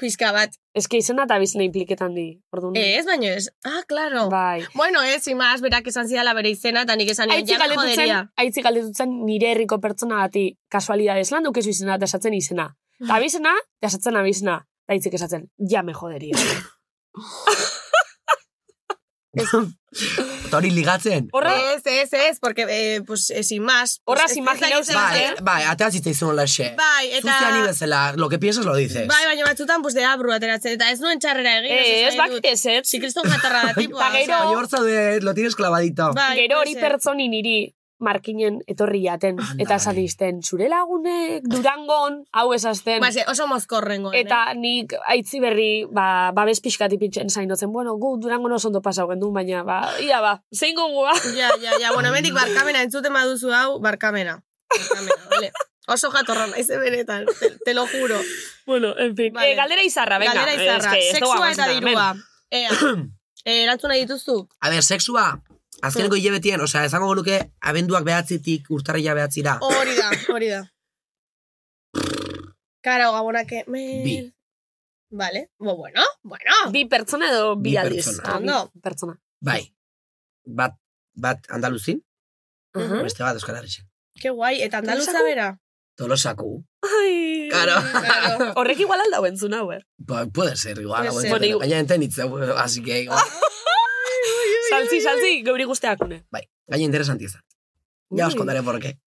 Speaker 2: Pizka bat.
Speaker 3: Ez que izena eta bizena impliketan di. Orduan.
Speaker 2: Eh, ez baino ez. Ah, claro.
Speaker 3: Bai.
Speaker 2: Bueno, ez, imaz, berak esan zidala bere izena, eta nik esan nion,
Speaker 3: Aitzi
Speaker 2: ja me jodería.
Speaker 3: galdetutzen, aitzi galdetutzen nire herriko pertsona bati kasualidades lan dukezu izena eta esatzen izena.
Speaker 2: Hmm.
Speaker 3: Eta abizena, eta esatzen abizena. Eta aitzik esatzen, ja me joderia.
Speaker 10: Eta hori ligatzen.
Speaker 3: Horra,
Speaker 2: Ez, ez, ez, porque, eh, pues, eh, sin más.
Speaker 3: Horra,
Speaker 2: Pues,
Speaker 3: sin
Speaker 2: ez
Speaker 3: más,
Speaker 2: dakit zer
Speaker 10: Bai,
Speaker 2: esan.
Speaker 10: bai, atea zitzaizun hola xe.
Speaker 2: Bai, eta...
Speaker 10: Zuzia ni bezala, lo que piensas lo dices.
Speaker 2: Bai, baina batzutan, pues, de abru ateratzen, eta ez nuen txarrera egin.
Speaker 3: eh, ez
Speaker 2: esan nahi dut.
Speaker 3: bakitez, ez?
Speaker 2: Si kriston jatarra da, tipua.
Speaker 3: Ta gero-
Speaker 2: osea,
Speaker 10: Baina hor zaude, lo tienes clavadito.
Speaker 2: bai,
Speaker 3: Gero
Speaker 2: puede
Speaker 3: hori
Speaker 2: ser.
Speaker 3: pertsoni niri
Speaker 11: markinen etorri jaten. eta esan izten, zure lagunek durangon, hau esazten.
Speaker 2: Base, Ba, oso eh. mozkorrengo.
Speaker 11: Eta nik aitzi berri, ba, babes pixkat ipintzen zainotzen, bueno, gu durangon oso ondo pasau gendun, baina, ba, ia ba, zein gongua.
Speaker 2: Ja, ja, ja, bueno, hemendik barkamena entzuten baduzu hau, barkamena. Barkamena, vale. Oso jatorra naiz benetan, te, te lo juro.
Speaker 11: Bueno, en fin.
Speaker 2: Vale.
Speaker 11: Eh, galdera izarra, venga.
Speaker 2: Galdera
Speaker 11: Eh,
Speaker 2: izarra,
Speaker 11: eske ez doa
Speaker 2: sexua eta
Speaker 11: aguantar,
Speaker 2: dirua.
Speaker 11: men.
Speaker 2: Ea, eh, erantzuna dituzuk.
Speaker 10: A ber, sexua, azkeneko hilabetien, osea, esango luke, abenduak behatzitik urtarrila behatzira.
Speaker 2: Hori da, hori da. Karo, gabonak, men...
Speaker 10: Bi.
Speaker 2: Vale, bo, bueno, bueno.
Speaker 11: Ah, Bi pertsona edo bi,
Speaker 10: Bi
Speaker 11: aldiz.
Speaker 10: pertsona.
Speaker 11: Ah, bi
Speaker 2: Ondo.
Speaker 11: pertsona.
Speaker 10: Bai, bat, bat Andaluzin,
Speaker 11: Aha.
Speaker 10: beste bat Euskal Herrixen.
Speaker 2: Ke guai, eta andaluza bera.
Speaker 10: Tolosako.
Speaker 11: Ai.
Speaker 10: Claro.
Speaker 11: Horrek igual aldau entzun hau, eh?
Speaker 10: Ba, puede ser, igual.
Speaker 11: Puede
Speaker 10: hau
Speaker 11: ser.
Speaker 10: entena-
Speaker 11: Bueno,
Speaker 10: Gaina entenitzeu, así que... igual.
Speaker 11: Saltzi, saltzi, geuri guzteakune.
Speaker 10: Bai, gaina interesantiza. Ya os
Speaker 11: Ui.
Speaker 10: contaré por qué.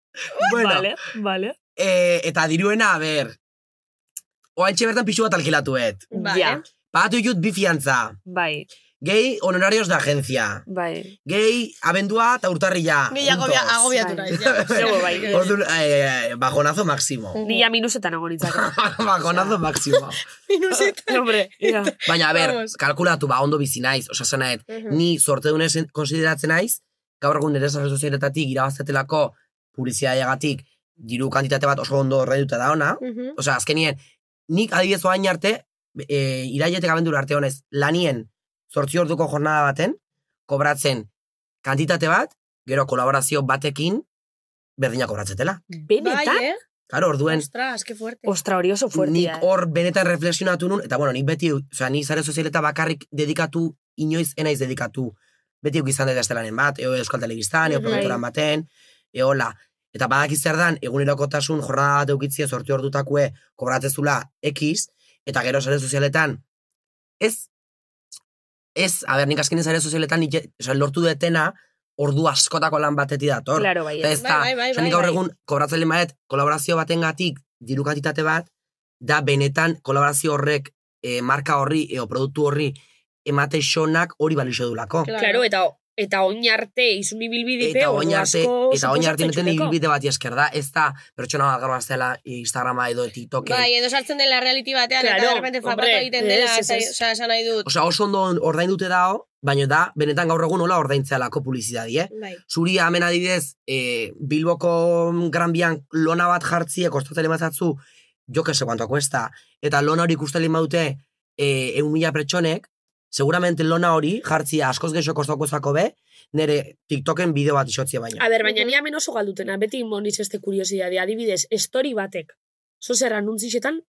Speaker 10: Bueno,
Speaker 11: Vale, vale.
Speaker 10: eh, eta diruena, a ber... Oantxe bertan pixu bat alkilatuet.
Speaker 11: Vale. Ja.
Speaker 10: Pagatu jut bi fiantza.
Speaker 11: Bai,
Speaker 10: Gehi honorarios de agencia.
Speaker 11: bai.
Speaker 10: Gehi abendua eta urtarrila.
Speaker 11: Ni ja agobia-
Speaker 10: juntos.
Speaker 11: agobiatu naiz, ja. Sego, bai.
Speaker 10: Ordu, eh, bajonazo máximo.
Speaker 11: Ni ja minusetan egon nintzak.
Speaker 10: bajonazo máximo.
Speaker 11: Minusetan. Hombre, ja.
Speaker 10: Baina, a ber,
Speaker 11: Vamos.
Speaker 10: kalkulatu, ba, ondo bizi naiz, osa zenaet,
Speaker 2: Hm.
Speaker 11: Mhm.
Speaker 10: ni sorte dunez konsideratzen naiz, gaur egun nire sarrezu ziretatik irabaztetelako publizitateagatik diru kantitate bat oso ondo horreduta da ona,
Speaker 2: Mhm.
Speaker 10: osa azkenien, nik adibidez oain arte, e, irailetek abendura arte honez, lanien sortzi orduko jornada baten, kobratzen kantitate bat, gero kolaborazio batekin, berdina kobratzetela.
Speaker 11: Benetan?
Speaker 2: Bai, eh?
Speaker 10: Claro, orduen,
Speaker 2: Ostras, que fuerte.
Speaker 11: Ostra, hori oso fuertia.
Speaker 3: eh.
Speaker 11: eh.
Speaker 10: nik hor benetan reflexionatu nun, eta bueno, nik beti, osea, ni zare sozialeta bakarrik dedikatu, inoiz enaiz dedikatu, beti euk izan dut estelanen bat, eo Euskal Telebistan, eo
Speaker 11: Mhm.
Speaker 10: produktoran baten, eo hola. Eta badakiz zer dan, egunerokotasun jornada bat eukitzia sorti ordutakue kobratzezula X, eta gero zare sozialetan, ez, ez, a ber, nik azkenin zare sozialetan, nik, osea, lortu detena, ordu askotako lan bateti dator.
Speaker 11: Claro, bai,
Speaker 10: Eta ez
Speaker 11: ez. Bai,
Speaker 10: da,
Speaker 11: bai, bai,
Speaker 10: osea, nik
Speaker 11: bai,
Speaker 10: gaur
Speaker 11: bai.
Speaker 10: egun kobratzen lehen badet, kolaborazio batengatik diru kantitate bat, da benetan kolaborazio horrek, e, marka horri, eo produktu horri, emate xonak hori balixo dulako.
Speaker 2: eh.
Speaker 11: Claro, eta eta oin arte izun ibilbidipe,
Speaker 10: Eta
Speaker 11: ordu
Speaker 10: oin arte,
Speaker 11: asko
Speaker 10: eta oin arte
Speaker 11: suposatzen
Speaker 10: neten
Speaker 11: juteko.
Speaker 10: ibilbide bat esker da, ez da pertsona bat gaur gaztela Instagrama edo TikToken.
Speaker 2: Bai, edo sartzen dela reality batean,
Speaker 11: Claro,
Speaker 2: eta de repente
Speaker 11: hombre,
Speaker 2: fapato egiten dela,
Speaker 11: ez, ez,
Speaker 2: eta,
Speaker 11: ez.
Speaker 2: osea, esan nahi dut.
Speaker 10: Osa oso ondo ordain dute dao, baina da, benetan gaur egun hola ordaintzealako publizidadie.
Speaker 2: Bai.
Speaker 10: Zuri hemen adibidez, e, Bilboko Gran Bian lona bat jartzie, kostatele batzatzu, jo que se kuantoa kuesta, eta lona hori ikustele maute e, eun mila pertsonek, seguramente lona hori jartzia askoz gehiago kostako zako be, nire TikToken bideo bat isotzia baina.
Speaker 11: A ber, baina ni hemen oso galdutena, beti moniz este kuriosidade, adibidez, story batek, zozer anuntzixetan,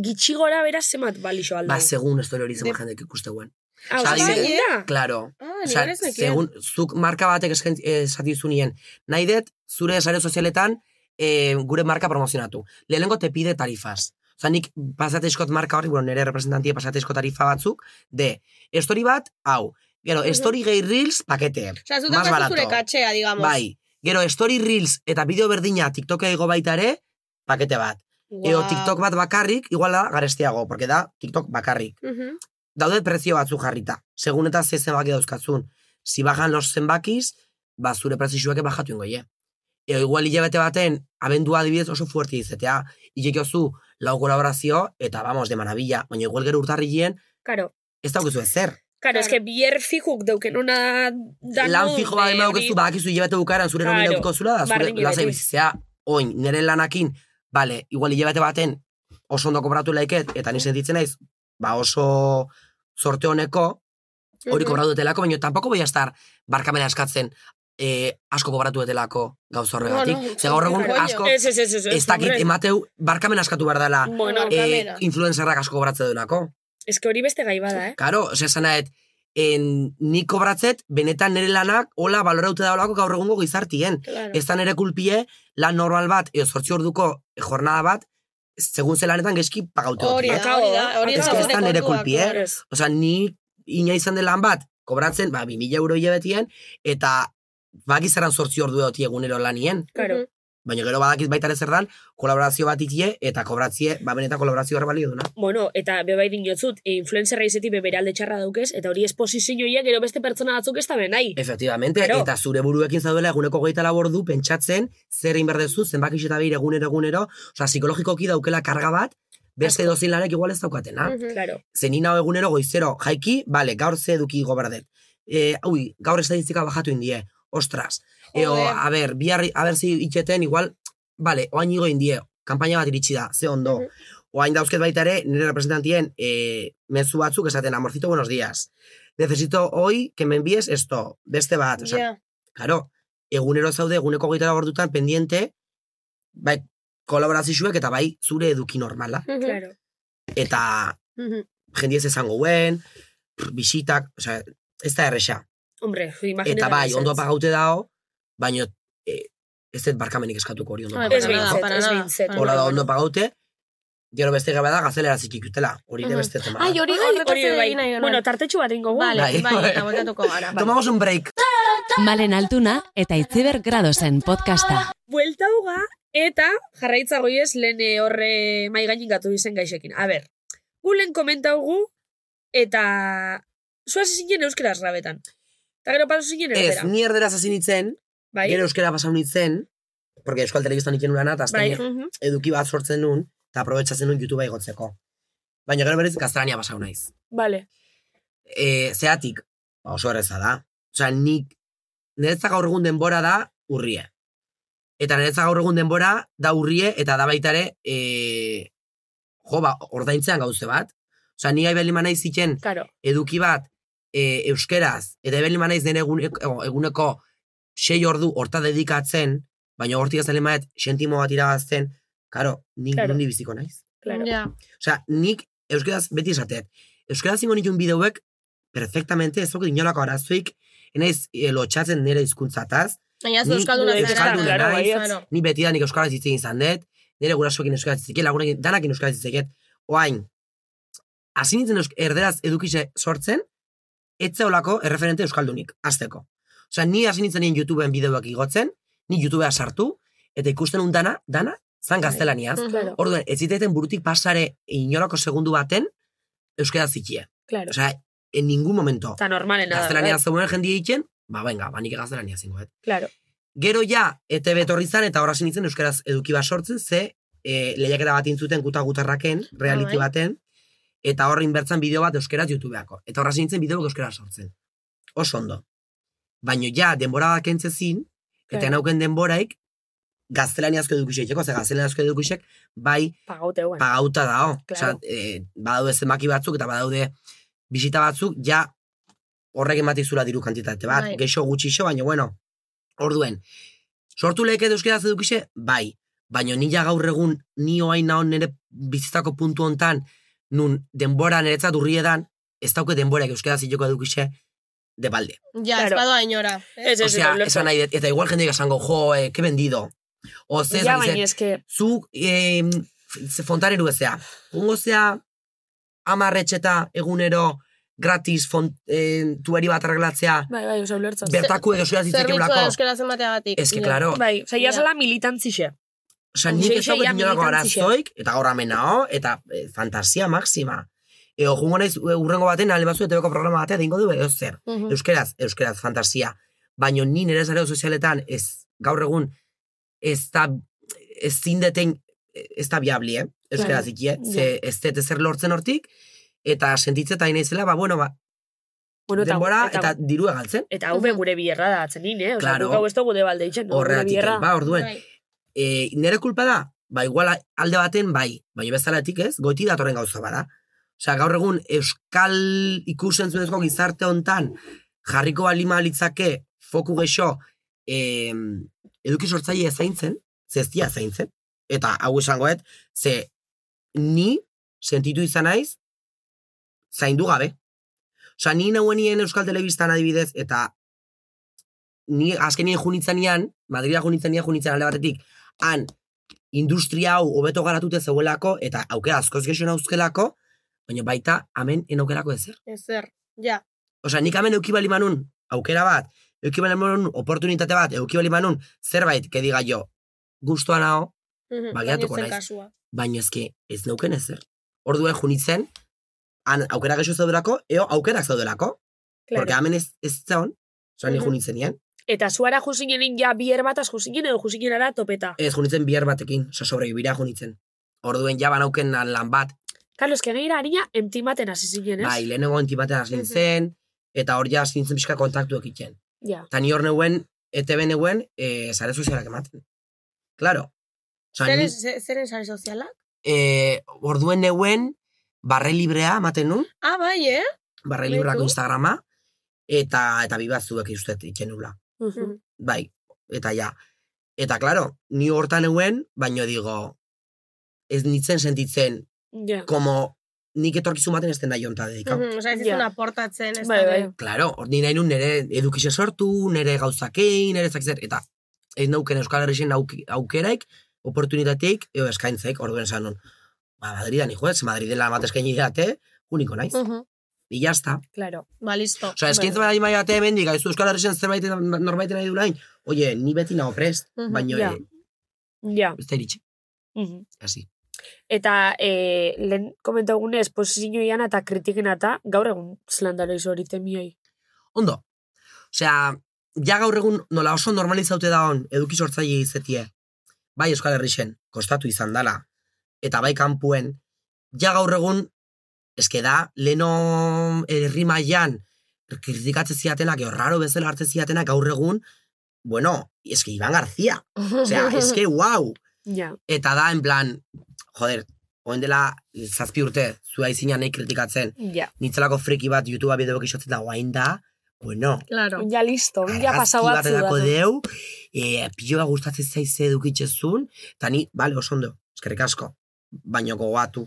Speaker 11: gitxi gora bera zemat balixo aldau.
Speaker 10: Ba, segun ez hori zen jendek ikusteuen.
Speaker 11: Ah,
Speaker 10: Osea,
Speaker 11: oso
Speaker 2: bai,
Speaker 10: adibidez-
Speaker 11: zein da?
Speaker 10: Claro.
Speaker 2: Ah,
Speaker 10: Osea,
Speaker 2: nire ez nekien.
Speaker 10: segun, zuk marka batek eskaint- esati zunien. Nahi dut, zure sare sozialetan, eh, gure marka promozionatu. Lehenengo te pide tarifas. Osa, nik pasateiskot marka horri, bueno, nire representantia pasateisko tarifa batzuk, de, story bat, hau. Gero, story gehi reels, pakete.
Speaker 2: Osa, zu
Speaker 10: Más
Speaker 2: daukazu
Speaker 10: barato.
Speaker 2: zure katxea, digamos.
Speaker 10: Bai. Gero, story reels eta bideo berdina TikToka igo baita ere, pakete bat. Eo,
Speaker 2: Guau.
Speaker 10: TikTok bat bakarrik, iguala garestiago, porque da TikTok bakarrik
Speaker 2: Mhm.
Speaker 10: daude prezio batzu jarrita. Segun eta ze zenbaki dauzkatzun. Si bajan los zenbakiz, ba, zure prezioak bajatu ingo, ye. Eo, igual hilabete baten, abendua adibidez oso fuerte izetea. Irekiozu, lau kolaborazio, eta vamos, de maravilla. Baina igual gero urtarrilien,
Speaker 11: Karo,
Speaker 10: ez daukizu ezer.
Speaker 11: karo, eske bier fikuk dauken ona eh, danu.
Speaker 10: Lan fijo bat ba, ema daukizu, badakizu hilabete bukaran, zure
Speaker 11: bai, Claro.
Speaker 10: nomina daukiko zula, da, zure
Speaker 11: Bardin
Speaker 10: lasai
Speaker 11: beti.
Speaker 10: bizitzea, oin, nire lanakin, bale, igual hilabete baten, oso ondo kobratu laiket, eta ni sentitzen naiz, ba oso sorte honeko, hori
Speaker 11: Mhm.
Speaker 10: kobratu dutelako, baina tampoco bai a estar barkamena eskatzen eh, asko kobratu dutelako gauz horregatik.
Speaker 11: No, no,
Speaker 10: Ze gaur egun
Speaker 11: coño.
Speaker 10: asko,
Speaker 11: Ez, ez, ez, ez, ez,
Speaker 10: ez dakit
Speaker 11: hombre.
Speaker 10: emateu barkamena eskatu behar dela
Speaker 11: Bueno,
Speaker 10: eh,
Speaker 11: barkamena.
Speaker 10: influencerrak asko kobratzen duelako.
Speaker 11: Eske hori beste gai bada, eh?
Speaker 10: Karo, ose zanaet, en, ni kobratzet, benetan nire lanak, hola, baloraute daulako gaur egungo gizartien.
Speaker 11: Claro.
Speaker 10: Ez da nire kulpie, lan normal bat, edo zortzi orduko jornada bat, segun ze lanetan geski pagaute
Speaker 2: Hori da,
Speaker 10: dut.
Speaker 2: hori da, hori
Speaker 10: Ez
Speaker 2: da.
Speaker 10: que ez da nire
Speaker 2: kontua,
Speaker 10: kulpie.
Speaker 2: claro.
Speaker 10: Osa, ni ina izan den lan bat, kobratzen, ba, 2000 euro hilabetien, eta baki zeran sortzi ordu dut egunero lanien.
Speaker 11: Karo.
Speaker 10: Baina gero badakit baita ere zer dan, kolaborazio bat itie, eta kobratzie, ba benetan kolaborazio horre balio duna.
Speaker 11: Bueno, eta bebai dinotzut, e, influencerra izetik beberalde txarra daukez, eta hori esposizioia gero beste pertsona batzuk ez da benai.
Speaker 10: Efectivamente,
Speaker 11: Claro.
Speaker 10: eta zure buruekin zaudela eguneko gehieta labor du, pentsatzen, zer egin behar duzu, zenbakix eta behir egunero egunero, oza, psikologikoki daukela karga bat, beste dozin lanek igual ez daukatena.
Speaker 11: Claro.
Speaker 10: Zenin hau egunero goizero, jaiki, bale, gaur ze eduki igo behar dut. E, ui, gaur estadistika bajatu indie, ostras. Eo,
Speaker 11: Joder.
Speaker 10: a ber, bihar, a ber zi itxeten, igual, bale, oain igo indie, kampaina bat iritsi da, ze ondo. Oain dauzket baita ere, nire representantien e, mezu batzuk esaten, amorcito, buenos días. Necesito hoy que me envíes esto, beste bat. Osea,
Speaker 2: Ja.
Speaker 10: Claro, egunero zaude, eguneko gaita gordutan pendiente, bai, kolaborazioak eta bai, zure eduki normala.
Speaker 11: Claro.
Speaker 10: Eta jendia ez esango guen, pff, bisitak, osea, ez da erresa.
Speaker 11: Hombre, imagina.
Speaker 10: Eta bai, ondo apagaute dao, baino eh, ez dut barkamenik eskatuko hori ondo
Speaker 11: Ah,
Speaker 10: apagaute.
Speaker 11: ez behintzet, Para ez nada, behintzet. para
Speaker 10: Hola da
Speaker 11: nada.
Speaker 10: ondo apagaute, gero beste gabe da gazelera zikikutela, hori ere
Speaker 11: Ujú.
Speaker 10: beste tema. da.
Speaker 11: Ai, hori hori
Speaker 2: horretaz ere
Speaker 11: bai.
Speaker 2: egin nahi genuen.
Speaker 11: Bueno, tartetxu bat ingo
Speaker 2: Vale,
Speaker 10: Bai.
Speaker 2: bai, eta bueltatuko gara. bai.
Speaker 10: Tomamos un break.
Speaker 12: Malen Altuna eta Itziber Gradosen podcasta.
Speaker 11: Buelta hoga, eta jarraitza goiez lehen eh, horre maigainin gatu izen gaixekin. A ber, gu lehen komentaugu, eta zuaz zinen euskera rabetan. Eta gero paso zinen
Speaker 10: Ez,
Speaker 11: euskera.
Speaker 10: ni erderaz hasi nintzen,
Speaker 11: Bai.
Speaker 10: gero euskera pasau nintzen, porque Euskal Telebistan ikin urana, eta azken
Speaker 11: Bai.
Speaker 10: e-
Speaker 11: Mhm.
Speaker 10: eduki bat sortzen nun, eta aprobetsatzen nun YouTubea igotzeko. Baina gero berez gaztelania pasau naiz.
Speaker 11: Vale.
Speaker 10: e, zeatik, ba, oso erreza da. Osea, nik, niretzat gaur egun denbora da urrie. Eta niretzat gaur egun denbora da urrie, eta da baita ere, e, jo, ba, ordaintzean gauze bat. Osea, ni aibeli manaiz ziken
Speaker 11: Claro.
Speaker 10: eduki bat e, euskeraz, eta aibeli manaiz den eguneko, e, eguneko sei ordu horta dedikatzen, baina hortik ez alemaet, sentimo bat irabazten, karo, nik
Speaker 11: Claro.
Speaker 10: claro. nondi biziko naiz.
Speaker 11: Claro.
Speaker 10: Osea, nik euskeraz beti esatet. Euskeraz ingo nituen bideuek perfectamente ez dut inolako arazoik, enaiz eh, lotxatzen nire hizkuntzataz.
Speaker 2: Baina ez
Speaker 10: Ni
Speaker 2: euskalduna zara.
Speaker 10: euskalduna
Speaker 2: Claro,
Speaker 10: naiz,
Speaker 2: baietz.
Speaker 10: ni beti nik euskaraz hitz egin izan dut, nire gurasoekin euskaraz hitz egin, lagunekin danakin euskaraz hitz egin. Oain, hasi nintzen eusk- erderaz edukize sortzen, etzeolako erreferente euskaldunik, azteko. Osea, ni hasi nintzen nien YouTubeen bideoak igotzen, ni YouTubea sartu, eta ikusten un dana, dana, zan gaztelaniaz.
Speaker 11: Mhm. Claro.
Speaker 10: Orduan, ez ziteten burutik pasare inolako segundu baten, euskera zikie.
Speaker 11: Claro.
Speaker 10: Osea, en ningún momento.
Speaker 11: Eta normalena. da,
Speaker 10: Gaztelania
Speaker 11: bai.
Speaker 10: zegoen jendia egiten, ba, venga, ba, nik gaztelania zingo, eh?
Speaker 11: Claro.
Speaker 10: Gero ja, E ete betorri zan, eta horra nintzen euskaraz eduki bat sortzen, ze e, lehiaketa bat intzuten guta gutarraken, reality
Speaker 11: Ah, bai.
Speaker 10: baten, eta horrin bertzan bideo bat euskaraz YouTubeako. Eta horra nintzen bideo euskaraz sortzen. Oso ondo. Baino ja, denbora bat kentzezin, eta
Speaker 11: Claro.
Speaker 10: nauken denboraik, gaztelaniazko edukisek, ze gaztelaniazko edukisek, bai,
Speaker 11: Pagaute guen.
Speaker 10: pagauta dao.
Speaker 11: Claro.
Speaker 10: Claro. Osea, e, badaude zenbaki batzuk eta badaude bisita batzuk, ja horrek ematizula diru kantitate bat,
Speaker 11: Bai.
Speaker 10: geixo gutxixo, baina bueno, orduen. Sortu leheket euskeraz edukixe, bai, baina nila gaur egun ni oain naon nire bizitzako puntu hontan, nun denbora niretzat urriedan, ez dauke denborak euskeraz hiloko edukixe, de balde.
Speaker 2: Ja, ez
Speaker 10: Claro.
Speaker 2: badoa inora. Ez,
Speaker 10: Osea, esan nahi, dut, eta igual jendeik esango, jo, eh, que vendido. O ze,
Speaker 11: Ja,
Speaker 10: esan
Speaker 11: baina eske,
Speaker 10: zu eh, fontaneru ezea. Ungo zea amarretxeta egunero gratis font, eh, tuari bat arreglatzea
Speaker 11: bai, bai, oso ulertzen.
Speaker 10: bertaku edo zuraz
Speaker 2: Zerbitzua
Speaker 10: ditzekeulako.
Speaker 2: euskera zemateagatik.
Speaker 10: Ez que, claro.
Speaker 11: Bai, osea, ia zela militantzixe.
Speaker 10: Osa, nik ez
Speaker 11: Seixe
Speaker 10: dauket
Speaker 11: ja
Speaker 10: inolako
Speaker 11: Bai, militantzia.
Speaker 10: arazoik, eta gaur amena ho, eta eh, fantasia maxima. Ego, jungo naiz, eh, urrengo baten, ale bazu, etebeko programa batea, dingo du, edo zer.
Speaker 2: Mhm.
Speaker 10: Euskeraz, euskeraz, fantasia. Baina ni nire zareo sozialetan, ez, gaur egun, ez da, ez zindeten, ez da biabli, eh? Euskeraz
Speaker 11: Claro.
Speaker 10: ikie,
Speaker 11: Ja.
Speaker 10: ze ez dut ezer lortzen hortik, eta sentitzen eta naizela, ba, bueno, ba,
Speaker 11: Bueno, eta-
Speaker 10: denbora,
Speaker 11: eta-
Speaker 10: eta, diru egaltzen.
Speaker 11: Eta hau be gure bierra da atzenin, eh? Osa,
Speaker 10: Claro.
Speaker 11: guk hau ez dugu debalde itxen, no? gure
Speaker 10: Horregatik,
Speaker 11: bierra.
Speaker 10: ba, orduen.
Speaker 2: Bai,
Speaker 10: E, nire kulpa da, ba, igual alde baten bai, baina bezalatik ez, goiti datorren gauza bada. Osea, gaur egun euskal ikusentzunezko gizarte hontan jarriko balima litzake foku geixo em, eduki sortzaile zaintzen, zeztia zaintzen, eta hau esangoet, ze ni sentitu izan naiz zaindu gabe. Osea, ni nauenien Euskal Telebistan adibidez, eta ni azkenien junitzanean, Madrila junitzanean junitzen alde batetik, han industria hau hobeto garatute zeuelako, eta aukera askoz gexo nauzkelako, baina baita hemen enaukelako ezer.
Speaker 2: Ezer, ja.
Speaker 10: Osa, nik hemen eukibali manun, aukera bat, eukibali manun, oportunitate bat, eukibali manun, zerbait, que diga jo, guztua nao,
Speaker 11: Mhm,
Speaker 10: baliatuko
Speaker 11: baina ez zen
Speaker 10: naiz.
Speaker 11: kasua.
Speaker 10: baina ezke ez neuken ezer. Orduen junitzen, han aukera gehiago zaudelako, eo aukerak zaudelako.
Speaker 11: Claro.
Speaker 10: Porque hemen ez, ez zaon, zoan ni
Speaker 11: Mhm.
Speaker 10: junitzen nien.
Speaker 11: Eta zuara juzinenin ja bi erbataz juzinen edo juzinenara topeta.
Speaker 10: Ez junitzen bihar batekin, so sobrevivira junitzen. Orduen ja banauken lan, lan bat,
Speaker 11: Carlos, que gaira harina entimaten hasi zinen, eh? ez?
Speaker 10: bai, lehenengo entibaten
Speaker 11: Mm-hmm.
Speaker 10: hasi zen, eta hor ja hasi nintzen pixka kontaktu egiten.
Speaker 11: Ja.
Speaker 10: Eta ni hor neuen, ETB neuen, e, zare sozialak ematen. Claro. Osea,
Speaker 11: Zer
Speaker 10: ni-
Speaker 11: ez- ze- Zeren sare sozialak?
Speaker 10: e, orduen neuen, barre librea ematen nun,
Speaker 11: Ah, bai, eh?
Speaker 10: barre
Speaker 11: Baitu.
Speaker 10: libreako Instagrama, eta eta bi batzuek uste itzen nula.
Speaker 11: Mhm.
Speaker 10: Bai, eta ja. Eta claro, ni hortan neuen, baino digo, ez nintzen sentitzen,
Speaker 11: Ja.
Speaker 10: como nik etorkizun baten ez den nahi honta dedikau.
Speaker 11: Mm-hmm.
Speaker 2: Mhm, Osa, ez
Speaker 11: Ja.
Speaker 2: dizun aportatzen, ez
Speaker 11: Bai,
Speaker 2: da,
Speaker 11: bai.
Speaker 2: de-
Speaker 10: Claro, hor ni nahi nun nire edukixe sortu, nire gauzakein, nire ezakizet, eta ez nauken Euskal Herrixen auki, aukeraik, oportunitateik, eo eskaintzaik, orduen esan nun. Ba, Madridan, hijo, ez Madriden lan bat eskaini didate, uniko naiz.
Speaker 11: Mhm.
Speaker 10: Y ya está.
Speaker 11: Claro.
Speaker 2: Ba, listo.
Speaker 10: Osa, eskaintza
Speaker 2: Bai.
Speaker 10: bai bai bate hemen, diga, ez Euskal Herrixen zerbait norbait nahi du lain, oie, ni beti nago prest,
Speaker 11: Mhm,
Speaker 10: baino,
Speaker 11: ja.
Speaker 10: yeah.
Speaker 11: Ja.
Speaker 10: ez da iritsi,
Speaker 11: Mhm.
Speaker 10: hasi.
Speaker 11: Eta e, lehen komentagunez, esposizioian eta kritiken eta gaur egun zelandaro izo hori temioi.
Speaker 10: Ondo. Osea, ja gaur egun nola oso normalizaute da on eduki sortzaile izetie. Bai Euskal Herrixen, kostatu izan dala, eta bai kanpuen, ja gaur egun, eske da, leno herri mailan kritikatze ziatenak, edo raro bezala arte ziatenak gaur egun, bueno, eske Iban García. Osea, eske, wow!
Speaker 11: Ja.
Speaker 10: Eta da, en plan, joder, oen dela, zazpi urte, zua izina nahi kritikatzen,
Speaker 11: Ja.
Speaker 10: nintzelako friki bat YouTubea bideok isotzen da, guain da, bueno,
Speaker 11: Claro. Ja listo, ja
Speaker 10: argazki
Speaker 11: pasau
Speaker 10: bat
Speaker 11: batzu
Speaker 10: edako
Speaker 11: da.
Speaker 10: deu, e, piloa gustatzen zaiz edukitzezun, eta ni, bale, oso ondo, eskerrik asko, baino gogoatu,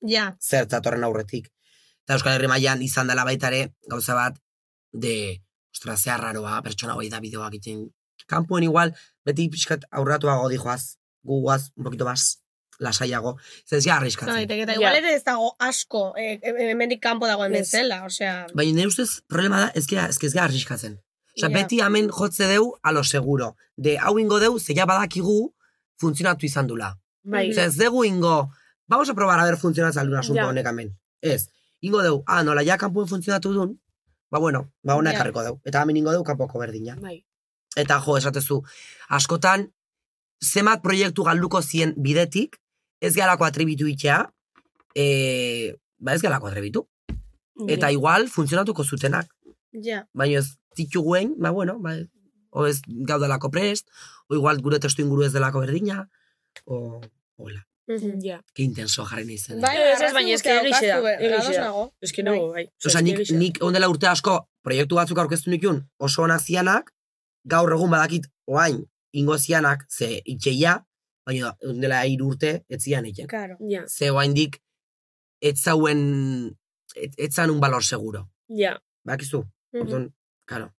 Speaker 2: Ja.
Speaker 10: zer datorren aurretik. Eta Euskal Herri mailan izan dela baitare, gauza bat, de, ostra, ze arraroa, pertsona hori da bideoak egiten. Kampoen igual, beti pixkat aurratuago dijoaz, gu guaz, un poquito más, lasaiago, zez ja
Speaker 2: Izan
Speaker 10: arriskatzen.
Speaker 2: daiteke, eta
Speaker 11: Ja.
Speaker 2: Bai, igual ere ez dago asko, eh, hemendik kanpo dagoen
Speaker 11: Ez.
Speaker 2: bezala, osea,
Speaker 10: Baina nire ustez problema da, ez gara, ez gara arriskatzen.
Speaker 2: Ja.
Speaker 10: Osa, beti hemen jotze deu, a lo seguro. De, hau ingo deu, ze ja badakigu, funtzionatu izan dula.
Speaker 11: Bai.
Speaker 10: Osa, ez dugu ingo, vamos a probar a ver funtzionatzen aldun asunto
Speaker 11: Ja.
Speaker 10: honek hemen. Ez, ingo deu, ah, nola ja kanpuen funtzionatu dun, ba bueno, ba hona
Speaker 11: Ja.
Speaker 10: ekarriko deu. Eta hemen ingo deu, kanpoko berdina.
Speaker 11: Bai.
Speaker 10: Eta jo, esatezu, askotan, zemat proiektu galduko zien bidetik, ez galako atribitu itxea, e, ba ez galako atribitu. Eta igual, funtzionatuko zutenak.
Speaker 2: ja.
Speaker 10: Baina ez dituguen, ba bueno, ba, o ez gaudelako prest, o igual gure testu inguru ez delako berdina, o, hola,
Speaker 2: Mhm.
Speaker 11: Ja.
Speaker 10: que intenso jarri eh? naizen.
Speaker 2: Bai,
Speaker 11: Ez, ez,
Speaker 2: arrazoi
Speaker 11: baina
Speaker 2: guztia
Speaker 11: eske egixe da,
Speaker 2: daukazu, eh,
Speaker 11: egixe
Speaker 2: ados
Speaker 11: da.
Speaker 2: nago.
Speaker 11: Ez que nago, bai.
Speaker 10: Osa, nik,
Speaker 11: egixe da.
Speaker 10: nik egon dela urte asko, proiektu batzuk aurkeztu nikun, oso onak zianak, gaur egun badakit oain ingo zianak, ze itxeia, baina egon dela hiru urte, ez zian egiten.
Speaker 2: Claro.
Speaker 11: Ja.
Speaker 10: Ze oain dik, ez zauen, ez, ez zan un balor seguro.
Speaker 11: Ja.
Speaker 10: Bakizu,
Speaker 2: Mhm.
Speaker 10: orduan, karo.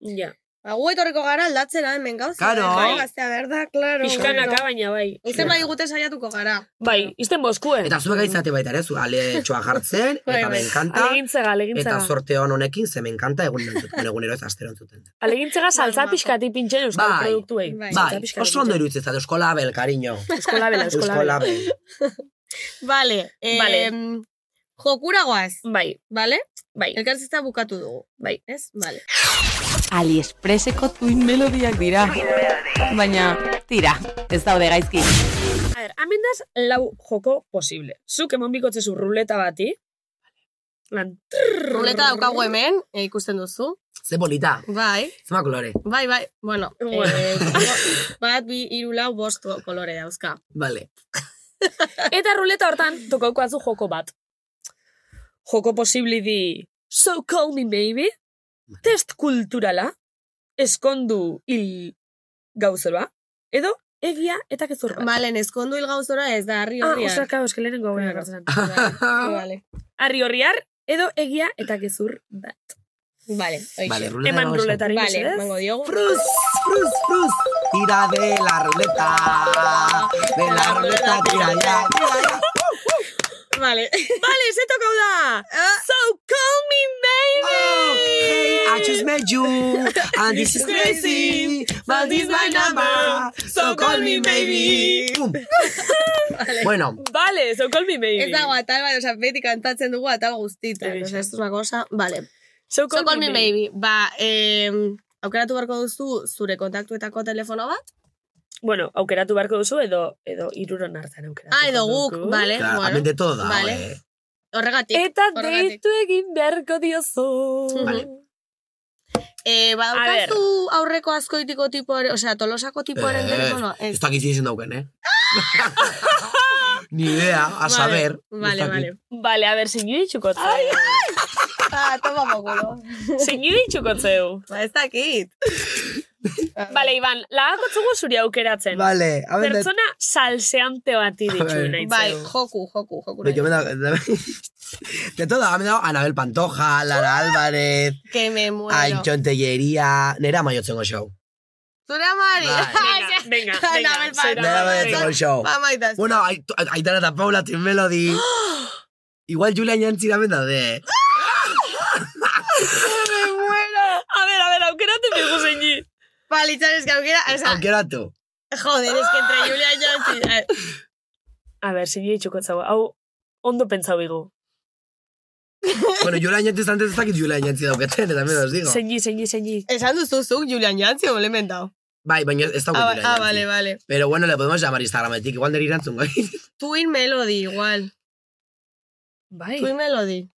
Speaker 11: Ja.
Speaker 2: Ba, gu etorriko gara aldatzera hemen gauza.
Speaker 10: Claro.
Speaker 2: Bai, gaztea berda, claro.
Speaker 11: Pixkanaka baina, bai.
Speaker 2: Izen bai gute saiatuko gara.
Speaker 11: Bai, izten boskuen.
Speaker 10: Eta zuek gaizate baita, ere, zu ale txoa jartzen,
Speaker 2: Bai,
Speaker 10: eta
Speaker 2: bai.
Speaker 10: me encanta,
Speaker 11: Alegintzega,
Speaker 10: eta
Speaker 11: alegintzega.
Speaker 10: sorte hon honekin, ze me encanta, egun entzuten, egunero ez astero entzuten.
Speaker 11: Alegintzega saltza
Speaker 2: Bai,
Speaker 11: pixkati pintxen euskal
Speaker 10: Bai.
Speaker 11: produktuei.
Speaker 2: Bai.
Speaker 10: Bai, oso ondo iruditzen zate, Eusko Label, cariño.
Speaker 11: Eusko labela, eusko
Speaker 10: Eusko
Speaker 11: labela.
Speaker 10: Label.
Speaker 2: Vale. Eh,
Speaker 11: Vale.
Speaker 2: Jokura guaz,
Speaker 11: Bai,
Speaker 2: vale?
Speaker 11: bai,
Speaker 2: Elkarzitza bukatu dugu.
Speaker 11: bai.
Speaker 2: Ez? Vale.
Speaker 12: Aliexpreseko tuin melodiak dira. Baina, tira, ez daude gaizki.
Speaker 11: A ver, amendaz lau joko posible. Zuk emon bikotzezu ruleta bati. Lan.
Speaker 2: Ruleta daukagu hemen, eh, ikusten duzu.
Speaker 10: Ze bonita,
Speaker 2: Bai,
Speaker 10: zema kolore.
Speaker 2: bai, bai. Bueno,
Speaker 11: Bueno.
Speaker 2: eh, go- bat, bi, iru, lau, bost kolore dauzka.
Speaker 10: Vale.
Speaker 11: Eta ruleta hortan tokauko atzu joko bat. Joko posible di So Call Me Maybe, test kulturala, eskondu hil gauzeroa, edo egia eta gezurra.
Speaker 2: Malen, eskondu hil gauzora ez da, harri
Speaker 11: Ah,
Speaker 2: horrian.
Speaker 11: ostra, claro, es que lehenengo hau
Speaker 2: Claro.
Speaker 11: gertatzen.
Speaker 2: Vale,
Speaker 11: Arri horriar, edo egia eta gezur bat.
Speaker 2: vale.
Speaker 10: Vale,
Speaker 2: Vale,
Speaker 10: ruleta
Speaker 11: Eman
Speaker 10: dago esan.
Speaker 11: ruletari
Speaker 2: vale,
Speaker 11: mesedez.
Speaker 2: mango diogu.
Speaker 10: Fruz, fruz, fruz. Tira de la ruleta. De la ruleta, tira ya. tira ya.
Speaker 2: Vale. Ah.
Speaker 11: Vale, ze tokau da! So call me baby!
Speaker 10: Oh, hey, atxo just met you, and this is crazy, but this is my number, so call me baby. Pum. bueno,
Speaker 3: Vale, so call me maybe.
Speaker 2: Ez dago atal bat, oza, beti kantatzen dugu atal guztitan. Oza, ez una cosa, vale.
Speaker 3: So
Speaker 2: call, me maybe. Ba, em, aukeratu beharko duzu zure kontaktuetako telefono bat?
Speaker 3: Bueno, aukeratu beharko duzu edo edo iruron hartan aukeratu.
Speaker 2: Ah, edo guk, vale.
Speaker 10: claro,
Speaker 2: bueno.
Speaker 10: hemen de todo dago,
Speaker 2: Vale.
Speaker 10: eh.
Speaker 2: Horregatik.
Speaker 3: Eta
Speaker 2: horregatik.
Speaker 3: deitu egin beharko diozu.
Speaker 10: Vale.
Speaker 2: Eh, badaukazu aurreko askoitiko tipo, osea, tolosako
Speaker 10: Eh,
Speaker 2: tipoaren telefonoa?
Speaker 10: Ez
Speaker 2: Ez.
Speaker 10: dakit izen dauken, eh? Ni idea, a saber.
Speaker 3: Vale,
Speaker 10: ez dakit.
Speaker 3: vale. Vale, a ver, seinu itxukotze. Ai,
Speaker 2: Ah, toma pokulo.
Speaker 3: Seinu itxukotzeu.
Speaker 2: Ba, ez dakit.
Speaker 3: Vale, Iban, lagakotzugu zuri aukeratzen.
Speaker 10: Vale, a ver,
Speaker 3: Pertsona salseante bati ditu
Speaker 10: ver.
Speaker 3: nahi
Speaker 2: Bai, joku, joku, joku.
Speaker 10: Yo me he dado- De todo, me he dado Anabel Pantoja, Lara Álvarez,
Speaker 2: Que me muero.
Speaker 10: Antxon Tellería, nera maiotzengo show.
Speaker 2: Zure amari.
Speaker 10: Bai.
Speaker 3: Venga, venga,
Speaker 2: Ana,
Speaker 3: venga,
Speaker 2: bel,
Speaker 3: zure
Speaker 2: bai,
Speaker 10: Nera
Speaker 2: bai, bai.
Speaker 10: maiotzengo show.
Speaker 2: Ba, maitaz.
Speaker 10: Bueno, Ai- Aitana eta Paula, Tin Melody. Igual Julia Ñantzira men daude. eh?
Speaker 2: me muero.
Speaker 3: A ver, a ver, aukeratu dugu zeini.
Speaker 2: Vale, es que aukera, o sea,
Speaker 10: Aukeratu.
Speaker 2: joder, es que entre eh, Julia Jones y...
Speaker 3: A ver, seinu itxukotzeu. Hau, ondo pentsau igu.
Speaker 10: Bueno, Julia Ñantzi antes ez dakit Julia Ñantzi daukaten, eta menos digo.
Speaker 3: Zeini, zeini, zeini.
Speaker 2: Esan duzu zuk Julian Jantzi, o lo he inventado.
Speaker 10: Bai, baina ez daukat
Speaker 2: Ah,
Speaker 10: Julia
Speaker 2: ah,
Speaker 10: Ñantzi.
Speaker 2: vale, vale.
Speaker 10: Pero bueno, le podemos llamar Instagrametik, igual niri erantzun gai.
Speaker 2: Twin Melody igual.
Speaker 3: Bai,
Speaker 2: Twin Melody.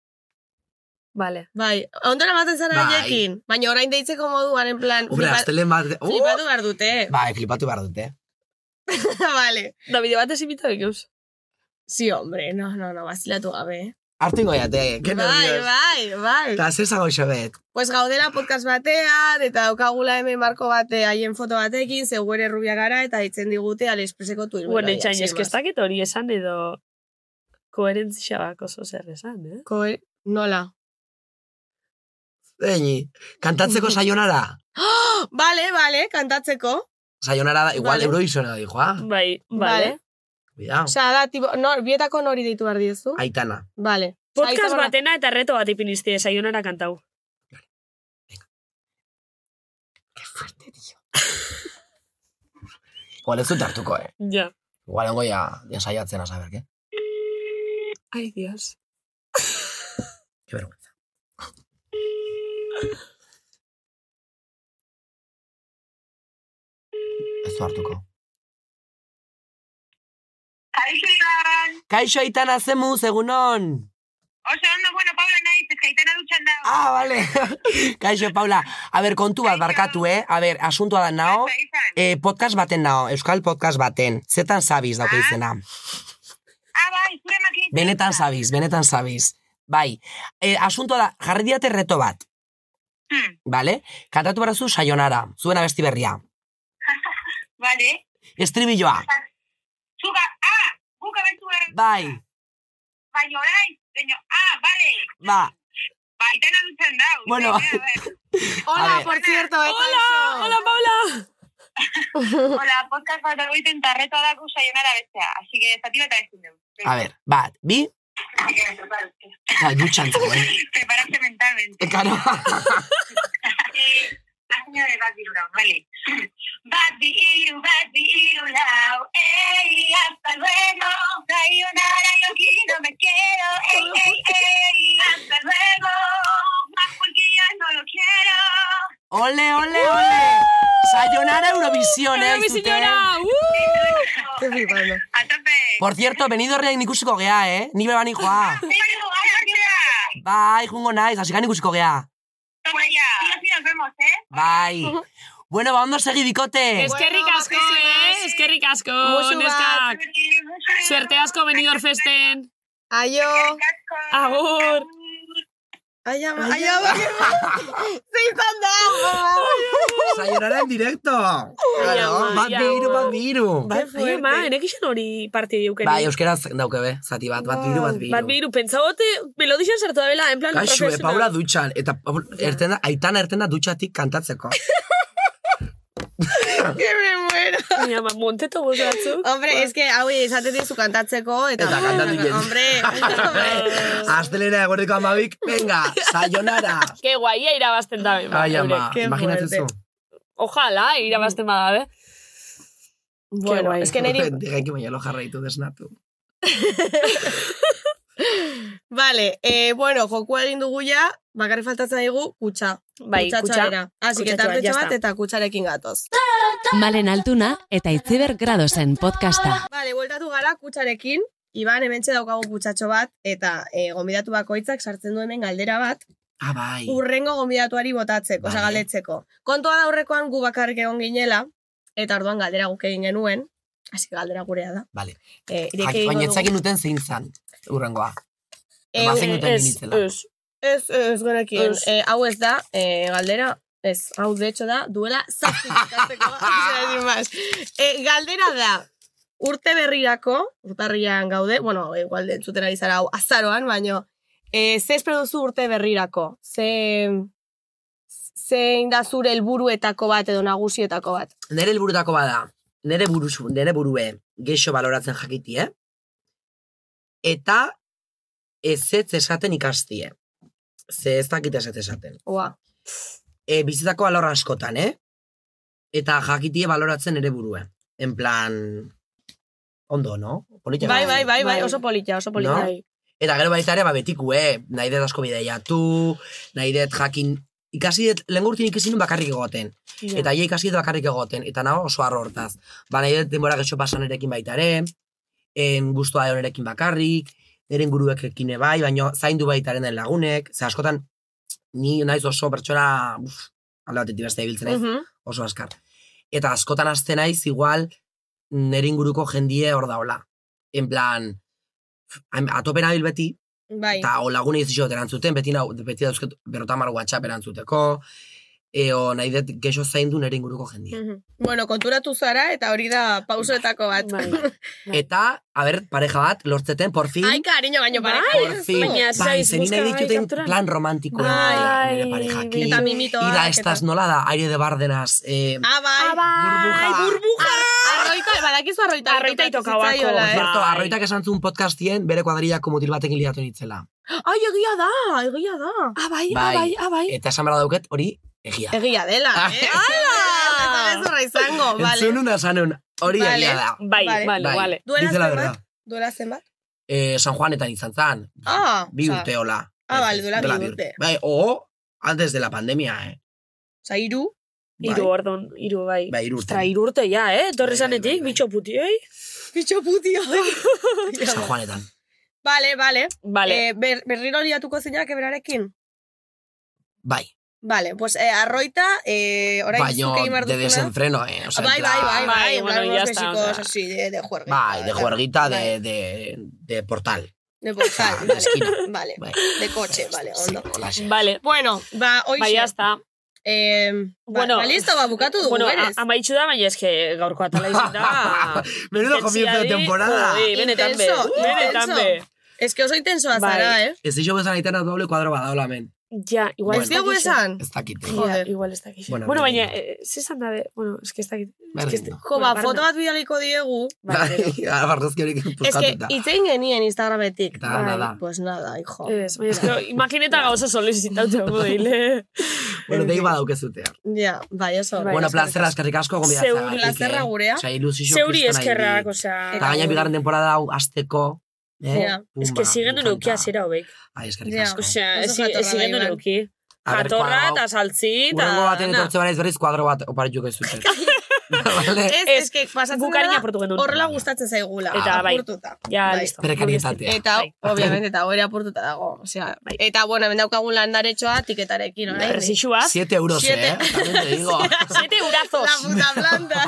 Speaker 3: vale.
Speaker 2: Bai, ondo namaten zara
Speaker 10: Bai.
Speaker 2: haiekin. Baina orain deitzeko moduan, en plan...
Speaker 10: Hombre,
Speaker 2: flipa-
Speaker 10: astelen bat... Oh!
Speaker 2: Flipatu behar dute.
Speaker 10: Bai, flipatu behar dute.
Speaker 2: vale.
Speaker 3: Da bideo batez imita bekeuz.
Speaker 2: Sí, hombre, no, no, no, bazilatu gabe.
Speaker 10: Artu ingo jate, que
Speaker 2: Bai,
Speaker 10: nervios.
Speaker 2: bai, bai.
Speaker 10: Eta zer zago xabet.
Speaker 2: Pues gaudela podcast batean, eta daukagula hemen marko bate haien foto batekin, zegoere rubia gara, eta ditzen digute aliexpreseko tuin.
Speaker 3: Bueno, itxain, eske ez dakit hori esan edo koherentzia bak oso zer esan, eh?
Speaker 2: Koe, nola.
Speaker 10: Eñi, kantatzeko saionara.
Speaker 2: Vale, vale, kantatzeko.
Speaker 10: Saionara da, igual
Speaker 2: Vale.
Speaker 10: Eurovisora di, joa.
Speaker 3: Bai, vale.
Speaker 10: Cuidao.
Speaker 2: Osa, da, tipo, nor, bietako nori deitu behar diezu.
Speaker 10: Aitana.
Speaker 2: Vale.
Speaker 3: Podcast
Speaker 2: Aitana-
Speaker 3: batena eta reto bat ipinizte, saionara kantau.
Speaker 10: Igual ez dut hartuko, eh.
Speaker 3: Ja.
Speaker 10: Igual ongo ya, ya saiatzen a saber, que.
Speaker 3: Ai, dios.
Speaker 10: Qué vergüenza. Ez du hartuko. Kaixo Aitana zemu, egunon.
Speaker 7: Oso ondo, bueno, Paula naiz, ez gaitena dutxan da.
Speaker 10: Ah, vale. Kaixo, Paula. A ber, kontu bat barkatu, eh? A ber, asuntua da
Speaker 12: Ah,
Speaker 10: nao. Eh, podcast baten nao, Euskal podcast baten. Zetan zabiz dauke izena.
Speaker 7: Ah, bai, zure makin.
Speaker 10: Benetan zabiz, benetan zabiz. Bai. Eh, asuntua da, jarri diate reto bat.
Speaker 7: Hmm.
Speaker 10: Vale? Kantatu barazu saionara, zuen abesti berria.
Speaker 7: Vale.
Speaker 10: Estribilloa.
Speaker 7: Zuga, ah, guk abetu behar.
Speaker 10: Bai,
Speaker 7: Bai, orain, baina, ah, bale.
Speaker 10: ba.
Speaker 7: Bai, dena dutxan da.
Speaker 10: Bueno. A
Speaker 2: Hola,
Speaker 10: ver.
Speaker 2: por cierto, ¿eh? eta
Speaker 3: Hola,
Speaker 2: eso.
Speaker 3: hola, Paula!
Speaker 7: Hola, podcast bat egiten tarreto dago saionara bestea. Así que, zati bat ezin dugu.
Speaker 10: A ber, bat, bi,
Speaker 7: Así que, prepararte.
Speaker 10: eta dutxan zegoen.
Speaker 7: Prepararte mentalmente.
Speaker 10: Ekaro.
Speaker 7: Eh, Azina de bat biru lau, vale. Bat biru, bat biru lau, ey, hasta luego. Sayonara, yo aquí no me quiero, ey, ey, ey, hasta luego. Más porque ya no lo quiero.
Speaker 10: Ole, ole, ole. Sayonara Eurovisión,
Speaker 2: Bai,
Speaker 10: eh?
Speaker 3: Eurovisiora!
Speaker 2: uh,
Speaker 10: aizuten.
Speaker 2: Estoy flipando.
Speaker 7: A tope.
Speaker 10: Por cierto, venido horrean ikusiko gea, eh? Ni beban joa.
Speaker 7: Bueno, ahora
Speaker 10: Bai, jungo naiz, asikan ikusiko gea.
Speaker 7: Toma ya. Sí, así nos vemos, ¿eh?
Speaker 10: Bai. Bueno, ba, ondo segi bikote.
Speaker 3: Eskerrik
Speaker 2: Bueno,
Speaker 3: asko,
Speaker 2: guapísimas.
Speaker 3: eh? Eskerrik asko,
Speaker 2: Musu bat.
Speaker 3: neskak. Suerte asko benidor festen.
Speaker 2: Aio.
Speaker 3: Agur.
Speaker 2: Aio, ama- aio, ama, que me- Se izan da.
Speaker 10: Sayonara en directo. Claro,
Speaker 3: ama,
Speaker 10: bat
Speaker 3: ja,
Speaker 10: biru,
Speaker 3: ama.
Speaker 10: bat biru.
Speaker 3: Bai, bai, ma, enek izan hori parte diukeni.
Speaker 10: Bai, euskeraz dauke be, zati bat, bat biru, bat
Speaker 11: Ba,
Speaker 10: biru.
Speaker 3: Bat biru, pentsabote, melodixan sartu da bela, en plan
Speaker 10: Kaixu, eh,
Speaker 3: profesional.
Speaker 10: oh, Paula dutxan, eta Paul- erten da, aitana erten da dutxatik kantatzeko.
Speaker 2: que me muero.
Speaker 11: Baina, ba, monteto boz batzuk.
Speaker 2: Hombre, es que hau esaten dizu kantatzeko, eta...
Speaker 10: Eta kantatu egiten.
Speaker 2: Hombre,
Speaker 10: Astelera eguerdiko amabik, venga, sayonara.
Speaker 11: Ke guaia irabazten dabe. ba,
Speaker 10: Ai, ama,
Speaker 11: eurek.
Speaker 10: imaginatzen zu.
Speaker 11: Ojalá irabazten badabe. Bueno,
Speaker 10: guai.
Speaker 11: es que neri-
Speaker 10: Digaiki baina lo jarraitu desnatu.
Speaker 2: Vale, eh, bueno, jokua egin dugu ja, bakarri faltatzen digu, kutsa.
Speaker 11: Bai,
Speaker 2: Kutsa
Speaker 11: kutxa.
Speaker 2: txalera. Así Ah, que
Speaker 11: Kutxa txalera,
Speaker 2: tartetxo
Speaker 11: ya
Speaker 2: bat
Speaker 11: está.
Speaker 2: eta kutsarekin gatoz.
Speaker 12: Malen Altuna eta Itziber Gradosen podcasta.
Speaker 2: Vale, bueltatu gara kutsarekin. Iban, hementxe daukagu kutsatxo bat, eta eh, gomidatu bakoitzak sartzen du hemen galdera bat,
Speaker 10: Ah, bai.
Speaker 2: urrengo gomidatuari botatzeko, osea galdetzeko. Kontua da aurrekoan gu bakarrik egon ginela, eta orduan galdera guk egin genuen, hasi que galdera gurea da.
Speaker 10: Vale.
Speaker 2: Eh, ireki
Speaker 10: Jaki-
Speaker 2: egingo
Speaker 10: Baina
Speaker 2: dugu.
Speaker 10: etzakin duten zein zan, urrengoa.
Speaker 2: Eh,
Speaker 10: Bazen duten
Speaker 2: ez,
Speaker 10: ninitzela.
Speaker 11: Ez,
Speaker 2: Ez, ez, genekien.
Speaker 11: Ez.
Speaker 2: Eh, hau ez da, eh, galdera, ez, hau de hecho da, duela zazpi ikasteko, sin más. Eh, galdera da, urte berrirako, urtarrian gaude, bueno, igual entzuten ari zara hau azaroan, baino, eh, ze espero duzu urte berrirako? Ze, zein da zure helburuetako bat edo nagusietako bat?
Speaker 10: Nere helburutako bada, nere buruzu, nere burue geixo baloratzen jakitie, eta ez ez esaten ikastie. Ze ez dakit ez esaten.
Speaker 2: Oa.
Speaker 10: E, bizitzako alor askotan, eh? Eta jakitie baloratzen nere burue. En plan, ondo, no? Polita
Speaker 2: Bai,
Speaker 10: gaude.
Speaker 2: bai, bai, bai, oso polita, oso polita. Bai.
Speaker 10: No? Eta gero baita ere, ba, betiku, eh? Nahi dut asko bideiatu, nahi dut jakin... Ikasi dut, lehen urtin ikasi nun bakarrik egoten.
Speaker 11: Ja.
Speaker 10: Eta hie ikasi dut bakarrik egoten. Eta nago oso arro hortaz. Ba, nahi dut denbora getxo pasan erekin baita ere, em, guztua erekin bakarrik, eren guruekekin bai, baino zaindu baitaren den lagunek. Ze askotan, ni naiz oso pertsona, uf, alde batetik beste ibiltzen naiz,
Speaker 2: Mhm.
Speaker 10: oso askar. Eta askotan azten naiz, igual, nire inguruko jendie hor daola. En plan, atopen abil beti,
Speaker 2: Bai.
Speaker 10: eta o lagunei ez dizut erantzuten, beti, nau, beti dauzket berrota mar WhatsApp erantzuteko, eo nahi dut geixo zaindu nire inguruko jendia.
Speaker 2: Mhm. Bueno, konturatu zara eta hori da pausoetako bat.
Speaker 10: Bai. Eta, a ber, pareja bat, lortzeten, por fin,
Speaker 2: bai. Ai, cariño, baino
Speaker 10: Bai,
Speaker 2: pareja.
Speaker 10: por fin, bai, zenin nahi dituten plan romantikoa,
Speaker 2: Bai.
Speaker 10: nire parejakin.
Speaker 2: Eta mimitoak,
Speaker 10: Ida,
Speaker 2: eta-
Speaker 10: estas nola da, aire de bardenas, eh,
Speaker 2: Ah, bai.
Speaker 10: Burbuja.
Speaker 2: burbuja. Arroita, badakizu arroita. Arroita
Speaker 10: Por
Speaker 2: eh?
Speaker 10: cierto, arroitak esan zuen podcastien bere kuadrillako mutil batekin liatu nintzela.
Speaker 2: Ai, egia da, egia da. Ah, bai,
Speaker 10: Eta esan behar dauket, hori, egia.
Speaker 2: Egia dela,
Speaker 10: Ah.
Speaker 2: eh? Ala! Ez horra izango, bale.
Speaker 10: Entzun una sanun, hori
Speaker 2: Vale.
Speaker 10: egia da.
Speaker 11: Bai,
Speaker 2: Vale.
Speaker 11: vale, vale.
Speaker 2: Duela
Speaker 10: Dice la
Speaker 2: zenbat?
Speaker 10: verdad.
Speaker 2: Duela zenbat?
Speaker 10: Eh, San Juanetan izan zan,
Speaker 2: Ah,
Speaker 10: bi
Speaker 2: osea,
Speaker 10: urte hola.
Speaker 2: Ah, bale, duela
Speaker 10: Dela
Speaker 2: bi urte.
Speaker 10: Bai, o, antes de la pandemia, eh.
Speaker 2: Osa, iru.
Speaker 10: Bai.
Speaker 11: Iru ordon, iru bai.
Speaker 10: Bai, hiru urte.
Speaker 11: Ostra, hiru urte ja, eh?
Speaker 3: Bai,
Speaker 11: Torre zanetik, bitxo putioi.
Speaker 2: Bitxo putioi.
Speaker 10: San Juanetan.
Speaker 2: Vale, vale.
Speaker 11: Vale.
Speaker 2: Eh, ber, berriro liatuko zeinak eberarekin?
Speaker 10: Bai,
Speaker 2: Vale, pues eh, arroita, eh, orain
Speaker 10: baino,
Speaker 2: zuke imar
Speaker 10: de
Speaker 2: duzuna.
Speaker 10: desenfreno, eh. O sea, en
Speaker 2: bai, bai, bai,
Speaker 10: plan-
Speaker 2: bai,
Speaker 11: Bai, bueno,
Speaker 2: bai,
Speaker 11: ya
Speaker 2: unos
Speaker 11: está,
Speaker 2: besicos
Speaker 11: o
Speaker 2: así de, de juerga.
Speaker 10: Bai, de juerguita de, de, de portal.
Speaker 2: De portal,
Speaker 10: Ah, de
Speaker 2: vale,
Speaker 10: esquina.
Speaker 2: vale.
Speaker 10: Bai.
Speaker 2: De coche, vale, ondo.
Speaker 10: Olaxe.
Speaker 11: Vale.
Speaker 2: Bueno, ba, hoy
Speaker 11: Bai, ya está.
Speaker 2: Eh, bueno, ba, listo, ba, bukatu dugu,
Speaker 11: bueno,
Speaker 2: berez.
Speaker 11: a- amaitxu da, baina eske gaurko atala izan da.
Speaker 10: Menudo
Speaker 11: Intensidadi-
Speaker 10: comienzo de temporada.
Speaker 11: Jode, Benetan be,
Speaker 2: Intenso,
Speaker 11: benetan
Speaker 2: intenso.
Speaker 11: be.
Speaker 2: Es que oso intensoa
Speaker 11: Bai.
Speaker 2: zara, eh?
Speaker 10: Ez dixo bezan aitena doble kuadro badaola, men.
Speaker 11: Ja, igual
Speaker 10: Bueno.
Speaker 11: ez
Speaker 10: Ez diogu
Speaker 11: dakizu.
Speaker 2: esan?
Speaker 10: Ez dakit.
Speaker 11: Ja, igual ez dakizu.
Speaker 10: Bueno,
Speaker 11: Bueno,
Speaker 10: berdin.
Speaker 11: baina, eh, ze esan da, be- bueno, eske ez dakit.
Speaker 10: Berdin
Speaker 11: eske ez-
Speaker 10: da.
Speaker 2: Jo, ba,
Speaker 11: Barna.
Speaker 2: foto bat bidaliko diegu.
Speaker 10: Bai, barrezki horiek
Speaker 2: Es que
Speaker 10: puzkatuta.
Speaker 2: itzein genien Instagrametik. Bai,
Speaker 10: Eta nada.
Speaker 2: Pues nada, hijo.
Speaker 11: Ez, baina eske, imagineta gauza solicitaute hongo dile.
Speaker 10: Bueno, dei badaukezute.
Speaker 2: Ja, bai, eso.
Speaker 10: Bueno, plazerra eskerrik asko gombidaz.
Speaker 11: Zeuri, plazerra gurea.
Speaker 10: Osa, ilusio.
Speaker 11: Zeuri eskerrak, osea.
Speaker 10: Eta gaina bigarren temporada hau azteko. Eh?
Speaker 11: Ja. Ez que zigendu neukia zera hobek.
Speaker 10: Ai, eskerrik
Speaker 11: Ja,
Speaker 10: asko.
Speaker 11: Osea,
Speaker 2: Oso
Speaker 11: ez
Speaker 2: jatorra
Speaker 11: ez zigendu
Speaker 2: da, Iban.
Speaker 11: neuki.
Speaker 10: A ber,
Speaker 11: Jatorra
Speaker 10: kuadro-
Speaker 11: eta saltzi eta...
Speaker 10: Urrengo baten
Speaker 11: na.
Speaker 10: etortze banaiz berriz kuadro bat oparituko ez dute. vale?
Speaker 2: Ez,
Speaker 11: Eh,
Speaker 2: ez, que pasatzen
Speaker 11: Guk harina
Speaker 2: dela
Speaker 11: portu genuen.
Speaker 2: horrela gustatzen zaigula.
Speaker 11: Eta bai.
Speaker 2: apurtuta.
Speaker 11: Ja,
Speaker 2: Bai.
Speaker 11: listo.
Speaker 10: Prekarietatea.
Speaker 11: eh,
Speaker 2: Eta,
Speaker 11: bai.
Speaker 2: obviamente, eta hori apurtuta dago. Osea, Eta, bueno, hemen daukagun landaretxoa tiketarekin,
Speaker 11: Bai,
Speaker 2: orain.
Speaker 11: Prezisua.
Speaker 10: 7 euros,
Speaker 2: Siete.
Speaker 10: eh? También te digo.
Speaker 11: Siete urazos.
Speaker 2: La puta planta.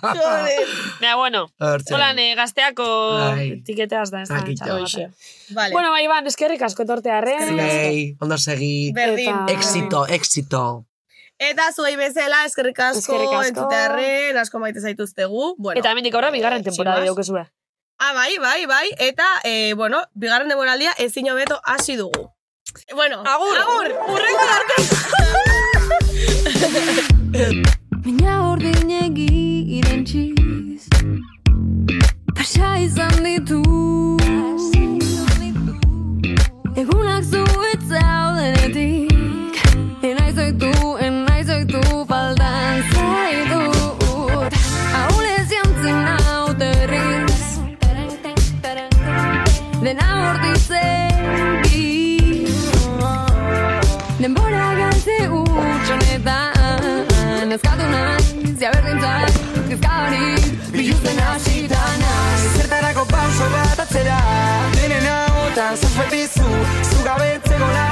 Speaker 2: Joder.
Speaker 11: Baina, Ah, bueno.
Speaker 10: Hortxe.
Speaker 11: Hola, ne, gazteako
Speaker 10: Bai.
Speaker 11: tiketeaz da. Ez da,
Speaker 10: Jakite.
Speaker 11: txarra
Speaker 10: Hoxe.
Speaker 11: bat.
Speaker 2: Vale.
Speaker 11: Bueno, bai, Iban, eskerrik asko tortearen.
Speaker 10: Zuei, Bai. ondo segi.
Speaker 2: Berdin.
Speaker 11: Eta-
Speaker 10: Éxito, éxito.
Speaker 2: Eta zuei bezala, eskerrik asko,
Speaker 11: Eskerrik asko.
Speaker 2: entzutearren, asko maite zaituztegu. Bueno, eh,
Speaker 11: Eta hemendik aurra bigarren temporada
Speaker 2: sin más.
Speaker 11: daukezue.
Speaker 2: Ah, bai, bai, bai. Eta, eh, bueno, bigarren demoraldia ezin hobeto hasi dugu. Bueno, agur, agur, urrengo arte.
Speaker 12: Baina ordin
Speaker 11: eskatu naiz, jaberrintzat, kezka hori, biluzten hasi da naiz. Zertarako pauso bat atzera, denen ahotan zazpetizu, zugabetzeko nahi.